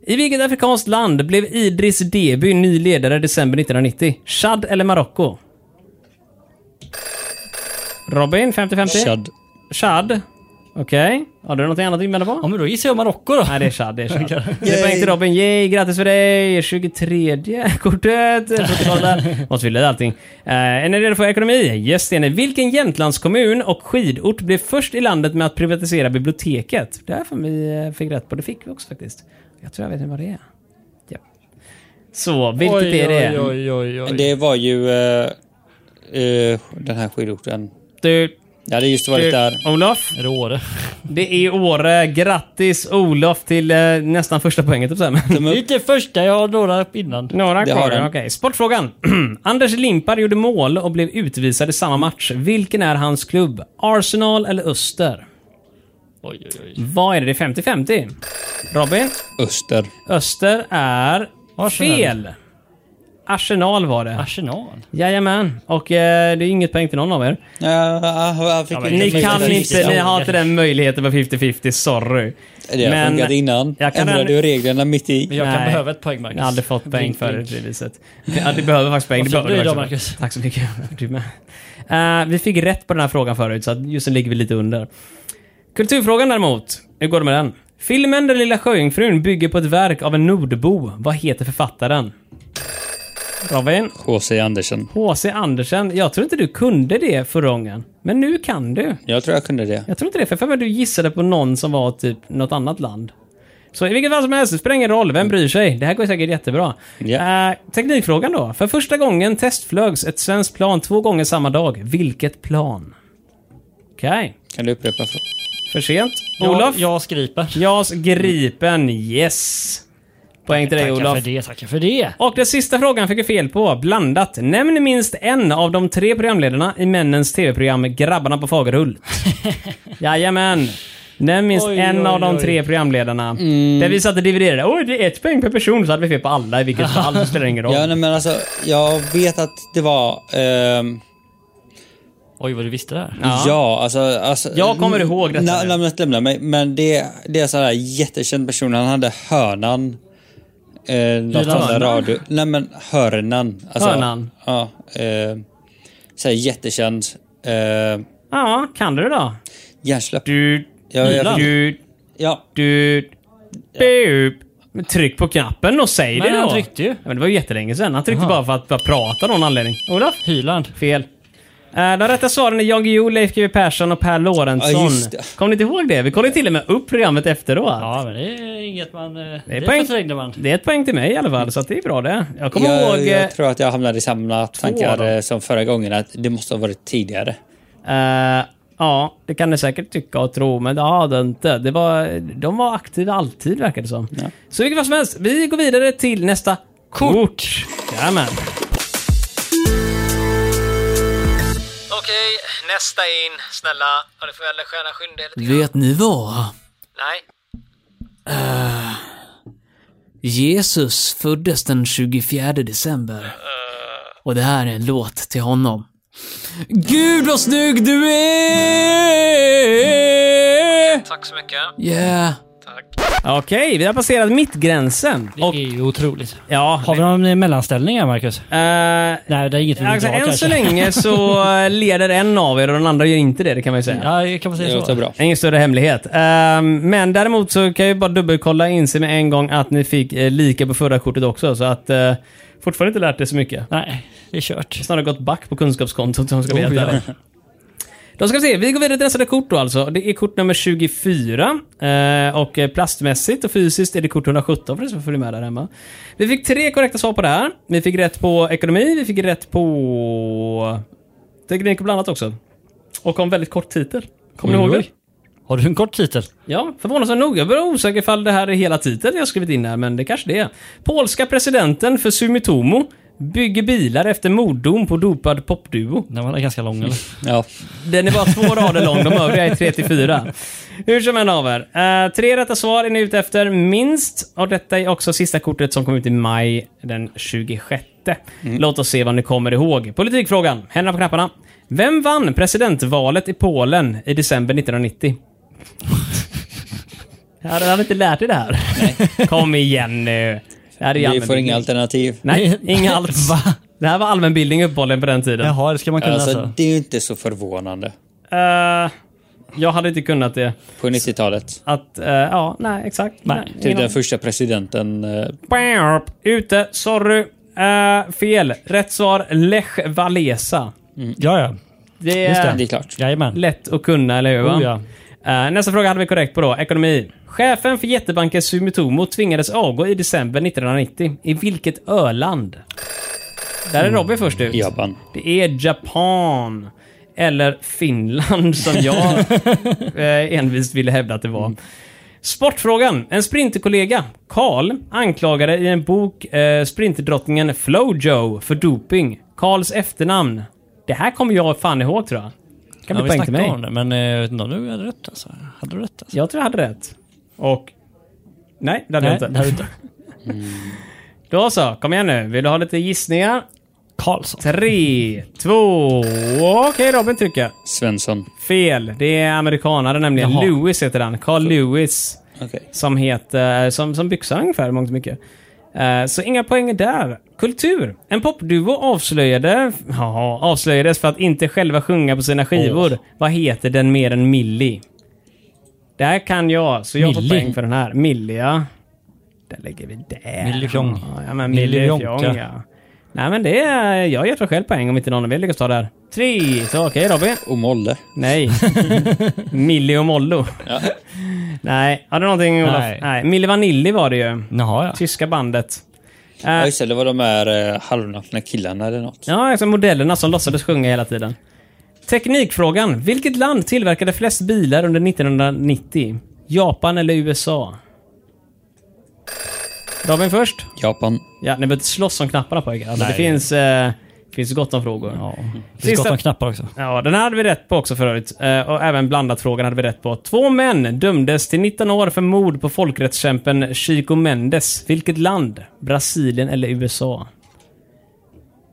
[SPEAKER 2] I vilket afrikanskt land blev Idris Deby ny ledare i december 1990? Chad eller Marocko? Robin, 50-50?
[SPEAKER 4] Chad.
[SPEAKER 2] Chad. Okej. Har du någonting annat att invända på?
[SPEAKER 8] Ja, men då gissar jag Marocko då.
[SPEAKER 2] Nej, det är Chad. Det är Chad. Det är poäng till Robin. Yay, grattis för dig! 23 kortet. Protokollet. Måste fylla i allting. Uh, är ni redo för ekonomi? Yes, det är ni. Vilken Jämtlandskommun och skidort blev först i landet med att privatisera biblioteket? Det här får vi eh, fick rätt på. Det fick vi också faktiskt. Jag tror jag vet inte vad det är. Ja. Så, vilket
[SPEAKER 8] oj,
[SPEAKER 2] är det?
[SPEAKER 8] Oj, oj, oj, oj.
[SPEAKER 4] Det var ju eh, eh, den här skidorten.
[SPEAKER 2] Du,
[SPEAKER 4] Jag hade just varit där.
[SPEAKER 2] Olof?
[SPEAKER 8] Är det Åre?
[SPEAKER 2] Det är Åre. Grattis Olof till eh, nästan första poänget, typ så här. Men-
[SPEAKER 8] Det är inte första, jag har några innan.
[SPEAKER 2] Några
[SPEAKER 4] Det
[SPEAKER 2] kvar,
[SPEAKER 4] har den.
[SPEAKER 2] okej. Sportfrågan. Anders Limpar gjorde mål och blev utvisad i samma match. Vilken är hans klubb? Arsenal eller Öster?
[SPEAKER 8] Oj, oj, oj.
[SPEAKER 2] Vad är det? Det är 50-50. Robin?
[SPEAKER 4] Öster.
[SPEAKER 2] Öster är
[SPEAKER 8] Arsenal.
[SPEAKER 2] fel. Arsenal var det.
[SPEAKER 8] Arsenal?
[SPEAKER 2] Jajamän. Och eh, det är inget poäng till någon av er.
[SPEAKER 4] Ja, ja, jag fick
[SPEAKER 2] Ni kan
[SPEAKER 8] 50-50.
[SPEAKER 2] inte, ni har inte den möjligheten på 50-50, sorry.
[SPEAKER 4] Det har funkat innan.
[SPEAKER 2] jag kan
[SPEAKER 4] Ändrade
[SPEAKER 2] ändå-
[SPEAKER 4] du reglerna mitt i?
[SPEAKER 8] Men jag kan
[SPEAKER 2] Nej.
[SPEAKER 8] behöva ett poäng, Marcus.
[SPEAKER 2] Jag har aldrig fått poäng
[SPEAKER 8] Blink,
[SPEAKER 2] för
[SPEAKER 8] blink.
[SPEAKER 2] det viset. Ja, du behöver faktiskt poäng.
[SPEAKER 8] Vad
[SPEAKER 2] Du
[SPEAKER 8] fick
[SPEAKER 2] behöver
[SPEAKER 8] du idag,
[SPEAKER 2] faktiskt poäng.
[SPEAKER 8] Marcus?
[SPEAKER 2] Tack så mycket. Du med. Eh, vi fick rätt på den här frågan förut, så att just nu ligger vi lite under. Kulturfrågan däremot. Hur går det med den? Filmen Den lilla sjöjungfrun bygger på ett verk av en nordbo. Vad heter författaren? Robin?
[SPEAKER 4] H.C. Andersen.
[SPEAKER 2] H.C. Andersen. Jag tror inte du kunde det förra gången. Men nu kan du.
[SPEAKER 4] Jag tror jag kunde det.
[SPEAKER 2] Jag tror inte det, för jag har för mig att du gissade på någon som var typ något annat land. Så i vilket fall som helst, det spelar ingen roll, vem bryr sig? Det här går säkert jättebra.
[SPEAKER 4] Ja.
[SPEAKER 2] Eh, teknikfrågan då. För första gången testflögs ett svenskt plan två gånger samma dag. Vilket plan? Okej,
[SPEAKER 4] Kan du upprepa frågan?
[SPEAKER 2] för sent. Olof?
[SPEAKER 8] Jag, jag skriper.
[SPEAKER 2] JAS Gripen, yes! Poäng till dig
[SPEAKER 8] Tackar
[SPEAKER 2] Olof.
[SPEAKER 8] för det, tackar för det.
[SPEAKER 2] Och den sista frågan fick jag fel på. Blandat. Nämn minst en av de tre programledarna i männens tv-program Grabbarna på Fagerhult. Jajamän. Nämn minst
[SPEAKER 8] Oj,
[SPEAKER 2] en
[SPEAKER 8] oj,
[SPEAKER 2] av de
[SPEAKER 8] oj. Mm.
[SPEAKER 2] tre programledarna. Där vi satt och dividerade. Oj, det är ett poäng per person. Så hade vi fel på alla i vilket fall. Det spelar ingen roll.
[SPEAKER 4] Ja, nej, men alltså, jag vet att det var... ehm,
[SPEAKER 8] Oj, vad du visste där.
[SPEAKER 2] Ja.
[SPEAKER 4] ja. alltså, alltså...
[SPEAKER 2] Jag kommer ihåg detta
[SPEAKER 4] na-
[SPEAKER 2] nu.
[SPEAKER 4] Namnet lämnar mig, men det, det är sådär jättekänd person. Han hade hörnan. Eh, något sånt där radio. Nej, men hörnan. Alltså,
[SPEAKER 2] Hörnan?
[SPEAKER 4] Ja. Eh, såhär jättekänd. Eh,
[SPEAKER 2] Ja, kan du det då?
[SPEAKER 4] Hjärnsläpp.
[SPEAKER 2] Du,
[SPEAKER 4] Ja, jag-
[SPEAKER 2] du,
[SPEAKER 4] Ja,
[SPEAKER 2] du, du. Men tryck på knappen och säg
[SPEAKER 8] Men
[SPEAKER 2] det då.
[SPEAKER 8] han tryckte ju.
[SPEAKER 2] Ja, men det var ju jättelänge sedan. Han tryckte bara för att bara prata av någon anledning. Olof?
[SPEAKER 8] Hyland.
[SPEAKER 2] Fel. Eh, De rätta svaren är Jan Guillou, Leif GW Persson och Per
[SPEAKER 4] Ja,
[SPEAKER 2] Lorentzon.
[SPEAKER 4] just det.
[SPEAKER 2] Kommer ni inte ihåg det? Vi kollade till och med upp programmet efteråt.
[SPEAKER 8] Ja, men det är inget man... eh,
[SPEAKER 2] det, är
[SPEAKER 8] det
[SPEAKER 2] poäng,
[SPEAKER 8] förträngde man.
[SPEAKER 2] det är ett poäng till mig i alla fall, så att det är bra det. Jag kommer
[SPEAKER 4] jag,
[SPEAKER 2] ihåg... eh,
[SPEAKER 4] jag tror att jag hamnade i samma tankar
[SPEAKER 2] då.
[SPEAKER 4] eh, som förra gången. Att det måste ha varit tidigare.
[SPEAKER 2] eh, ja, det kan ni säkert tycka och tro, men det har det inte. Det var, de var aktiva alltid, verkar det som. Så vilket fall som helst, vi går vidare till nästa kort. Jajamän.
[SPEAKER 6] Okej, nästa in. Snälla. Ja, det får väl stjärna skynda er lite.
[SPEAKER 7] Vet ni vad?
[SPEAKER 6] Nej.
[SPEAKER 7] Jesus föddes den 24
[SPEAKER 6] Eh.
[SPEAKER 7] december. Och det här är en låt till honom. Gud vad snygg du är!
[SPEAKER 6] Tack så mycket.
[SPEAKER 7] Yeah.
[SPEAKER 2] Okej, vi har passerat mittgränsen.
[SPEAKER 8] Det
[SPEAKER 2] Och,
[SPEAKER 8] är ju otroligt.
[SPEAKER 2] ja,
[SPEAKER 8] Har vi någon eh, mellanställning här, Marcus?
[SPEAKER 2] eh,
[SPEAKER 8] Nej, det är inget vi vill
[SPEAKER 2] Alltså,
[SPEAKER 8] dra
[SPEAKER 2] än
[SPEAKER 8] kanske.
[SPEAKER 2] så länge så eh, leder en av er och den andra gör inte det, det kan man ju säga.
[SPEAKER 8] Ja, kan man
[SPEAKER 4] Det
[SPEAKER 8] säga så?
[SPEAKER 4] låter bra.
[SPEAKER 2] Ingen större hemlighet. Ehm, men däremot så kan jag ju bara dubbelkolla och inse med en gång att ni fick eh, lika på förra kortet också, så att eh, fortfarande inte lärt er så mycket.
[SPEAKER 8] Nej, det är kört.
[SPEAKER 2] Snarare gått back på kunskapskontot om jag ska
[SPEAKER 8] Oh,
[SPEAKER 2] veta
[SPEAKER 8] ja.
[SPEAKER 2] det. Då ska vi se, vi går vidare till nästa kort då alltså. Det är kort nummer 24. Eh, och eh, plastmässigt och fysiskt är det kort 117 för det som följer med där hemma. Vi fick tre korrekta svar på det här. Vi fick rätt på ekonomi, vi fick rätt på teknik och blandat också. och har en väldigt kort titel. Kommer ni
[SPEAKER 8] Oj,
[SPEAKER 2] ihåg det?
[SPEAKER 8] oj. Har du en kort titel?
[SPEAKER 2] Ja, förvånansvärt nog. Jag börjar osäker ifall det här är hela titeln jag skrivit in här, men det kanske det är. Polska presidenten för Sumitomo bygger bilar efter morddom på dopad popduo.
[SPEAKER 8] Den var ganska lång eller?
[SPEAKER 4] Ja.
[SPEAKER 2] Den är bara två rader lång, de övriga är tre till fyra. Hur som än av er. Eh, tre rätta svar är ni ute efter, minst. Och detta är också sista kortet som kom ut i maj den 26. Låt oss se vad ni kommer ihåg. Politikfrågan, händerna på knapparna. Vem vann presidentvalet i Polen i december 1990? Jag hade, jag hade inte lärt dig det här. Kom igen nu. Det här är ju
[SPEAKER 4] Vi får
[SPEAKER 2] allmänbildning.
[SPEAKER 4] inga alternativ.
[SPEAKER 2] Nej, inga alls. Det här var allmänbildning uppehållen på den tiden.
[SPEAKER 8] Jaha, det ska man kunna alltså.
[SPEAKER 4] Alltså, det är ju inte så förvånande.
[SPEAKER 2] Eh, jag hade inte kunnat det.
[SPEAKER 4] På 90-talet.
[SPEAKER 2] Att, eh, ja, nej, exakt. Nej,
[SPEAKER 4] Till
[SPEAKER 2] ingen
[SPEAKER 4] den
[SPEAKER 2] aning.
[SPEAKER 4] första presidenten. eh,
[SPEAKER 2] Bärp. Ute, sorry. Eh, fel. Rätt svar, Lech Walesa.
[SPEAKER 8] Ja, ja.
[SPEAKER 2] Det
[SPEAKER 8] Just
[SPEAKER 2] är
[SPEAKER 4] Det är klart.
[SPEAKER 8] Jajamän.
[SPEAKER 2] lätt att kunna, eller hur? Va?
[SPEAKER 8] Oh, ja.
[SPEAKER 2] Eh, nästa fråga hade vi korrekt på då. Ekonomi. Chefen för jättebanken Sumitomo tvingades avgå i december 1990. I vilket öland? Där är Robin först ut.
[SPEAKER 4] Japan.
[SPEAKER 2] Det är Japan. Eller Finland som jag eh, envist ville hävda att det var. Sportfrågan. En sprinterkollega, Karl, anklagade i en bok eh, sprinterdrottningen Flojo för doping. Karls efternamn. Det här kommer jag fan ihåg tror jag. Kan
[SPEAKER 8] Ja,
[SPEAKER 2] bli
[SPEAKER 8] vi
[SPEAKER 2] poäng till
[SPEAKER 8] snackade
[SPEAKER 2] mig.
[SPEAKER 8] om det, men eh, jag vet inte om du hade rätt alltså. Hade du rätt alltså?
[SPEAKER 2] Jag tror jag hade rätt. Och... Nej, det hade jag
[SPEAKER 8] det
[SPEAKER 2] inte.
[SPEAKER 8] hade du inte.
[SPEAKER 2] Då så, kom igen nu. Vill du ha lite gissningar?
[SPEAKER 8] Karlsson.
[SPEAKER 2] Tre, två... Okej, Robin trycker.
[SPEAKER 4] Svensson.
[SPEAKER 2] Fel. Det är amerikanare nämligen.
[SPEAKER 8] Jaha.
[SPEAKER 2] Lewis heter han. Carl Lewis.
[SPEAKER 4] Okej.
[SPEAKER 2] Som heter... eh, Som, som byxan ungefär, mångt och mycket. Eh, Så inga poäng där. Kultur. En popduo avslöjade, ja, avslöjades för att inte själva sjunga på sina skivor. Vad heter den mer än Millie? Det här kan jag, så jag får
[SPEAKER 8] Millie?
[SPEAKER 2] poäng för den här. Millie, ja. Där lägger vi där.
[SPEAKER 8] Millie Fjong.
[SPEAKER 2] Ja, men
[SPEAKER 8] Millie
[SPEAKER 2] Millie Fjong,
[SPEAKER 8] Jonka.
[SPEAKER 2] ja. Nej, men det är... Jag har gett mig själv poäng om inte någon av er lyckas ta det här. Tre, så okej Robin.
[SPEAKER 4] Och Molle.
[SPEAKER 2] Nej. Milli och Mollo. Nej, har du någonting Olof? Nej.
[SPEAKER 8] Nej.
[SPEAKER 2] Milli Vanilli var det ju.
[SPEAKER 8] Jaha, ja.
[SPEAKER 2] Tyska bandet. Eh,
[SPEAKER 4] Ja, just det. Det var de här eh, halvnakna killarna eller något.
[SPEAKER 2] ja, alltså modellerna som låtsades sjunga hela tiden. Teknikfrågan. Vilket land tillverkade flest bilar under 1990? Japan eller USA? Robin först.
[SPEAKER 4] Japan.
[SPEAKER 2] Ja, ni behöver inte slåss om knapparna pojkar. Alltså, det finns, eh, det finns gott om frågor.
[SPEAKER 8] ja. Det finns
[SPEAKER 2] Sista-
[SPEAKER 8] gott om knappar också.
[SPEAKER 2] Ja, den här hade vi rätt på också för övrigt. Eh, och även blandat-frågan hade vi rätt på. Två män dömdes till 19 år för mord på folkrättskämpen Chico Mendes. Vilket land? Brasilien eller USA?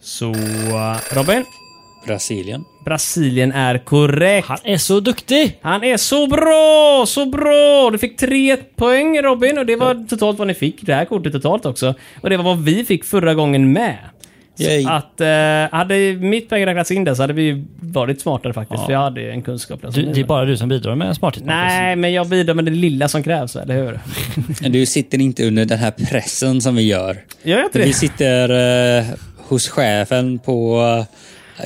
[SPEAKER 2] Så, eh, Robin.
[SPEAKER 4] Brasilien.
[SPEAKER 2] Brasilien är korrekt.
[SPEAKER 8] Han är så duktig!
[SPEAKER 2] Han är så bra! Så bra! Du fick tre poäng Robin och det var totalt vad ni fick. Det här kortet totalt också. Och det var vad vi fick förra gången med.
[SPEAKER 4] Yay.
[SPEAKER 2] Så att eh, hade mitt poäng räknats in där så hade vi varit smartare faktiskt. För jag hade ju en kunskap där. som ni
[SPEAKER 8] Du, det är
[SPEAKER 2] hade.
[SPEAKER 8] bara du som bidrar med smarthet. Marcus.
[SPEAKER 2] Nej, men jag bidrar med det lilla som krävs, eller hur?
[SPEAKER 4] Men Du sitter inte under den här pressen som vi gör.
[SPEAKER 2] Gör jag inte
[SPEAKER 4] Vi
[SPEAKER 2] det?
[SPEAKER 4] sitter eh, hos chefen på eh,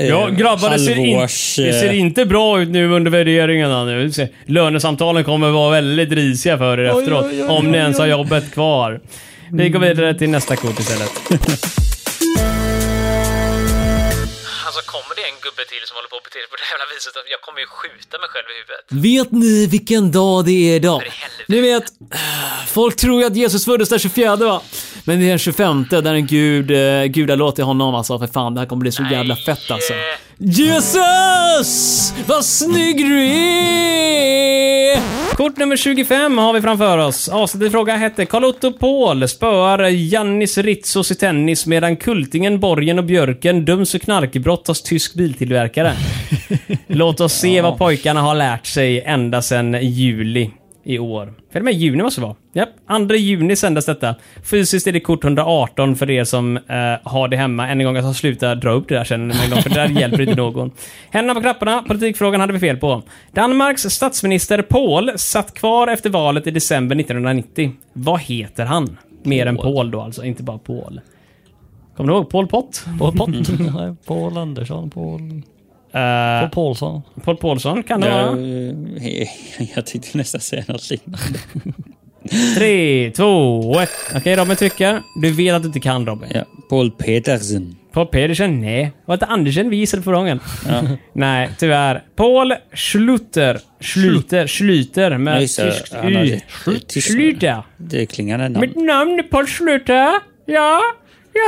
[SPEAKER 2] Ja, grabbar, det ser, in,
[SPEAKER 4] halvårs,
[SPEAKER 2] det ser
[SPEAKER 4] eh,
[SPEAKER 2] inte bra ut nu under värderingarna. Nu. Se, Lönesamtalen kommer vara väldigt risiga för er efteråt, om ni ens har jobbet kvar. Vi går vidare till nästa kort istället.
[SPEAKER 6] Alltså kommer det en gubbe till som håller på att bete sig på det här jävla viset, jag kommer ju skjuta mig själv i huvudet.
[SPEAKER 5] Vet ni vilken dag det är idag? Ni vet, folk tror ju att Jesus föddes den 24 va? Men det är den 25 där en gud, eh, gudalåt till honom alltså. För fan, det här kommer bli så jävla fett alltså. Jesus! Vad snygg du är!
[SPEAKER 2] Kort nummer 25 har vi framför oss. Avsnittet i fråga hette Carl-Otto Paul spöar Jannis Ritsos i tennis medan Kultingen, Borgen och Björken döms för knarkbrott hos tysk biltillverkare. Låt oss se vad pojkarna har lärt sig ända sedan juli i år. För det med juni måste det vara. Japp, 2 juni sändes detta. Fysiskt är det kort 118 för er som eh, har det hemma. Än en gång, jag ska sluta dra upp det där sen, men då, för det där hjälper inte någon. Händerna på knapparna, politikfrågan hade vi fel på. Danmarks statsminister Paul satt kvar efter valet i december 1990. Vad heter han? Mer än Paul då alltså, inte bara Paul. Kommer du ihåg Paul Pott?
[SPEAKER 8] Paul Pott. Nej, Paul Andersson, Paul...
[SPEAKER 2] Eh,
[SPEAKER 8] Paul Paulsson.
[SPEAKER 2] Paul Paulsson kan det
[SPEAKER 4] Ja,
[SPEAKER 2] vara.
[SPEAKER 4] eh, jag tänkte nästan säga något liknande.
[SPEAKER 2] Tre, två, ett. Okej, Robin trycker. Du vet att du inte kan Robin.
[SPEAKER 4] Ja, Paul Petersen.
[SPEAKER 2] Paul Pedersen? Nej. Var det Andersen vi gissade förra gången? Nej, tyvärr. Paul Schluter. Schluter. Schluter med
[SPEAKER 4] Jag gissar
[SPEAKER 2] tyskt
[SPEAKER 4] han har
[SPEAKER 2] Y.
[SPEAKER 4] rätt. Det är tyskt.
[SPEAKER 2] Schluter.
[SPEAKER 4] Det klingar en namn.
[SPEAKER 2] Mitt namn är Paul Schluter. Ja.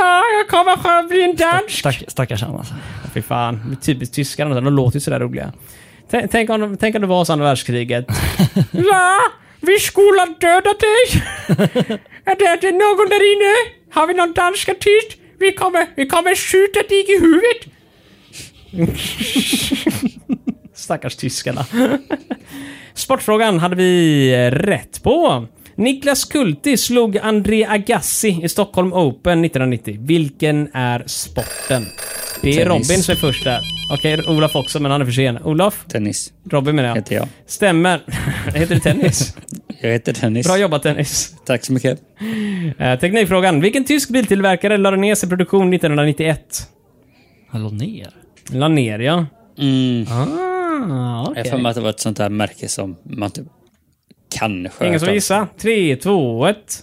[SPEAKER 2] Ja, jag kommer från bli en dansk.
[SPEAKER 8] Stack, stackars han alltså.
[SPEAKER 2] Fy fan. Typiskt tyskar. De de låter ju sådär roliga. Tänk, tänk, om, de- tänk om det var så andra världskriget. ja, vi skulle ha dödat dig. Är det, det någon där inne? Har vi någon dansk artist? Vi kommer, vi kommer skjuta dig i huvudet. Stackars tyskarna. Sportfrågan hade vi eh, rätt på. Niklas Kulti slog André Agassi i Stockholm Open 1990. Vilken är sporten? Det är
[SPEAKER 4] Tennis.
[SPEAKER 2] Robin som är först där. Okej, Olof också, men han är för sen. Olof?
[SPEAKER 4] Tennis
[SPEAKER 2] Robin menar jag.
[SPEAKER 4] heter jag.
[SPEAKER 2] Stämmer. Heter det tennis?
[SPEAKER 4] Jag heter Tennis.
[SPEAKER 2] Bra jobbat tennis.
[SPEAKER 4] Tack så mycket.
[SPEAKER 2] Eh, teknikfrågan. Vilken tysk biltillverkare lade ner sin produktion 1991?
[SPEAKER 8] Han låg ner.
[SPEAKER 2] La ner, ja.
[SPEAKER 4] Mm.
[SPEAKER 2] Ah,
[SPEAKER 4] Jag har
[SPEAKER 2] okej.
[SPEAKER 4] för mig att det var ett sånt här märke som man typ kanske...
[SPEAKER 2] Ingen som
[SPEAKER 4] hört om.
[SPEAKER 2] gissar? Tre, två, ett.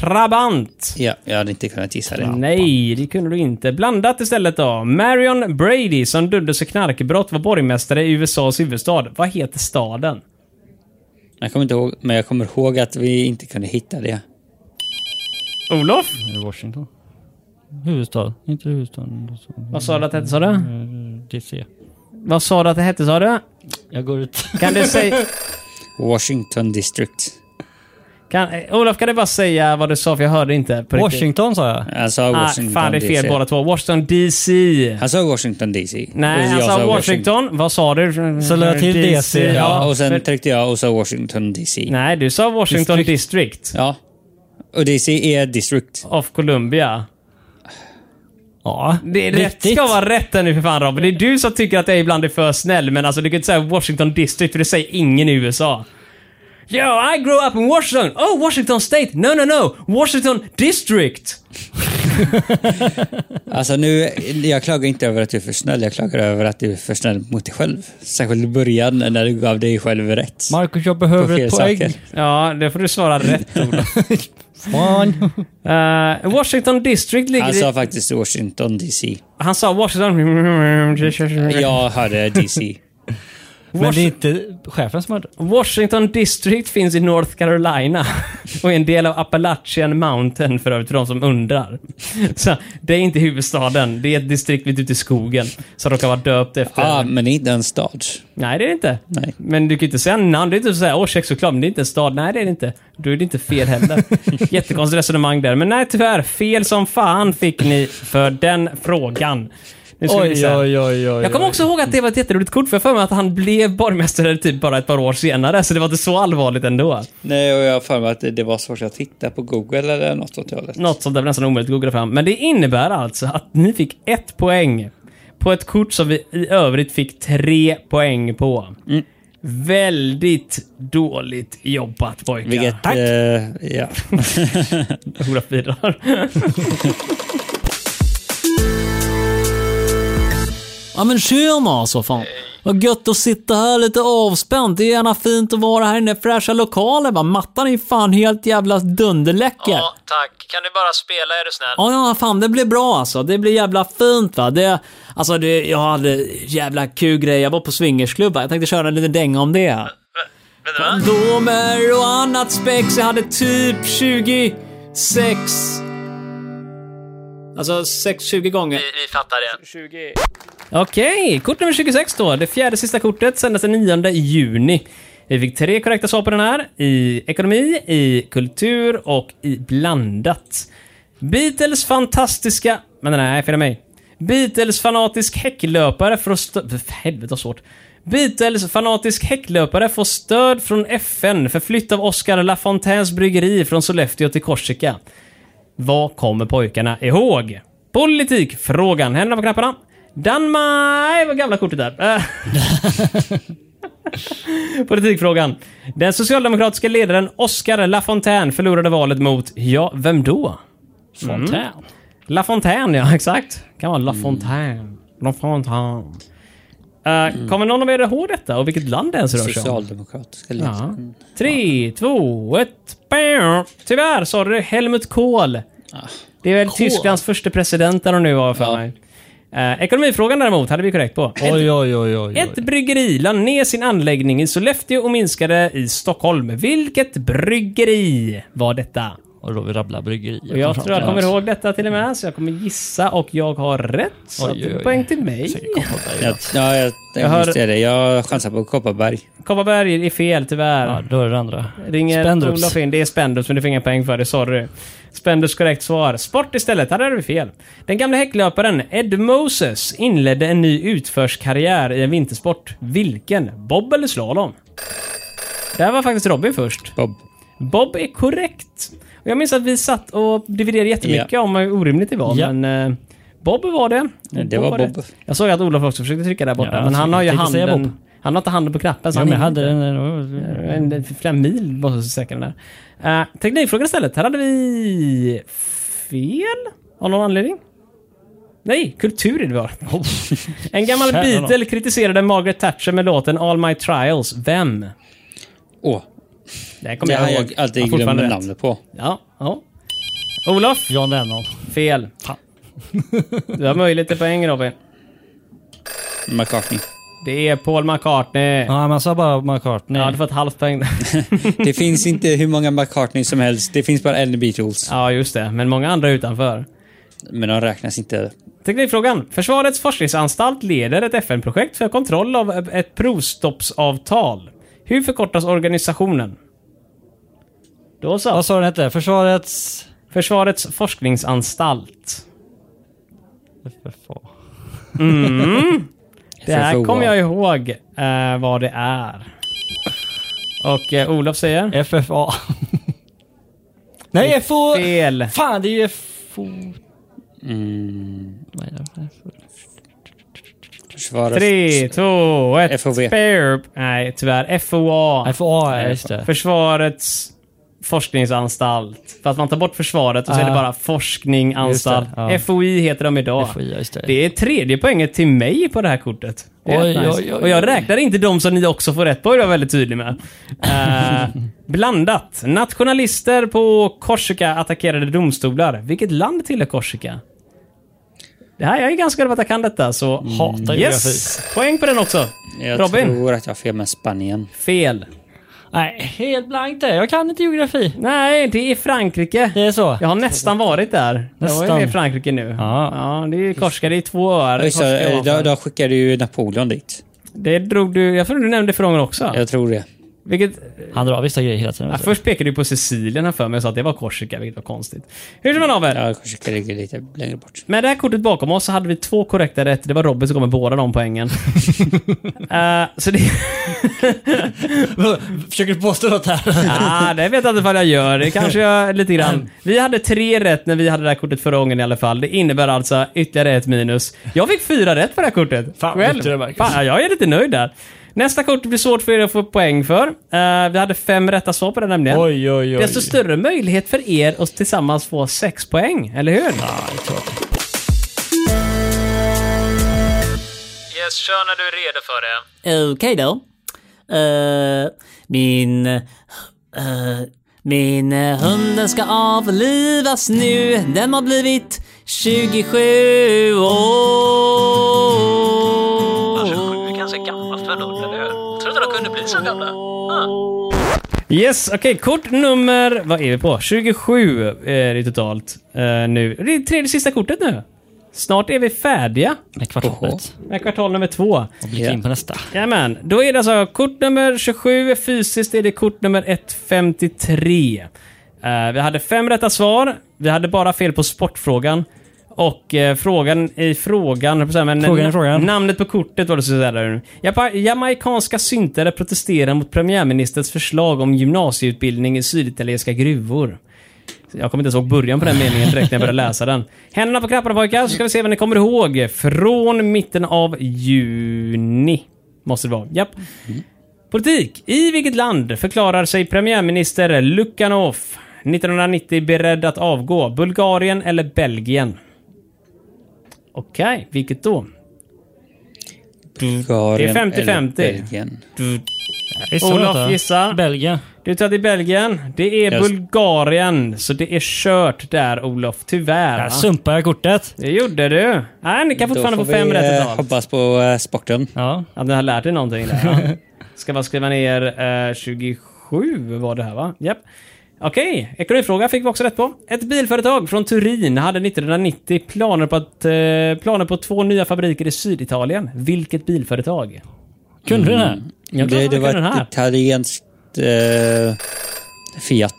[SPEAKER 2] Trabant.
[SPEAKER 4] Ja, jag hade inte kunnat gissa det.
[SPEAKER 2] Nej, det kunde du inte. Blandat istället då. Marion Brady, som dömdes för knarkbrott, var borgmästare i USAs huvudstad. Vad heter staden?
[SPEAKER 4] Jag kommer inte ihåg, men jag kommer ihåg att vi inte kunde hitta det.
[SPEAKER 2] Olof?
[SPEAKER 8] Är det Washington? Huvudstad? Inte huvudstaden.
[SPEAKER 2] Vad sa du att det hette, sa du?
[SPEAKER 8] DC.
[SPEAKER 2] Vad sa du att det hette, sa du?
[SPEAKER 8] Jag går ut.
[SPEAKER 2] Kan du säga...
[SPEAKER 4] Washington District.
[SPEAKER 2] Kan, eh, Olof, kan du bara säga vad du sa? För jag hörde inte på riktigt.
[SPEAKER 8] Washington sa jag.
[SPEAKER 4] Han sa
[SPEAKER 2] Ah,
[SPEAKER 4] Washington
[SPEAKER 2] fan, det är fel
[SPEAKER 4] DC.
[SPEAKER 2] båda två. Washington DC.
[SPEAKER 4] Han sa Washington DC.
[SPEAKER 2] Nej,
[SPEAKER 4] Och jag
[SPEAKER 2] han sa Washington. Vad sa du?
[SPEAKER 8] Så lade jag till DC.
[SPEAKER 2] Ja.
[SPEAKER 4] Ja, och sen
[SPEAKER 2] för-
[SPEAKER 4] tryckte jag och sa Washington DC.
[SPEAKER 2] Nej, du sa Washington District.
[SPEAKER 4] Ja. Och DC är District.
[SPEAKER 2] of Columbia.
[SPEAKER 8] Ja.
[SPEAKER 2] Det är rätt ska vara rätt här nu för fan Robin. Det är du som tycker att jag ibland är för snäll, men alltså du kan inte säga Washington District för det säger ingen i USA. Yo, I grew up in Washington. Oh, Washington State. No, no, no. Washington District.
[SPEAKER 4] Alltså nu, jag klagar inte över att du är för snäll. Jag klagar över att du är för snäll mot dig själv. Särskilt i början när du gav dig själv rätt.
[SPEAKER 8] Marcus, jag
[SPEAKER 4] på
[SPEAKER 8] behöver
[SPEAKER 4] fel
[SPEAKER 8] ett poäng.
[SPEAKER 4] saker.
[SPEAKER 2] Ja, det får du svara rätt Olof.
[SPEAKER 8] Fan.
[SPEAKER 2] Eh, Washington District ligger
[SPEAKER 4] Han
[SPEAKER 2] i...
[SPEAKER 4] sa faktiskt Washington DC.
[SPEAKER 2] Han sa Washington...
[SPEAKER 4] Jag hörde DC.
[SPEAKER 8] Men det är inte chefen som har
[SPEAKER 2] Washington District finns i North Carolina och är en del av Appalachian Mountain för övrigt, för de som undrar. Så det är inte huvudstaden, det är ett distrikt mitt ute i skogen som råkar vara döpt efter...
[SPEAKER 4] ah, men det är inte en stad.
[SPEAKER 2] Nej, det är det inte.
[SPEAKER 4] Nej.
[SPEAKER 2] Men du kan ju inte säga namn. Det är inte så här, åh, kexchoklad, men det är inte en stad. Nej, det är det inte. Då är det inte fel heller. Jättekonstigt resonemang där. Men nej, tyvärr. Fel som fan fick ni för den frågan. Nu ska vi
[SPEAKER 8] Oj,
[SPEAKER 2] se här.
[SPEAKER 8] oj, oj, oj.
[SPEAKER 2] Jag kommer också ihåg att det var ett jätteroligt kort, för jag har för mig att han blev borgmästare typ bara ett par år senare, så det var inte så allvarligt ändå.
[SPEAKER 4] Nej, och jag har för mig att det, det var svårt att hitta på Google eller något åt det hållet.
[SPEAKER 2] Något sånt där var nästan omöjligt att googla fram. Men det innebär alltså att ni fick ett poäng på ett kort som vi i övrigt fick tre poäng på.
[SPEAKER 4] Mm.
[SPEAKER 2] Väldigt dåligt jobbat pojkar.
[SPEAKER 4] Vilket...
[SPEAKER 2] Tack!
[SPEAKER 4] Eh, ja.
[SPEAKER 2] Olof bidrar.
[SPEAKER 7] Ja men tjena alltså fan. Vad gött att sitta här lite avspänt. Det är gärna fint att vara här inne i fräscha lokaler va. Mattan är ju fan helt jävla dunderläcker.
[SPEAKER 6] Ja, tack. Kan du bara spela är du snäll?
[SPEAKER 7] Ja, ja, fan det blir bra alltså. Det blir jävla fint va. Det, alltså det, jag hade jävla kul grej. Jag var på swingersklubb va. Jag tänkte köra en liten dänga om det.
[SPEAKER 6] Vänta, va?
[SPEAKER 7] Kondomer och annat spex. Jag hade typ 26. Alltså 6-20 gånger.
[SPEAKER 6] Vi, vi fattar det.
[SPEAKER 2] Okej, kort nummer 26 då. Det fjärde sista kortet sändes den 9 juni. Vi fick tre korrekta svar på den här. I ekonomi, i kultur och i blandat. Beatles fantastiska... Men nej, fel av mig. Beatles fanatisk häcklöpare får stöd... För helvete vad svårt. Beatles fanatisk häcklöpare får stöd från FN för flytt av Oscar Lafontaines bryggeri från Sollefteå till Korsika. Vad kommer pojkarna ihåg? Politikfrågan. Händerna på knapparna. Danmark... Vad gamla kortet där. Eh. Politikfrågan. Den socialdemokratiska ledaren Oscar Lafontaine förlorade valet mot, ja, vem då? Mm.
[SPEAKER 8] Fontän.
[SPEAKER 2] Lafontaine, ja exakt. Kan vara Lafontaine. Lafontaine. Eh, kommer någon av er ihåg detta och vilket land det ens rör sig om?
[SPEAKER 4] Socialdemokratiska ledaren.
[SPEAKER 2] Ja.
[SPEAKER 8] Ah.
[SPEAKER 2] Tre, två, ett. Bam. Tyvärr sa du Helmut Kohl. Det är väl
[SPEAKER 9] Kol.
[SPEAKER 2] Tysklands första president där de nu var för
[SPEAKER 9] Ja.
[SPEAKER 2] mig. Eh, ekonomifrågan däremot hade vi korrekt på.
[SPEAKER 8] Oj, oj, oj, oj.
[SPEAKER 2] Ett bryggeri la ner sin anläggning i Sollefteå och minskade i Stockholm. Vilket bryggeri var detta?
[SPEAKER 8] Och då vi rabblar bryggerier.
[SPEAKER 2] Och jag tror jag kommer ihåg detta till och med, så jag kommer gissa och jag har rätt. Så
[SPEAKER 8] Oj,
[SPEAKER 2] att det
[SPEAKER 8] oj,
[SPEAKER 2] är
[SPEAKER 8] oj.
[SPEAKER 2] poäng till mig.
[SPEAKER 4] Ja, ja, jag tänkte
[SPEAKER 2] hör-
[SPEAKER 4] just det. Jag chansar på Kopparberg.
[SPEAKER 2] Kopparberg är fel tyvärr.
[SPEAKER 8] Ja, då är det andra.
[SPEAKER 2] Ringer
[SPEAKER 8] Spendrups.
[SPEAKER 2] Olof in. Det är Spendrups, men du får inga poäng för det. Sorry. Spendrups korrekt svar. Sport istället. Här hade vi fel. Den gamla häcklöparen Ed Moses inledde en ny utförskarriär i en vintersport. Vilken? Bob eller slalom? Där var faktiskt Robin först.
[SPEAKER 4] Bob.
[SPEAKER 2] Bob är korrekt. Och jag minns att vi satt och dividerade jättemycket om hur orimligt det var,
[SPEAKER 8] Ja.
[SPEAKER 2] men eh, Bob var det.
[SPEAKER 4] det var
[SPEAKER 2] var
[SPEAKER 4] Bob.
[SPEAKER 2] rätt. Jag såg att Olof också försökte trycka där borta,
[SPEAKER 8] Ja,
[SPEAKER 2] men
[SPEAKER 8] alltså,
[SPEAKER 2] han har ju
[SPEAKER 8] jag tänkte säga Bob.
[SPEAKER 2] handen... Han har inte handen på knappen, så
[SPEAKER 8] Ja,
[SPEAKER 2] han
[SPEAKER 8] men jag
[SPEAKER 2] hinner
[SPEAKER 8] hade
[SPEAKER 2] inte.
[SPEAKER 8] den...
[SPEAKER 2] En,
[SPEAKER 8] den-
[SPEAKER 2] en- flera mil var så säker den där. Eh, teknikfrågan istället. Här hade vi fel av någon anledning. Nej, kultur är det var. en gammal
[SPEAKER 8] Tjena Oh. då.
[SPEAKER 2] Beatle kritiserade Margaret Thatcher med låten All My Trials. Vem?
[SPEAKER 4] Åh,
[SPEAKER 2] Det här kommer
[SPEAKER 4] det har
[SPEAKER 2] jag ihåg.
[SPEAKER 4] jag alltid
[SPEAKER 2] Har fortfarande
[SPEAKER 4] glömmer
[SPEAKER 2] rätt.
[SPEAKER 4] namnet på.
[SPEAKER 2] Ja, ja. Olof,
[SPEAKER 8] John Lennon.
[SPEAKER 2] fel. Du har möjlighet till poäng Robin.
[SPEAKER 4] McCartney.
[SPEAKER 2] Det är Paul McCartney.
[SPEAKER 8] Ja, men jag sa bara McCartney.
[SPEAKER 2] Ja, du får ett halvt poäng.
[SPEAKER 4] Det finns inte hur många McCartney som helst. Det finns bara en Beatles.
[SPEAKER 2] ja, just det. Men många andra utanför.
[SPEAKER 4] Men de räknas inte.
[SPEAKER 2] Teknikfrågan. Försvarets forskningsanstalt leder ett FN-projekt för kontroll av ett provstoppsavtal. Hur förkortas organisationen? Då så.
[SPEAKER 8] Vad sa den hette? Försvarets...
[SPEAKER 2] Försvarets forskningsanstalt.
[SPEAKER 8] FFA.
[SPEAKER 2] Mm. Det här
[SPEAKER 4] FFOA.
[SPEAKER 2] kommer jag ihåg eh, vad det är. Och eh, Olof säger?
[SPEAKER 8] FFA. Nej, FO...
[SPEAKER 2] Fel.
[SPEAKER 8] Fan, det är ju FO...
[SPEAKER 4] Mm,
[SPEAKER 8] Vad är det?
[SPEAKER 4] Försvaras...
[SPEAKER 2] Tre, två, ett.
[SPEAKER 8] E.
[SPEAKER 4] FOV.
[SPEAKER 2] Spare. Nej, tyvärr. FOA.
[SPEAKER 8] FA, ja, E, just det.
[SPEAKER 2] Försvarets forskningsanstalt. För att man tar bort försvaret och så är det
[SPEAKER 8] Ah.
[SPEAKER 2] bara forskninganstalt.
[SPEAKER 8] Just det, ja. E.
[SPEAKER 2] FOI E heter de idag.
[SPEAKER 8] FOI, ja, just det.
[SPEAKER 2] Det är tredje poänget till mig på det här kortet. Det är
[SPEAKER 8] Oj,
[SPEAKER 2] rätt
[SPEAKER 8] oj, oj,
[SPEAKER 2] Och jag
[SPEAKER 8] oj.
[SPEAKER 2] räknar inte de som ni också får rätt på, det var jag väldigt tydlig med. Eh, blandat. Nationalister på Korsika attackerade domstolar. Vilket land tillhör Korsika? Det här, jag är ganska glad på att jag kan detta, så
[SPEAKER 8] Mm,
[SPEAKER 2] hata Yes! Poäng på den också.
[SPEAKER 4] Jag
[SPEAKER 2] Robin?
[SPEAKER 4] tror att jag har fel med Spanien.
[SPEAKER 2] Fel.
[SPEAKER 8] Nej, helt blankt där. Jag kan inte geografi.
[SPEAKER 2] Nej, det är Frankrike.
[SPEAKER 8] Det är så?
[SPEAKER 2] Jag har nästan varit där. Jag var
[SPEAKER 8] Nästan.
[SPEAKER 2] ju med i Frankrike nu.
[SPEAKER 8] Ja.
[SPEAKER 2] ja det är ju Korska, det är två öar.
[SPEAKER 4] Ja, just
[SPEAKER 2] Korska
[SPEAKER 4] det.
[SPEAKER 2] ovanför.
[SPEAKER 4] då, då skickade ju Napoleon dit.
[SPEAKER 2] Det drog du... Jag tror du nämnde frågan också.
[SPEAKER 4] Jag tror det.
[SPEAKER 2] Vilket,
[SPEAKER 8] Han drar vissa grejer hela tiden.
[SPEAKER 2] ja,
[SPEAKER 8] vet du.
[SPEAKER 2] först pekade du på Sicilien här för mig och sa att det var Korsika, vilket var konstigt. Hur som man
[SPEAKER 4] Ja, kanske skickade det lite längre bort.
[SPEAKER 2] Med det här kortet bakom oss så hade vi två korrekta rätt. Det var Robin som kom med båda de poängen. Eh, så det...
[SPEAKER 8] Försöker du påstå något här?
[SPEAKER 2] ah, det vet jag inte vad jag gör. Det kanske jag lite grann. Vi hade tre rätt när vi hade det här kortet förra gången i alla fall. Det innebär alltså ytterligare ett minus. Jag fick fyra rätt på det här kortet.
[SPEAKER 8] Fan,
[SPEAKER 2] Själv.
[SPEAKER 8] duktig du är, Marcus.
[SPEAKER 2] Fan, jag är lite nöjd där. Nästa kort blir svårt för er att få poäng för. Eh, vi hade fem rätta svar på det nämligen.
[SPEAKER 8] Oj, oj, oj.
[SPEAKER 2] Desto större möjlighet för er att tillsammans få sex poäng, eller
[SPEAKER 8] Ah,
[SPEAKER 2] hur?
[SPEAKER 6] Yes, kör när du är redo för det.
[SPEAKER 9] Okej då. Eh, min... eh, min eh, hund den ska avlivas nu. Den har blivit 27 år.
[SPEAKER 6] Alltså, sju är ganska gammalt för en hund, eller hur? Jag tror inte de kunde bli så gamla. Ah.
[SPEAKER 2] Yes, okej. Kort nummer... Vad är vi på? 27 är det totalt eh, nu. Det är tredje sista kortet nu. Snart är vi färdiga
[SPEAKER 8] Nej, kvartalet.
[SPEAKER 2] med kvartal nummer två.
[SPEAKER 8] Blicka in på nästa.
[SPEAKER 2] Jajamän, då är det alltså kort nummer 27. Fysiskt är det kort nummer 153. Eh, vi hade fem rätta svar. Vi hade bara fel på sportfrågan. Och eh, frågan i frågan, höll på att säga, men
[SPEAKER 8] Frågan i frågan.
[SPEAKER 2] namnet på kortet var det så där. Japa- Jamaikanska syntare protesterar mot premiärministerns förslag om gymnasieutbildning i syditalienska gruvor. Jag kommer inte ens ihåg början på den meningen direkt när jag började läsa den. Händerna på knapparna pojkar, så ska vi se vad ni kommer ihåg. Från mitten av juni. Måste det vara. Japp. Politik. I vilket land förklarar sig premiärminister Lukanov 1990 beredd att avgå? Bulgarien eller Belgien? Okej, vilket då?
[SPEAKER 4] Bulgarien
[SPEAKER 2] Mm. Det är 50-50.
[SPEAKER 4] eller Belgien.
[SPEAKER 8] Visst,
[SPEAKER 2] Olof
[SPEAKER 8] vänta.
[SPEAKER 2] gissar.
[SPEAKER 8] Belgien.
[SPEAKER 2] Du tar till Belgien. Det är
[SPEAKER 4] Yes.
[SPEAKER 2] Bulgarien, så det är kört där Olof. Tyvärr. va?
[SPEAKER 8] Där sumpar jag kortet.
[SPEAKER 2] Det gjorde du. Nej, ni kan fortfarande få fem
[SPEAKER 4] vi,
[SPEAKER 2] rätt
[SPEAKER 4] eh,
[SPEAKER 2] totalt.
[SPEAKER 4] hoppas på eh, sporten.
[SPEAKER 8] Ja.
[SPEAKER 2] Att ni har lärt er någonting där. Ja. Ska bara skriva ner eh, 27 var det här va? Japp. Okej, ekonomifråga fick vi också rätt på. Ett bilföretag från Turin hade 1990 planer på, att, eh, planer på två nya fabriker i Syditalien. Vilket bilföretag?
[SPEAKER 8] Kunde du den här?
[SPEAKER 2] Jag tror
[SPEAKER 4] Mm. det
[SPEAKER 2] att
[SPEAKER 4] det
[SPEAKER 2] man kan den
[SPEAKER 4] var
[SPEAKER 2] här.
[SPEAKER 4] ett italienskt eh, Fiat.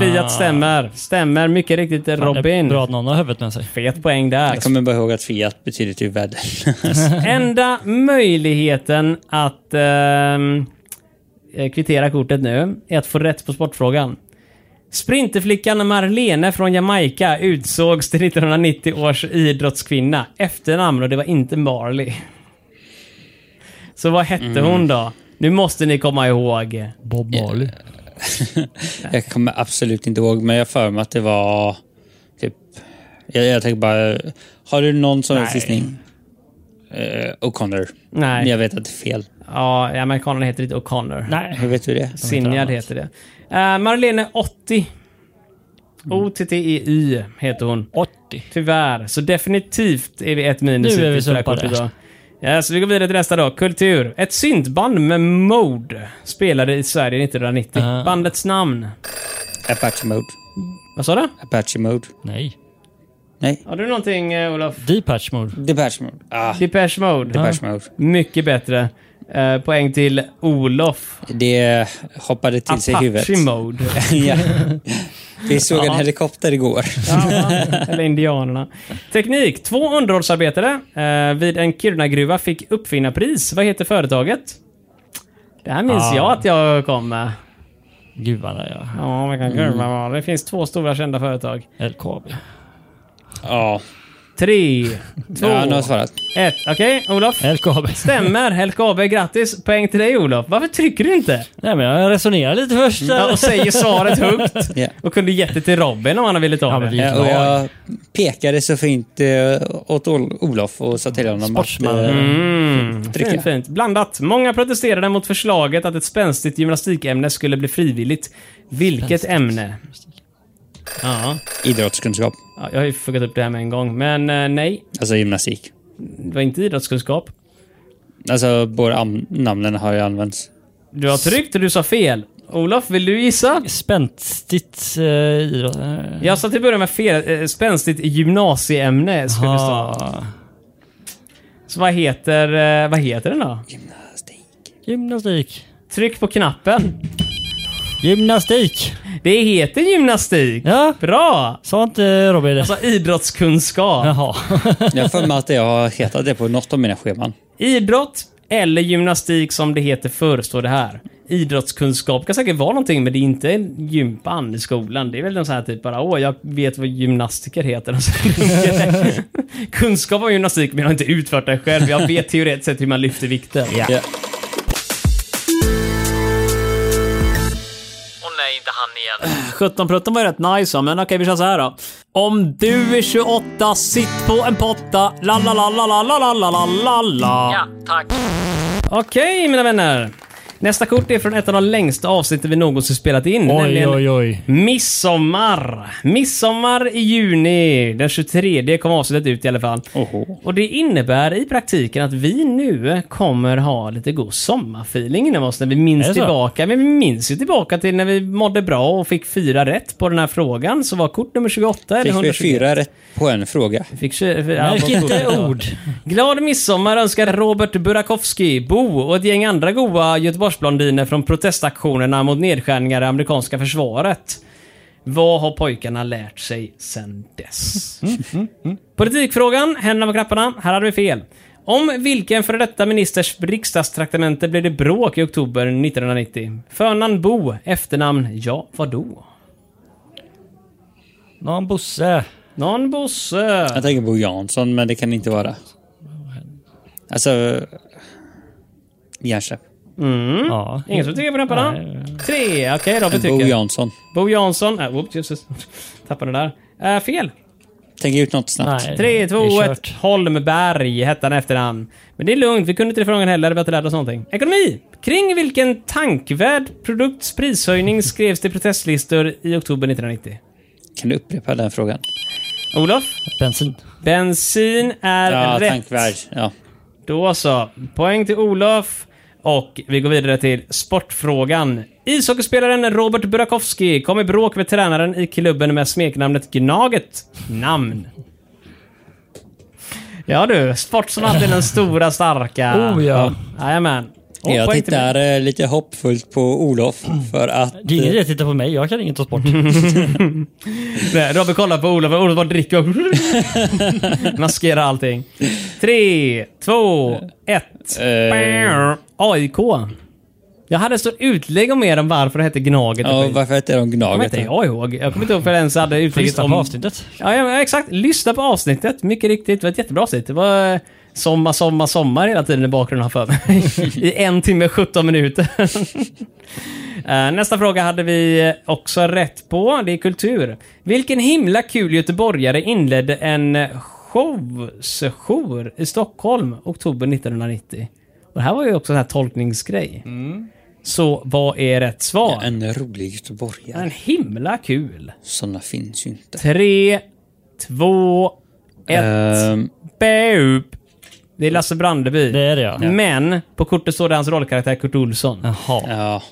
[SPEAKER 2] Fiat stämmer. Stämmer mycket riktigt
[SPEAKER 8] Ah. Det är
[SPEAKER 2] Robin.
[SPEAKER 8] bra att någon har huvudet med sig.
[SPEAKER 2] Fet poäng där.
[SPEAKER 4] Jag kommer bara ihåg att Fiat betyder typ värdelös.
[SPEAKER 2] Enda möjligheten att ehm, eh, kvittera kortet nu är att få rätt på sportfrågan. Sprinterflickan Marlene från Jamaica utsågs till 1990 års idrottskvinna. Efternamn och det var inte Marley. Så vad hette hon då? Nu måste ni komma ihåg.
[SPEAKER 8] Bob Marley.
[SPEAKER 4] jag kommer absolut inte ihåg, men jag har för mig att det var typ... Jag, jag tänker bara... Har du någon sån helst gissning? Eh, O'Connor.
[SPEAKER 2] Nej.
[SPEAKER 4] Men jag vet att det är fel.
[SPEAKER 2] Ja, ja, amerikanen heter inte O'Connor.
[SPEAKER 8] Nej.
[SPEAKER 4] Hur vet du det?
[SPEAKER 2] Sinjad heter det. Eh, Marlene 80. Mm. O-T-T-E-Y heter hon.
[SPEAKER 8] 80.
[SPEAKER 2] Tyvärr, så definitivt är vi ett minus.
[SPEAKER 8] Nu
[SPEAKER 2] i
[SPEAKER 8] är vi
[SPEAKER 2] det här
[SPEAKER 8] sumpade.
[SPEAKER 2] kortet idag. Ja, så vi går vidare till nästa då. Kultur. Ett syntband med Mode spelade i Sverige 1990.
[SPEAKER 8] Ah.
[SPEAKER 2] Bandets namn.
[SPEAKER 4] Apache Mode.
[SPEAKER 2] Vad sa du?
[SPEAKER 4] Apache Mode.
[SPEAKER 8] Nej.
[SPEAKER 4] Nej,
[SPEAKER 2] Har du någonting, eh, Olof?
[SPEAKER 8] Deepatch Mode.
[SPEAKER 4] Depeche Mode. Ah,
[SPEAKER 2] Depeche Mode.
[SPEAKER 4] Depeche Mode.
[SPEAKER 2] Mycket bättre. Eh, poäng till Olof.
[SPEAKER 4] Det hoppade till sig i huvudet.
[SPEAKER 2] Apache Mode.
[SPEAKER 4] ja. Vi såg en helikopter igår.
[SPEAKER 2] Eller indianerna. Teknik. Två underhållsarbetare eh, vid en Kiruna-gruva fick uppfinnarpris. Vad heter företaget? Det här minns
[SPEAKER 8] Ah.
[SPEAKER 2] jag att jag kom med.
[SPEAKER 8] Gud vad det är.
[SPEAKER 2] Ja, vilken
[SPEAKER 8] Mm.
[SPEAKER 2] gruva var det? Det finns två stora kända företag.
[SPEAKER 8] ja. LKAB.
[SPEAKER 4] Ja,
[SPEAKER 2] Tre, två,
[SPEAKER 4] ja nu har jag svarat.
[SPEAKER 2] ett. Okej, Olof.
[SPEAKER 8] LKAB.
[SPEAKER 2] Stämmer. LKAB, grattis. Poäng till dig Olof. Varför trycker du inte?
[SPEAKER 8] Nej men jag resonerar lite först.
[SPEAKER 2] Ja, och säger svaret högt.
[SPEAKER 4] Ja.
[SPEAKER 2] Och kunde gett det till Robin om han ville ta
[SPEAKER 8] Ja, men
[SPEAKER 2] det.
[SPEAKER 8] det är
[SPEAKER 4] Ja, och jag pekade så fint eh, åt Ol- Olof och sa till honom
[SPEAKER 8] Sportsman.
[SPEAKER 4] att... eh,
[SPEAKER 2] Mm,
[SPEAKER 4] Dricka.
[SPEAKER 2] fint, fint. Blandat. Många protesterade mot förslaget att ett spänstigt gymnastikämne skulle bli frivilligt. Vilket ämne? Ja.
[SPEAKER 4] idrottskunskap.
[SPEAKER 2] ja, jag har ju fuckat upp det här med en gång. Men eh, nej,
[SPEAKER 4] Alltså gymnastik.
[SPEAKER 2] det var inte idrottskunskap.
[SPEAKER 4] Alltså, båda am- namnen har ju använts.
[SPEAKER 2] Du har tryckt och du sa fel. Olof, vill du gissa?
[SPEAKER 8] Spänstigt eh, idrott. eh.
[SPEAKER 2] Jag sa till början med fel. Eh, Spänstigt gymnasieämne skulle det stå.
[SPEAKER 8] Ah.
[SPEAKER 2] Så vad heter, eh, vad heter den då?
[SPEAKER 8] Gymnastik.
[SPEAKER 2] Tryck på knappen.
[SPEAKER 8] Gymnastik.
[SPEAKER 2] Det heter gymnastik.
[SPEAKER 8] Ja.
[SPEAKER 2] Bra!
[SPEAKER 8] Sa inte Robin det?
[SPEAKER 2] Alltså idrottskunskap.
[SPEAKER 8] Jaha.
[SPEAKER 4] Jag har för mig att jag har hetat det på något av mina scheman.
[SPEAKER 2] Idrott eller gymnastik som det heter förr, står det här. Idrottskunskap kan säkert vara någonting, men det är inte en gympan i skolan. Det är väl en sån här typ bara, åh, jag vet vad gymnastiker heter. Och så dunkar det. Kunskap om gymnastik, men jag har inte utfört det själv. Jag vet teoretiskt sett hur man lyfter vikter.
[SPEAKER 4] Ja.
[SPEAKER 6] Och nej, inte han igen.
[SPEAKER 7] 17-prutten var ju rätt nice va, men okej vi kör så här då. Om du är 28, sitt på en potta. La la la la la la la la la la la.
[SPEAKER 6] Ja, tack.
[SPEAKER 2] Okej, mina vänner. Nästa kort är från ett av de längsta avsnitten vi någonsin spelat in.
[SPEAKER 8] Oj,
[SPEAKER 2] nämligen
[SPEAKER 8] oj, oj.
[SPEAKER 2] Midsommar! Midsommar i juni. Den 23 kom avsnittet ut i alla fall.
[SPEAKER 4] Oho.
[SPEAKER 2] Och det innebär i praktiken att vi nu kommer ha lite god sommarfeeling inom oss när vi
[SPEAKER 8] Är
[SPEAKER 2] minns
[SPEAKER 8] det så?
[SPEAKER 2] tillbaka. Men vi minns ju tillbaka till när vi mådde bra och fick fyra rätt på den här frågan som var kort nummer 28 eller
[SPEAKER 4] Fick vi
[SPEAKER 2] 124.
[SPEAKER 4] fyra rätt på en fråga?
[SPEAKER 2] Fick tjugo- fyra-
[SPEAKER 8] Märk
[SPEAKER 2] ja,
[SPEAKER 8] inte
[SPEAKER 2] ja.
[SPEAKER 8] ord.
[SPEAKER 2] Glad midsommar önskar Robert Burakovsky, Bo och ett gäng andra goa Göteborgsblondiner från protestaktionerna mot nedskärningar i amerikanska försvaret. Vad har pojkarna lärt sig sen dess? Politikfrågan, händerna på knapparna. Här hade vi fel. Om vilken före detta ministers riksdagstraktamente blev det bråk i oktober 1990? Förnamn Bo, efternamn ja, vadå?
[SPEAKER 8] Någon Bosse.
[SPEAKER 2] Någon Bosse.
[SPEAKER 4] Jag tänker på Jansson, men det kan inte vara. Alltså... Järnsläpp.
[SPEAKER 8] Ja.
[SPEAKER 2] Ingen som tycker på knapparna? Tre, okej då, vi
[SPEAKER 4] Bo
[SPEAKER 2] tycker.
[SPEAKER 4] Jansson.
[SPEAKER 2] Bo Jansson. Äh, whoops, just, just. Tappade den där. Äh, fel.
[SPEAKER 4] Tänk ut något snabbt.
[SPEAKER 8] Nej,
[SPEAKER 2] 3, 2,
[SPEAKER 8] det är
[SPEAKER 2] 1. Holmberg hette han efternamn. Men det är lugnt, vi kunde inte det frågan heller. Vi har inte lärt oss någonting. Ekonomi! Kring vilken tankvärd produkts prishöjning skrevs det protestlistor i oktober 1990?
[SPEAKER 4] Kan du upprepa den frågan?
[SPEAKER 2] Olof?
[SPEAKER 8] Bensin.
[SPEAKER 2] Bensin är
[SPEAKER 4] Ja,
[SPEAKER 2] rätt.
[SPEAKER 4] tankvärd. Ja.
[SPEAKER 2] Då så. Poäng till Olof. Och vi går vidare till sportfrågan. Ishockeyspelaren Robert Burakovsky kom i bråk med tränaren i klubben med smeknamnet Gnaget. Namn. Ja du, sport som alltid den stora starka.
[SPEAKER 8] Oh ja.
[SPEAKER 2] Jajamän. Och
[SPEAKER 4] Jag
[SPEAKER 2] poäng till mig.
[SPEAKER 4] tittar eh, lite hoppfullt på Olof för att...
[SPEAKER 8] Det är ingen idé att titta på mig, jag kan inget om sport.
[SPEAKER 2] Nej, Robin kollar på Olof och Olof bara dricker och maskerar allting. Tre, två, ett.
[SPEAKER 4] Eh.
[SPEAKER 2] AIK. Jag hade stort utlägg om er om varför det hette Gnaget.
[SPEAKER 4] eh, Ja,
[SPEAKER 2] Jag
[SPEAKER 4] varför heter de
[SPEAKER 2] kommer
[SPEAKER 4] Gnaget?
[SPEAKER 2] inte jag ihåg. Jag kommer inte ihåg för jag ens hade utlägget
[SPEAKER 8] Lyssna
[SPEAKER 2] om...
[SPEAKER 8] på avsnittet.
[SPEAKER 2] Ja, ja, men exakt. Lyssna på avsnittet. Mycket riktigt. Det var ett jättebra avsnitt. Det var eh, sommar, sommar, sommar hela tiden i bakgrunden har jag för mig. I en timme 17 minuter. Eh, Nästa fråga hade vi eh, också rätt på. Det är kultur. Vilken himla kul göteborgare inledde en showsession i Stockholm oktober 1990? Och det här var ju också en här tolkningsgrej.
[SPEAKER 8] Mm.
[SPEAKER 2] Så vad är rätt svar?
[SPEAKER 4] Ja, En rolig göteborgare.
[SPEAKER 2] En himla kul.
[SPEAKER 4] Sådana finns ju inte.
[SPEAKER 2] Tre, två, ett.
[SPEAKER 4] Ehm,
[SPEAKER 2] Boop. Det är Lasse Brandeby.
[SPEAKER 8] Det är det ja.
[SPEAKER 2] Men på kortet står det hans rollkaraktär Kurt Olsson.
[SPEAKER 8] Jaha.
[SPEAKER 4] ja.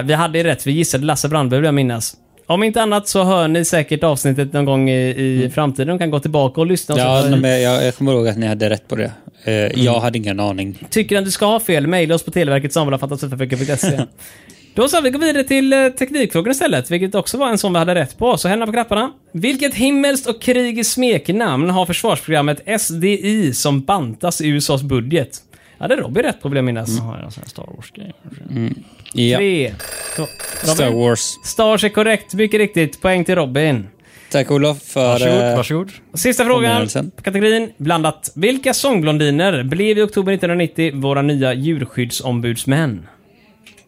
[SPEAKER 2] Eh, vi hade ju rätt, vi gissade Lasse Brandeby vill jag minnas. Om inte annat så hör ni säkert avsnittet någon gång i, i
[SPEAKER 8] Mm.
[SPEAKER 2] framtiden och kan gå tillbaka och lyssna. Och
[SPEAKER 4] Ja,
[SPEAKER 2] så-
[SPEAKER 4] men jag, jag kommer ihåg att ni hade rätt på det. Eh, Jag hade ingen aning.
[SPEAKER 2] Tycker att du ska ha fel, mejla oss på televerket snabel-a Då så, vi går vidare till eh, teknikfrågan istället, vilket också var en som vi hade rätt på. Så händerna på knapparna. Vilket himmelskt och krigiskt smeknamn har försvarsprogrammet SDI som bantas i USAs budget? Ja, det är Robbie rätt på vill jag minnas.
[SPEAKER 4] Mm.
[SPEAKER 8] Har jag en sån här Star Wars-grej?
[SPEAKER 4] Ja,
[SPEAKER 2] Tre, två,
[SPEAKER 4] Star
[SPEAKER 2] Robin.
[SPEAKER 4] Wars.
[SPEAKER 2] Stars är korrekt, mycket riktigt. Poäng till Robin.
[SPEAKER 4] Tack Olof för...
[SPEAKER 8] Varsågod,
[SPEAKER 4] eh,
[SPEAKER 8] varsågod.
[SPEAKER 2] Sista frågan,
[SPEAKER 4] Påminnelsen.
[SPEAKER 2] kategorin blandat. Vilka sångblondiner blev i oktober 1990 våra nya djurskyddsombudsmän?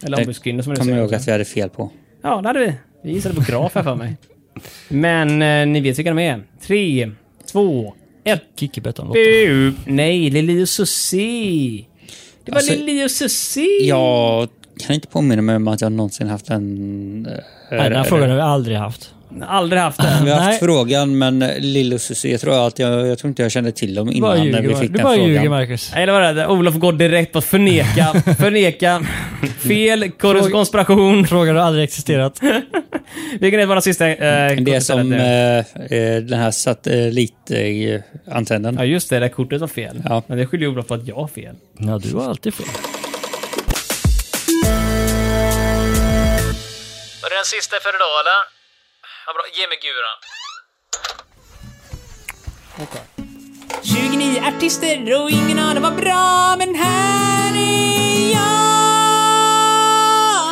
[SPEAKER 2] Eller
[SPEAKER 4] Det
[SPEAKER 2] ombudskvinnor som det
[SPEAKER 4] Kommer jag ihåg
[SPEAKER 2] säger.
[SPEAKER 4] att vi hade fel på.
[SPEAKER 2] Ja, det hade vi. Vi gissade på graf här för mig. Men eh, ni vet vilka de är. Tre, två, ett.
[SPEAKER 8] Kickibettan.
[SPEAKER 2] Bu. Nej, Lili och Susie. Det var
[SPEAKER 4] Alltså,
[SPEAKER 2] Lili och Susie.
[SPEAKER 4] Jag kan inte påminna mig om att jag någonsin haft en... eh,
[SPEAKER 8] Nej, den här frågan har vi aldrig haft.
[SPEAKER 2] Aldrig haft det.
[SPEAKER 4] Vi har haft
[SPEAKER 8] Nej.
[SPEAKER 4] frågan, men Lill och Susie, jag tror att jag, jag tror inte jag kände till dem
[SPEAKER 8] Du bara
[SPEAKER 4] innan när vi
[SPEAKER 8] ljuger,
[SPEAKER 4] fick
[SPEAKER 8] du
[SPEAKER 4] den
[SPEAKER 8] bara ljuger
[SPEAKER 4] frågan.
[SPEAKER 8] Marcus.
[SPEAKER 2] Nej, det var det. Olof går direkt på att förneka, förneka, fel, kor- konspiration.
[SPEAKER 8] Frågan har aldrig existerat.
[SPEAKER 2] Vilken är vår sista eh,
[SPEAKER 4] Mm. Det är
[SPEAKER 2] kortet
[SPEAKER 4] som
[SPEAKER 2] eller?
[SPEAKER 4] eh, eh, den här satellitantennen.
[SPEAKER 2] Ja, just det. Det där kortet var fel.
[SPEAKER 4] Ja.
[SPEAKER 2] Men det skyller ju Olof på att jag har fel.
[SPEAKER 8] Ja, du har alltid fel.
[SPEAKER 6] Och den sista för idag eller? Ja, bra. Ge mig guran.
[SPEAKER 9] 29 artister och ingen av dem var bra, men här är jag!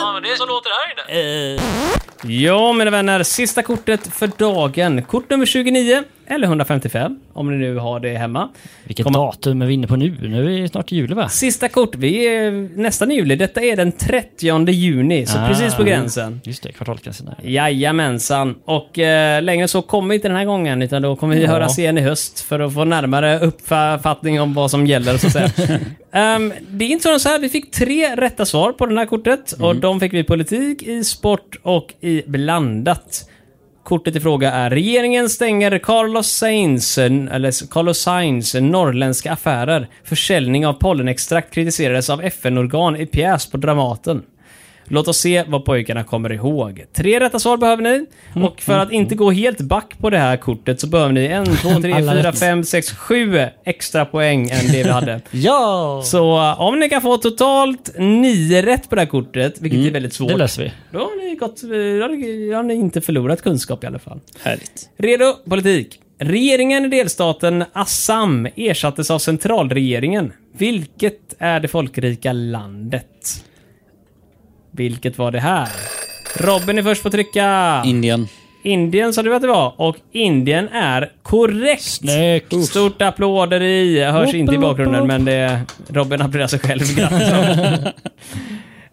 [SPEAKER 6] Ja, men det är så låter det här inne.
[SPEAKER 2] Ja, mina vänner. Sista kortet för dagen. Kort nummer 29, eller 155, om ni nu har det hemma.
[SPEAKER 8] Vilket
[SPEAKER 2] Kommer-
[SPEAKER 8] datum är vi inne på nu? Nu är det snart jul va?
[SPEAKER 2] Sista kort. Vi är nästan i juli. Detta är den 30 juni, så
[SPEAKER 8] Ah.
[SPEAKER 2] precis på gränsen.
[SPEAKER 8] Just det, kvartalsgränsen där.
[SPEAKER 2] Jajamensan. Och eh, längre så kommer vi inte den här gången, utan då kommer vi höras igen i höst för att få närmare uppfattning om vad som gäller. Så att säga. Ehm, det är inte så- så här, vi fick tre rätta svar på det här kortet
[SPEAKER 8] Mm.
[SPEAKER 2] och de fick vi i politik, i sport och i blandat. Kortet i fråga är regeringen stänger Carlos Sainz, eller Carlos Sainz norrländska affärer. Försäljning av pollenextrakt kritiserades av FN-organ i pjäs på Dramaten. Låt oss se vad pojkarna kommer ihåg. Tre rätta svar behöver ni.
[SPEAKER 8] Mm.
[SPEAKER 2] Och för att inte gå helt back på det här kortet så behöver ni en, två, tre,
[SPEAKER 8] Alla
[SPEAKER 2] fyra,
[SPEAKER 8] rätt.
[SPEAKER 2] fem, sex, sju extra poäng än det vi hade.
[SPEAKER 8] Ja!
[SPEAKER 2] Så eh, om ni kan få totalt nio rätt på det här kortet, vilket är väldigt svårt,
[SPEAKER 8] Mm. Det löser vi.
[SPEAKER 2] då har ni, gått, eh, då har ni- då har ni inte förlorat kunskap i alla fall.
[SPEAKER 4] Härligt.
[SPEAKER 2] Redo? Politik. Regeringen i delstaten Assam ersattes av centralregeringen. Vilket är det folkrika landet? Vilket var det här? Robin är först på att trycka.
[SPEAKER 4] Indien.
[SPEAKER 2] Indien sa du att det var. Och Indien är korrekt.
[SPEAKER 8] Snyggt!
[SPEAKER 2] Stort applåder i. Jag hörs
[SPEAKER 8] Woop,
[SPEAKER 2] inte i
[SPEAKER 8] woop,
[SPEAKER 2] bakgrunden,
[SPEAKER 8] woop.
[SPEAKER 2] men det... Robin applåderar sig själv. Grattis Robin.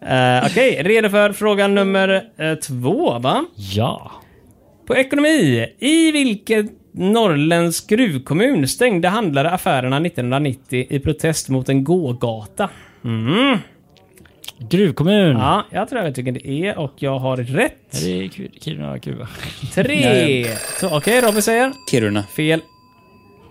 [SPEAKER 2] Eh, Okej, redo för fråga nummer eh, två, va?
[SPEAKER 8] Ja.
[SPEAKER 2] På ekonomi, i vilket norrländsk gruvkommun stängde handlare affärerna 1990 i protest mot en gågata. Mm.
[SPEAKER 8] Gruvkommun.
[SPEAKER 2] Ja, jag tror jag vet vilken det är och jag har rätt.
[SPEAKER 8] Det är Ki- Kiruna, Kuba.
[SPEAKER 2] Tre!
[SPEAKER 4] Nej.
[SPEAKER 2] Så, Okej, Robin säger
[SPEAKER 4] Kiruna.
[SPEAKER 2] fel.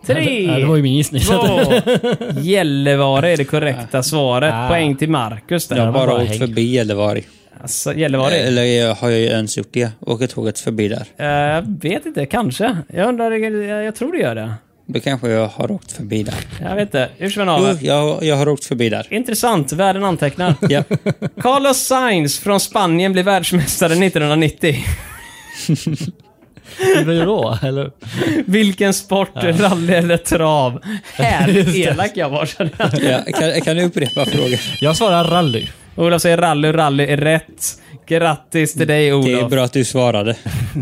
[SPEAKER 2] Tre!
[SPEAKER 8] Ja, det var ju min gissning. så att-
[SPEAKER 2] Två. Gällivare är det korrekta svaret. Poäng till Marcus där.
[SPEAKER 4] Jag har bara
[SPEAKER 8] bara
[SPEAKER 4] åkt
[SPEAKER 8] häng.
[SPEAKER 4] förbi Gällivare. Eh,
[SPEAKER 2] Alltså, Gällivare? är-
[SPEAKER 4] Eller jag har jag ju ens gjort det? Åker tåget förbi där?
[SPEAKER 2] Eh, Jag vet inte, kanske. Jag undrar, eh, jag jag tror det gör det.
[SPEAKER 4] Då kanske jag har åkt förbi där.
[SPEAKER 2] Jag vet inte, hur som
[SPEAKER 4] Jo,
[SPEAKER 2] helst.
[SPEAKER 4] jag, jag har åkt förbi där.
[SPEAKER 2] Intressant, världen antecknar.
[SPEAKER 4] Ja.
[SPEAKER 2] Carlos Sainz från Spanien blir världsmästare 1990.
[SPEAKER 8] Det var ju då, eller?
[SPEAKER 2] Vilken sport, rally eller trav? Här elak jag var. känner jag.
[SPEAKER 4] Ja, kan, kan du upprepa frågan?
[SPEAKER 8] Jag svarar rally.
[SPEAKER 2] Olof säger rally, rally är rätt. Grattis till dig Olof.
[SPEAKER 4] Det är bra att du svarade.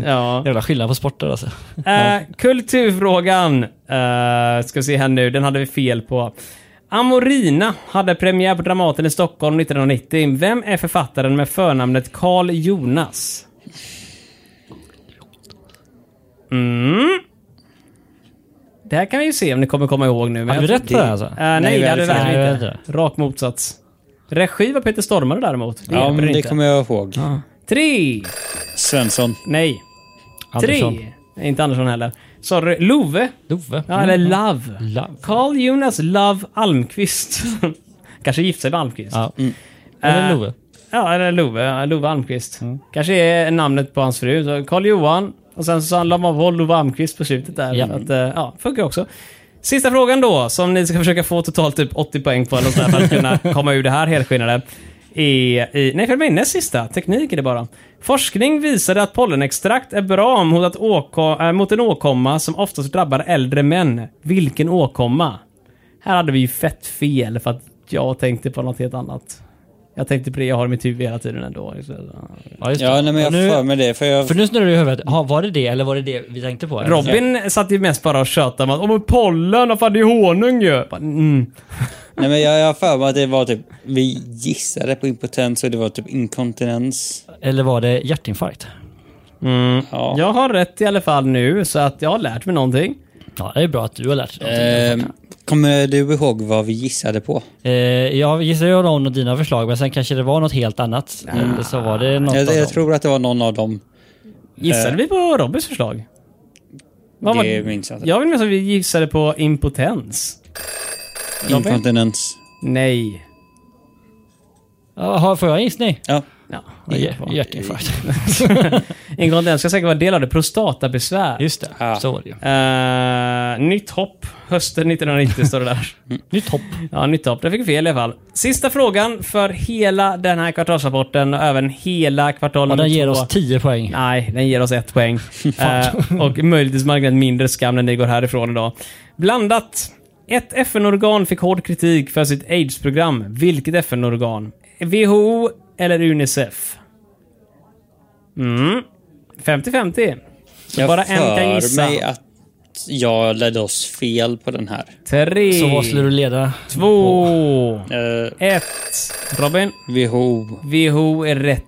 [SPEAKER 2] Ja.
[SPEAKER 8] Jävla skillnad på sporter alltså.
[SPEAKER 2] Eh, kulturfrågan. Eh, ska vi se här nu, den hade vi fel på. Amorina hade premiär på Dramaten i Stockholm 1990. Vem är författaren med förnamnet Carl Jonas? Mm. Det här kan vi ju se om ni kommer komma ihåg nu. men
[SPEAKER 8] Hade vi
[SPEAKER 2] jag-
[SPEAKER 8] rätt på det här, alltså?
[SPEAKER 2] Eh, nej,
[SPEAKER 4] Nej,
[SPEAKER 2] det
[SPEAKER 4] vi
[SPEAKER 2] hade vi
[SPEAKER 4] hade
[SPEAKER 8] fel.
[SPEAKER 2] verkligen
[SPEAKER 8] Nej,
[SPEAKER 2] inte.
[SPEAKER 8] vi
[SPEAKER 2] Rak motsats. Regi var Peter Stormare däremot. Det
[SPEAKER 4] Ja,
[SPEAKER 2] hjälper
[SPEAKER 4] men det
[SPEAKER 2] inte.
[SPEAKER 4] kommer jag ihåg.
[SPEAKER 2] Tre!
[SPEAKER 4] Svensson.
[SPEAKER 2] Nej.
[SPEAKER 8] Andersson.
[SPEAKER 2] Tre! Nej, Inte Andersson heller. Sorry. Love.
[SPEAKER 8] Love.
[SPEAKER 2] Ja, eller Love.
[SPEAKER 8] Mm. Love.
[SPEAKER 2] Carl Jonas Love Almqvist. Kanske gift sig med Almqvist.
[SPEAKER 8] Ja. Eller
[SPEAKER 2] Eh,
[SPEAKER 8] Love.
[SPEAKER 2] Ja, eller Love. ja, Love Almqvist. Kanske är namnet på hans fru. Så Carl Johan. Och sen så la man på Love Almqvist på slutet där.
[SPEAKER 8] Ja.
[SPEAKER 2] Så Att, eh, ja, funkar också. Sista frågan då, som ni ska försöka få totalt typ 80 poäng på eller något sånt där för att kunna komma ur det här helskinnade. Är i, nej, för mig näst sista. Teknik är det bara. Forskning visade att pollenextrakt är bra mot, att åko, äh, mot en åkomma som oftast drabbar äldre män. Vilken åkomma? Här hade vi ju fett fel för att jag tänkte på något helt annat. Jag tänkte på det jag har i mitt huvud hela tiden ändå. Så-
[SPEAKER 8] Ja, just det.
[SPEAKER 4] Ja, nej, men jag
[SPEAKER 8] Och nu-
[SPEAKER 4] har för mig det. För jag,
[SPEAKER 8] För nu snurrar det i huvudet. Ha, var det det eller var det det vi tänkte på?
[SPEAKER 2] Robin satt ju mest bara och tjötade om att "Åh, men pollen, vad fan det är honung ju. Bara, Mm.
[SPEAKER 4] nej, men jag jag har för mig att det var typ... Vi gissade på impotens och det var typ inkontinens.
[SPEAKER 8] Eller var det hjärtinfarkt?
[SPEAKER 4] Ja.
[SPEAKER 2] Jag har rätt i alla fall nu så att jag har lärt mig någonting.
[SPEAKER 8] Ja, det är bra att du har lärt dig någonting.
[SPEAKER 4] Ehm, kommer du ihåg vad vi gissade på?
[SPEAKER 8] Eh, jag gissar ju någon av dina förslag, men sen kanske det var något helt annat. Eller så var det något
[SPEAKER 4] Jag,
[SPEAKER 8] av
[SPEAKER 4] jag
[SPEAKER 8] dem.
[SPEAKER 4] tror att det var någon av dem.
[SPEAKER 8] Eh.
[SPEAKER 2] Gissade vi på Robins förslag? Vad var-
[SPEAKER 4] Det minns jag inte.
[SPEAKER 2] Jag vill minnas att vi gissade på impotens. Robin?
[SPEAKER 4] Inkontinens.
[SPEAKER 2] Nej.
[SPEAKER 8] Jaha, får jag en gissning?
[SPEAKER 4] Ja.
[SPEAKER 2] Ja,
[SPEAKER 8] Hjär- Hjärtinfarkt.
[SPEAKER 2] Inkontinens ska säkert vara del av det. Prostatabesvär.
[SPEAKER 8] Just det,
[SPEAKER 4] Ah.
[SPEAKER 8] så var det ju.
[SPEAKER 2] Eh, nytt hopp. Hösten 1990 står det där.
[SPEAKER 8] Nytt hopp.
[SPEAKER 2] Ja, nytt hopp. Det fick vi fel i alla fall. Sista frågan för hela den här kvartalsrapporten och även hela kvartal
[SPEAKER 8] Och den
[SPEAKER 2] nummer
[SPEAKER 8] ger
[SPEAKER 2] två.
[SPEAKER 8] oss 10 poäng.
[SPEAKER 2] Nej, den ger oss ett poäng. Eh, och möjligtvis marginellt mindre skam när ni går härifrån idag. Blandat. Ett FN-organ fick hård kritik för sitt AIDS-program. Vilket FN-organ? WHO eller Unicef? Mm. 50-50.
[SPEAKER 4] jag
[SPEAKER 2] bara en kan
[SPEAKER 4] för
[SPEAKER 2] gissa.
[SPEAKER 4] mig att jag ledde oss fel på den här.
[SPEAKER 2] Tre,
[SPEAKER 8] Så vad skulle du leda?
[SPEAKER 2] två,
[SPEAKER 4] Eh,
[SPEAKER 2] ett. Robin?
[SPEAKER 4] WHO.
[SPEAKER 2] WHO är rätt.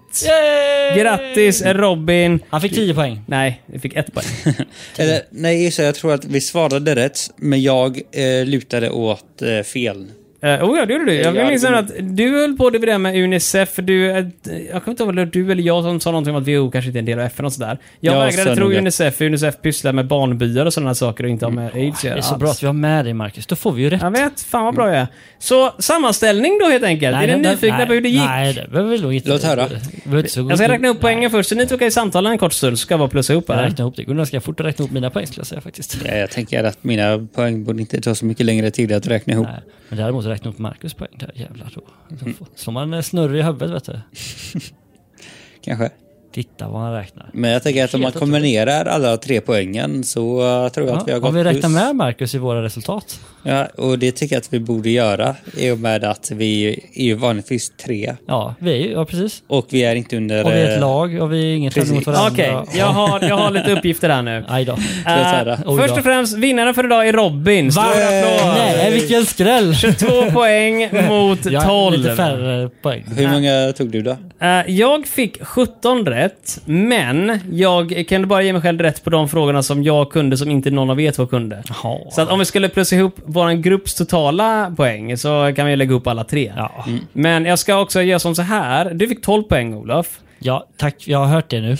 [SPEAKER 2] Grattis Robin!
[SPEAKER 8] Han fick 10 poäng.
[SPEAKER 2] Nej, vi fick ett poäng.
[SPEAKER 4] Eller, nej, så jag tror att vi svarade rätt, men jag eh, lutade åt eh, fel.
[SPEAKER 2] Uh, oh ja, det gjorde du. Jag
[SPEAKER 4] Jag
[SPEAKER 2] minns
[SPEAKER 4] hade-
[SPEAKER 2] att du höll på det med det här med Unicef. för Du, eh, jag kommer inte ihåg om det var du eller jag som sa någonting om att WHO kanske inte är en del av FN och sådär. Jag
[SPEAKER 4] Jag
[SPEAKER 2] vägrade
[SPEAKER 4] sa
[SPEAKER 2] tro
[SPEAKER 4] nog det.
[SPEAKER 2] Unicef, för Unicef pysslar med barnbyar och sådana saker och inte har med aids att
[SPEAKER 8] Mm. Det
[SPEAKER 2] göra
[SPEAKER 8] är så
[SPEAKER 2] alls.
[SPEAKER 8] bra att vi har med dig Marcus, då får vi ju rätt.
[SPEAKER 2] Jag vet, fan vad bra jag är. Så sammanställning då helt enkelt. är ni
[SPEAKER 8] den- den-
[SPEAKER 2] nyfikna
[SPEAKER 8] nej,
[SPEAKER 2] på hur det gick?
[SPEAKER 8] Nej, det behöver vi nog inte.
[SPEAKER 4] Låt höra.
[SPEAKER 8] Vi behöver inte så-
[SPEAKER 2] Jag ska räkna upp poängen först, så ni två kan ju samtala en kort stund, så ska jag bara plussa ihop
[SPEAKER 8] Jag
[SPEAKER 2] här.
[SPEAKER 8] räknar ihop det. Gunnar ska fort räkna ihop mina poäng skulle jag säga faktiskt.
[SPEAKER 4] Ja, Eh, jag tänker att mina poäng borde inte ta så mycket längre tid att räkna ihop.
[SPEAKER 8] Nej, men däremot räkna upp Marcus poäng. Där, jävlar då. då. får- Slår man eh, snurr i huvudet vet du.
[SPEAKER 4] Kanske.
[SPEAKER 8] Titta vad han räknar.
[SPEAKER 4] Men jag tänker att om man
[SPEAKER 8] Helt otroligt.
[SPEAKER 4] kombinerar alla tre poängen så eh, tror jag
[SPEAKER 8] Ja,
[SPEAKER 4] att vi har
[SPEAKER 8] om
[SPEAKER 4] gått
[SPEAKER 8] vi räknar
[SPEAKER 4] plus.
[SPEAKER 8] med Marcus i våra resultat.
[SPEAKER 4] Ja, och det tycker jag att vi borde göra i och med att vi är ju vanligtvis tre.
[SPEAKER 8] Ja, vi är ju, ja precis.
[SPEAKER 4] Och vi är inte under...
[SPEAKER 8] Och vi är
[SPEAKER 4] eh,
[SPEAKER 8] ett lag och vi är inget tävling mot
[SPEAKER 4] Precis.
[SPEAKER 8] varandra.
[SPEAKER 2] Okej, jag, har, jag har lite uppgifter här nu.
[SPEAKER 8] Aj då.
[SPEAKER 4] jag säga det?
[SPEAKER 2] Eh,
[SPEAKER 8] Oj då.
[SPEAKER 2] först och främst, vinnaren för idag är Robin. Stor applåd!
[SPEAKER 8] Nej, vilken skräll!
[SPEAKER 2] 22 poäng mot
[SPEAKER 8] Jag har
[SPEAKER 2] 12.
[SPEAKER 8] lite färre poäng.
[SPEAKER 4] Hur många tog du då?
[SPEAKER 2] Eh, jag fick 17 rätt. svaret. Men jag kunde bara ge mig själv rätt på de frågorna som jag kunde som inte någon av er två kunde. Så att om vi skulle plussa ihop vår grupps totala poäng så kan vi lägga ihop alla tre. Men jag ska också göra som så här. Du fick 12 poäng Olof.
[SPEAKER 8] Ja, tack. Jag har hört det nu.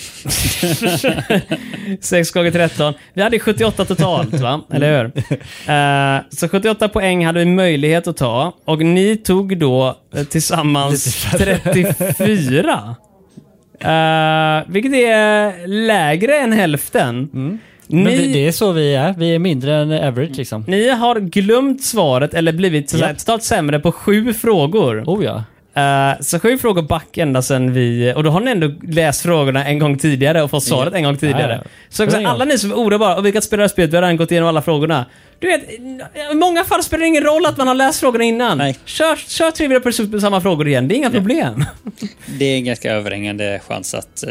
[SPEAKER 2] 6 gånger 13. Vi hade 78 totalt, va?
[SPEAKER 8] Mm.
[SPEAKER 2] Eller hur? Eh, så 78 poäng hade vi möjlighet att ta. Och ni tog då eh, tillsammans 34. Eh, vilket är lägre än hälften. Ni,
[SPEAKER 8] Mm. Men det, det är så vi är. Vi är mindre än average liksom.
[SPEAKER 2] ni har glömt svaret eller blivit så här, totalt sämre på sju frågor.
[SPEAKER 8] Oh ja.
[SPEAKER 2] Eh, så sju frågor back ända sen vi... Och då har ni ändå läst frågorna en gång tidigare och fått svaret en gång tidigare.
[SPEAKER 8] Ja, ja.
[SPEAKER 2] Så också,
[SPEAKER 8] Ja, ja.
[SPEAKER 2] alla ni som är oroliga bara, och vilka spelar spelet? Vi har redan gått igenom alla frågorna. Du vet, i många fall spelar det ingen roll att man har läst frågorna innan.
[SPEAKER 4] Nej.
[SPEAKER 2] Kör, kör Trivial Pursuit med samma frågor igen, det är inga problem.
[SPEAKER 4] Det är en ganska överhängande chans att... Eh,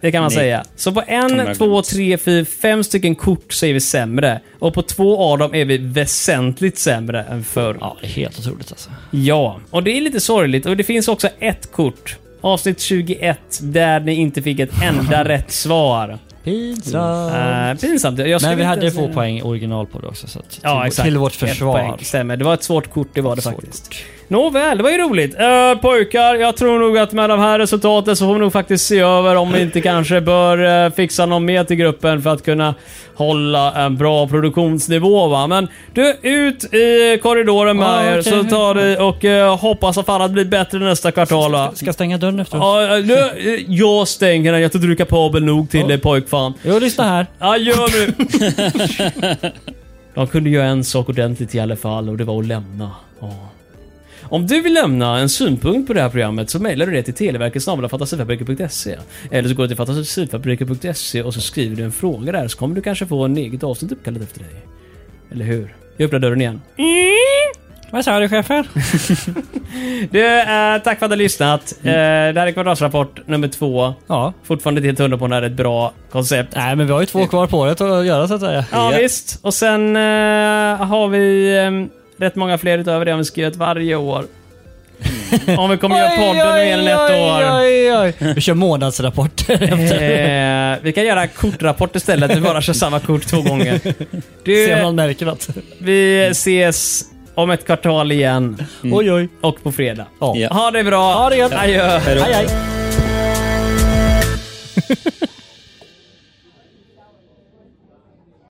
[SPEAKER 2] Det kan man
[SPEAKER 4] Nej.
[SPEAKER 2] säga. Så på
[SPEAKER 4] Kommer
[SPEAKER 2] en,
[SPEAKER 4] jag
[SPEAKER 2] två,
[SPEAKER 4] glömt.
[SPEAKER 2] tre, fyra, fem stycken kort så är vi sämre. Och på två av dem är vi väsentligt sämre än förr.
[SPEAKER 8] Ja, det är helt otroligt alltså.
[SPEAKER 2] Ja, och det är lite sorgligt. Och det finns också ett kort. Avsnitt 21, där ni inte fick ett enda rätt svar.
[SPEAKER 8] Pizza.
[SPEAKER 2] Eh, pinsamt. Jag skulle
[SPEAKER 8] Mm. Men vi
[SPEAKER 2] inte
[SPEAKER 8] hade
[SPEAKER 2] ens-
[SPEAKER 8] få poäng original på det också. Så att,
[SPEAKER 2] Ja,
[SPEAKER 8] till,
[SPEAKER 2] exakt.
[SPEAKER 8] till vårt
[SPEAKER 2] Ett poäng,
[SPEAKER 8] försvar.
[SPEAKER 2] Stämmer. Det var ett svårt kort, det var det
[SPEAKER 8] Svårt
[SPEAKER 2] faktiskt. Nåväl, det var ju roligt. Eh, pojkar, jag tror nog att med de här resultaten så får vi nog faktiskt se över om vi inte kanske bör eh, fixa någon mer till gruppen för att kunna hålla en bra produktionsnivå. Va? Men du, ut i korridoren med
[SPEAKER 8] Ja,
[SPEAKER 2] er
[SPEAKER 8] Ah, okej.
[SPEAKER 2] så tar vi och eh, hoppas att fan att det blir bättre nästa kvartal. Va?
[SPEAKER 8] Ska jag stänga dörren efteråt?
[SPEAKER 2] Ja, eh, nu, eh, jag stänger den. Jag tror du är kapabel nog till det pojkfan.
[SPEAKER 8] Jo, lyssna här.
[SPEAKER 2] Ja, gör nu! De kunde göra en sak ordentligt i alla fall och det var att lämna. Ja. Om du vill lämna en synpunkt på det här programmet så mejlar du det till televerket snabel-a fantasifabriken.se Eller så går du till fantasifabriken.se och så skriver du en fråga där så kommer du kanske få en eget avsnitt uppkallat efter dig. Eller hur? Jag öppnar dörren igen.
[SPEAKER 8] Vad sa du chefen?
[SPEAKER 2] Du, eh, tack för att du har lyssnat. Eh, det här är kvartalsrapport nummer två.
[SPEAKER 8] Ja.
[SPEAKER 2] Fortfarande inte helt hundra på om det här är ett bra koncept.
[SPEAKER 8] Nej, men vi har ju två kvar på året att göra så att säga.
[SPEAKER 2] Ja, visst. Och sen eh, har vi eh, rätt många fler utöver det om vi ska göra ett varje år. Om vi kommer göra podden mer än ett år.
[SPEAKER 8] Mm. Oj, oj, oj. Vi kör månadsrapporter.
[SPEAKER 2] Eh, vi kan göra kortrapport istället. Vi bara kör samma kort två gånger.
[SPEAKER 8] Se om
[SPEAKER 2] Du,
[SPEAKER 8] någon märker något.
[SPEAKER 2] vi ses om ett kvartal igen
[SPEAKER 8] Oj, oj.
[SPEAKER 2] och på fredag.
[SPEAKER 8] Ja.
[SPEAKER 2] Ha det bra. Ha det gött. Adjö.
[SPEAKER 8] Hej, hej.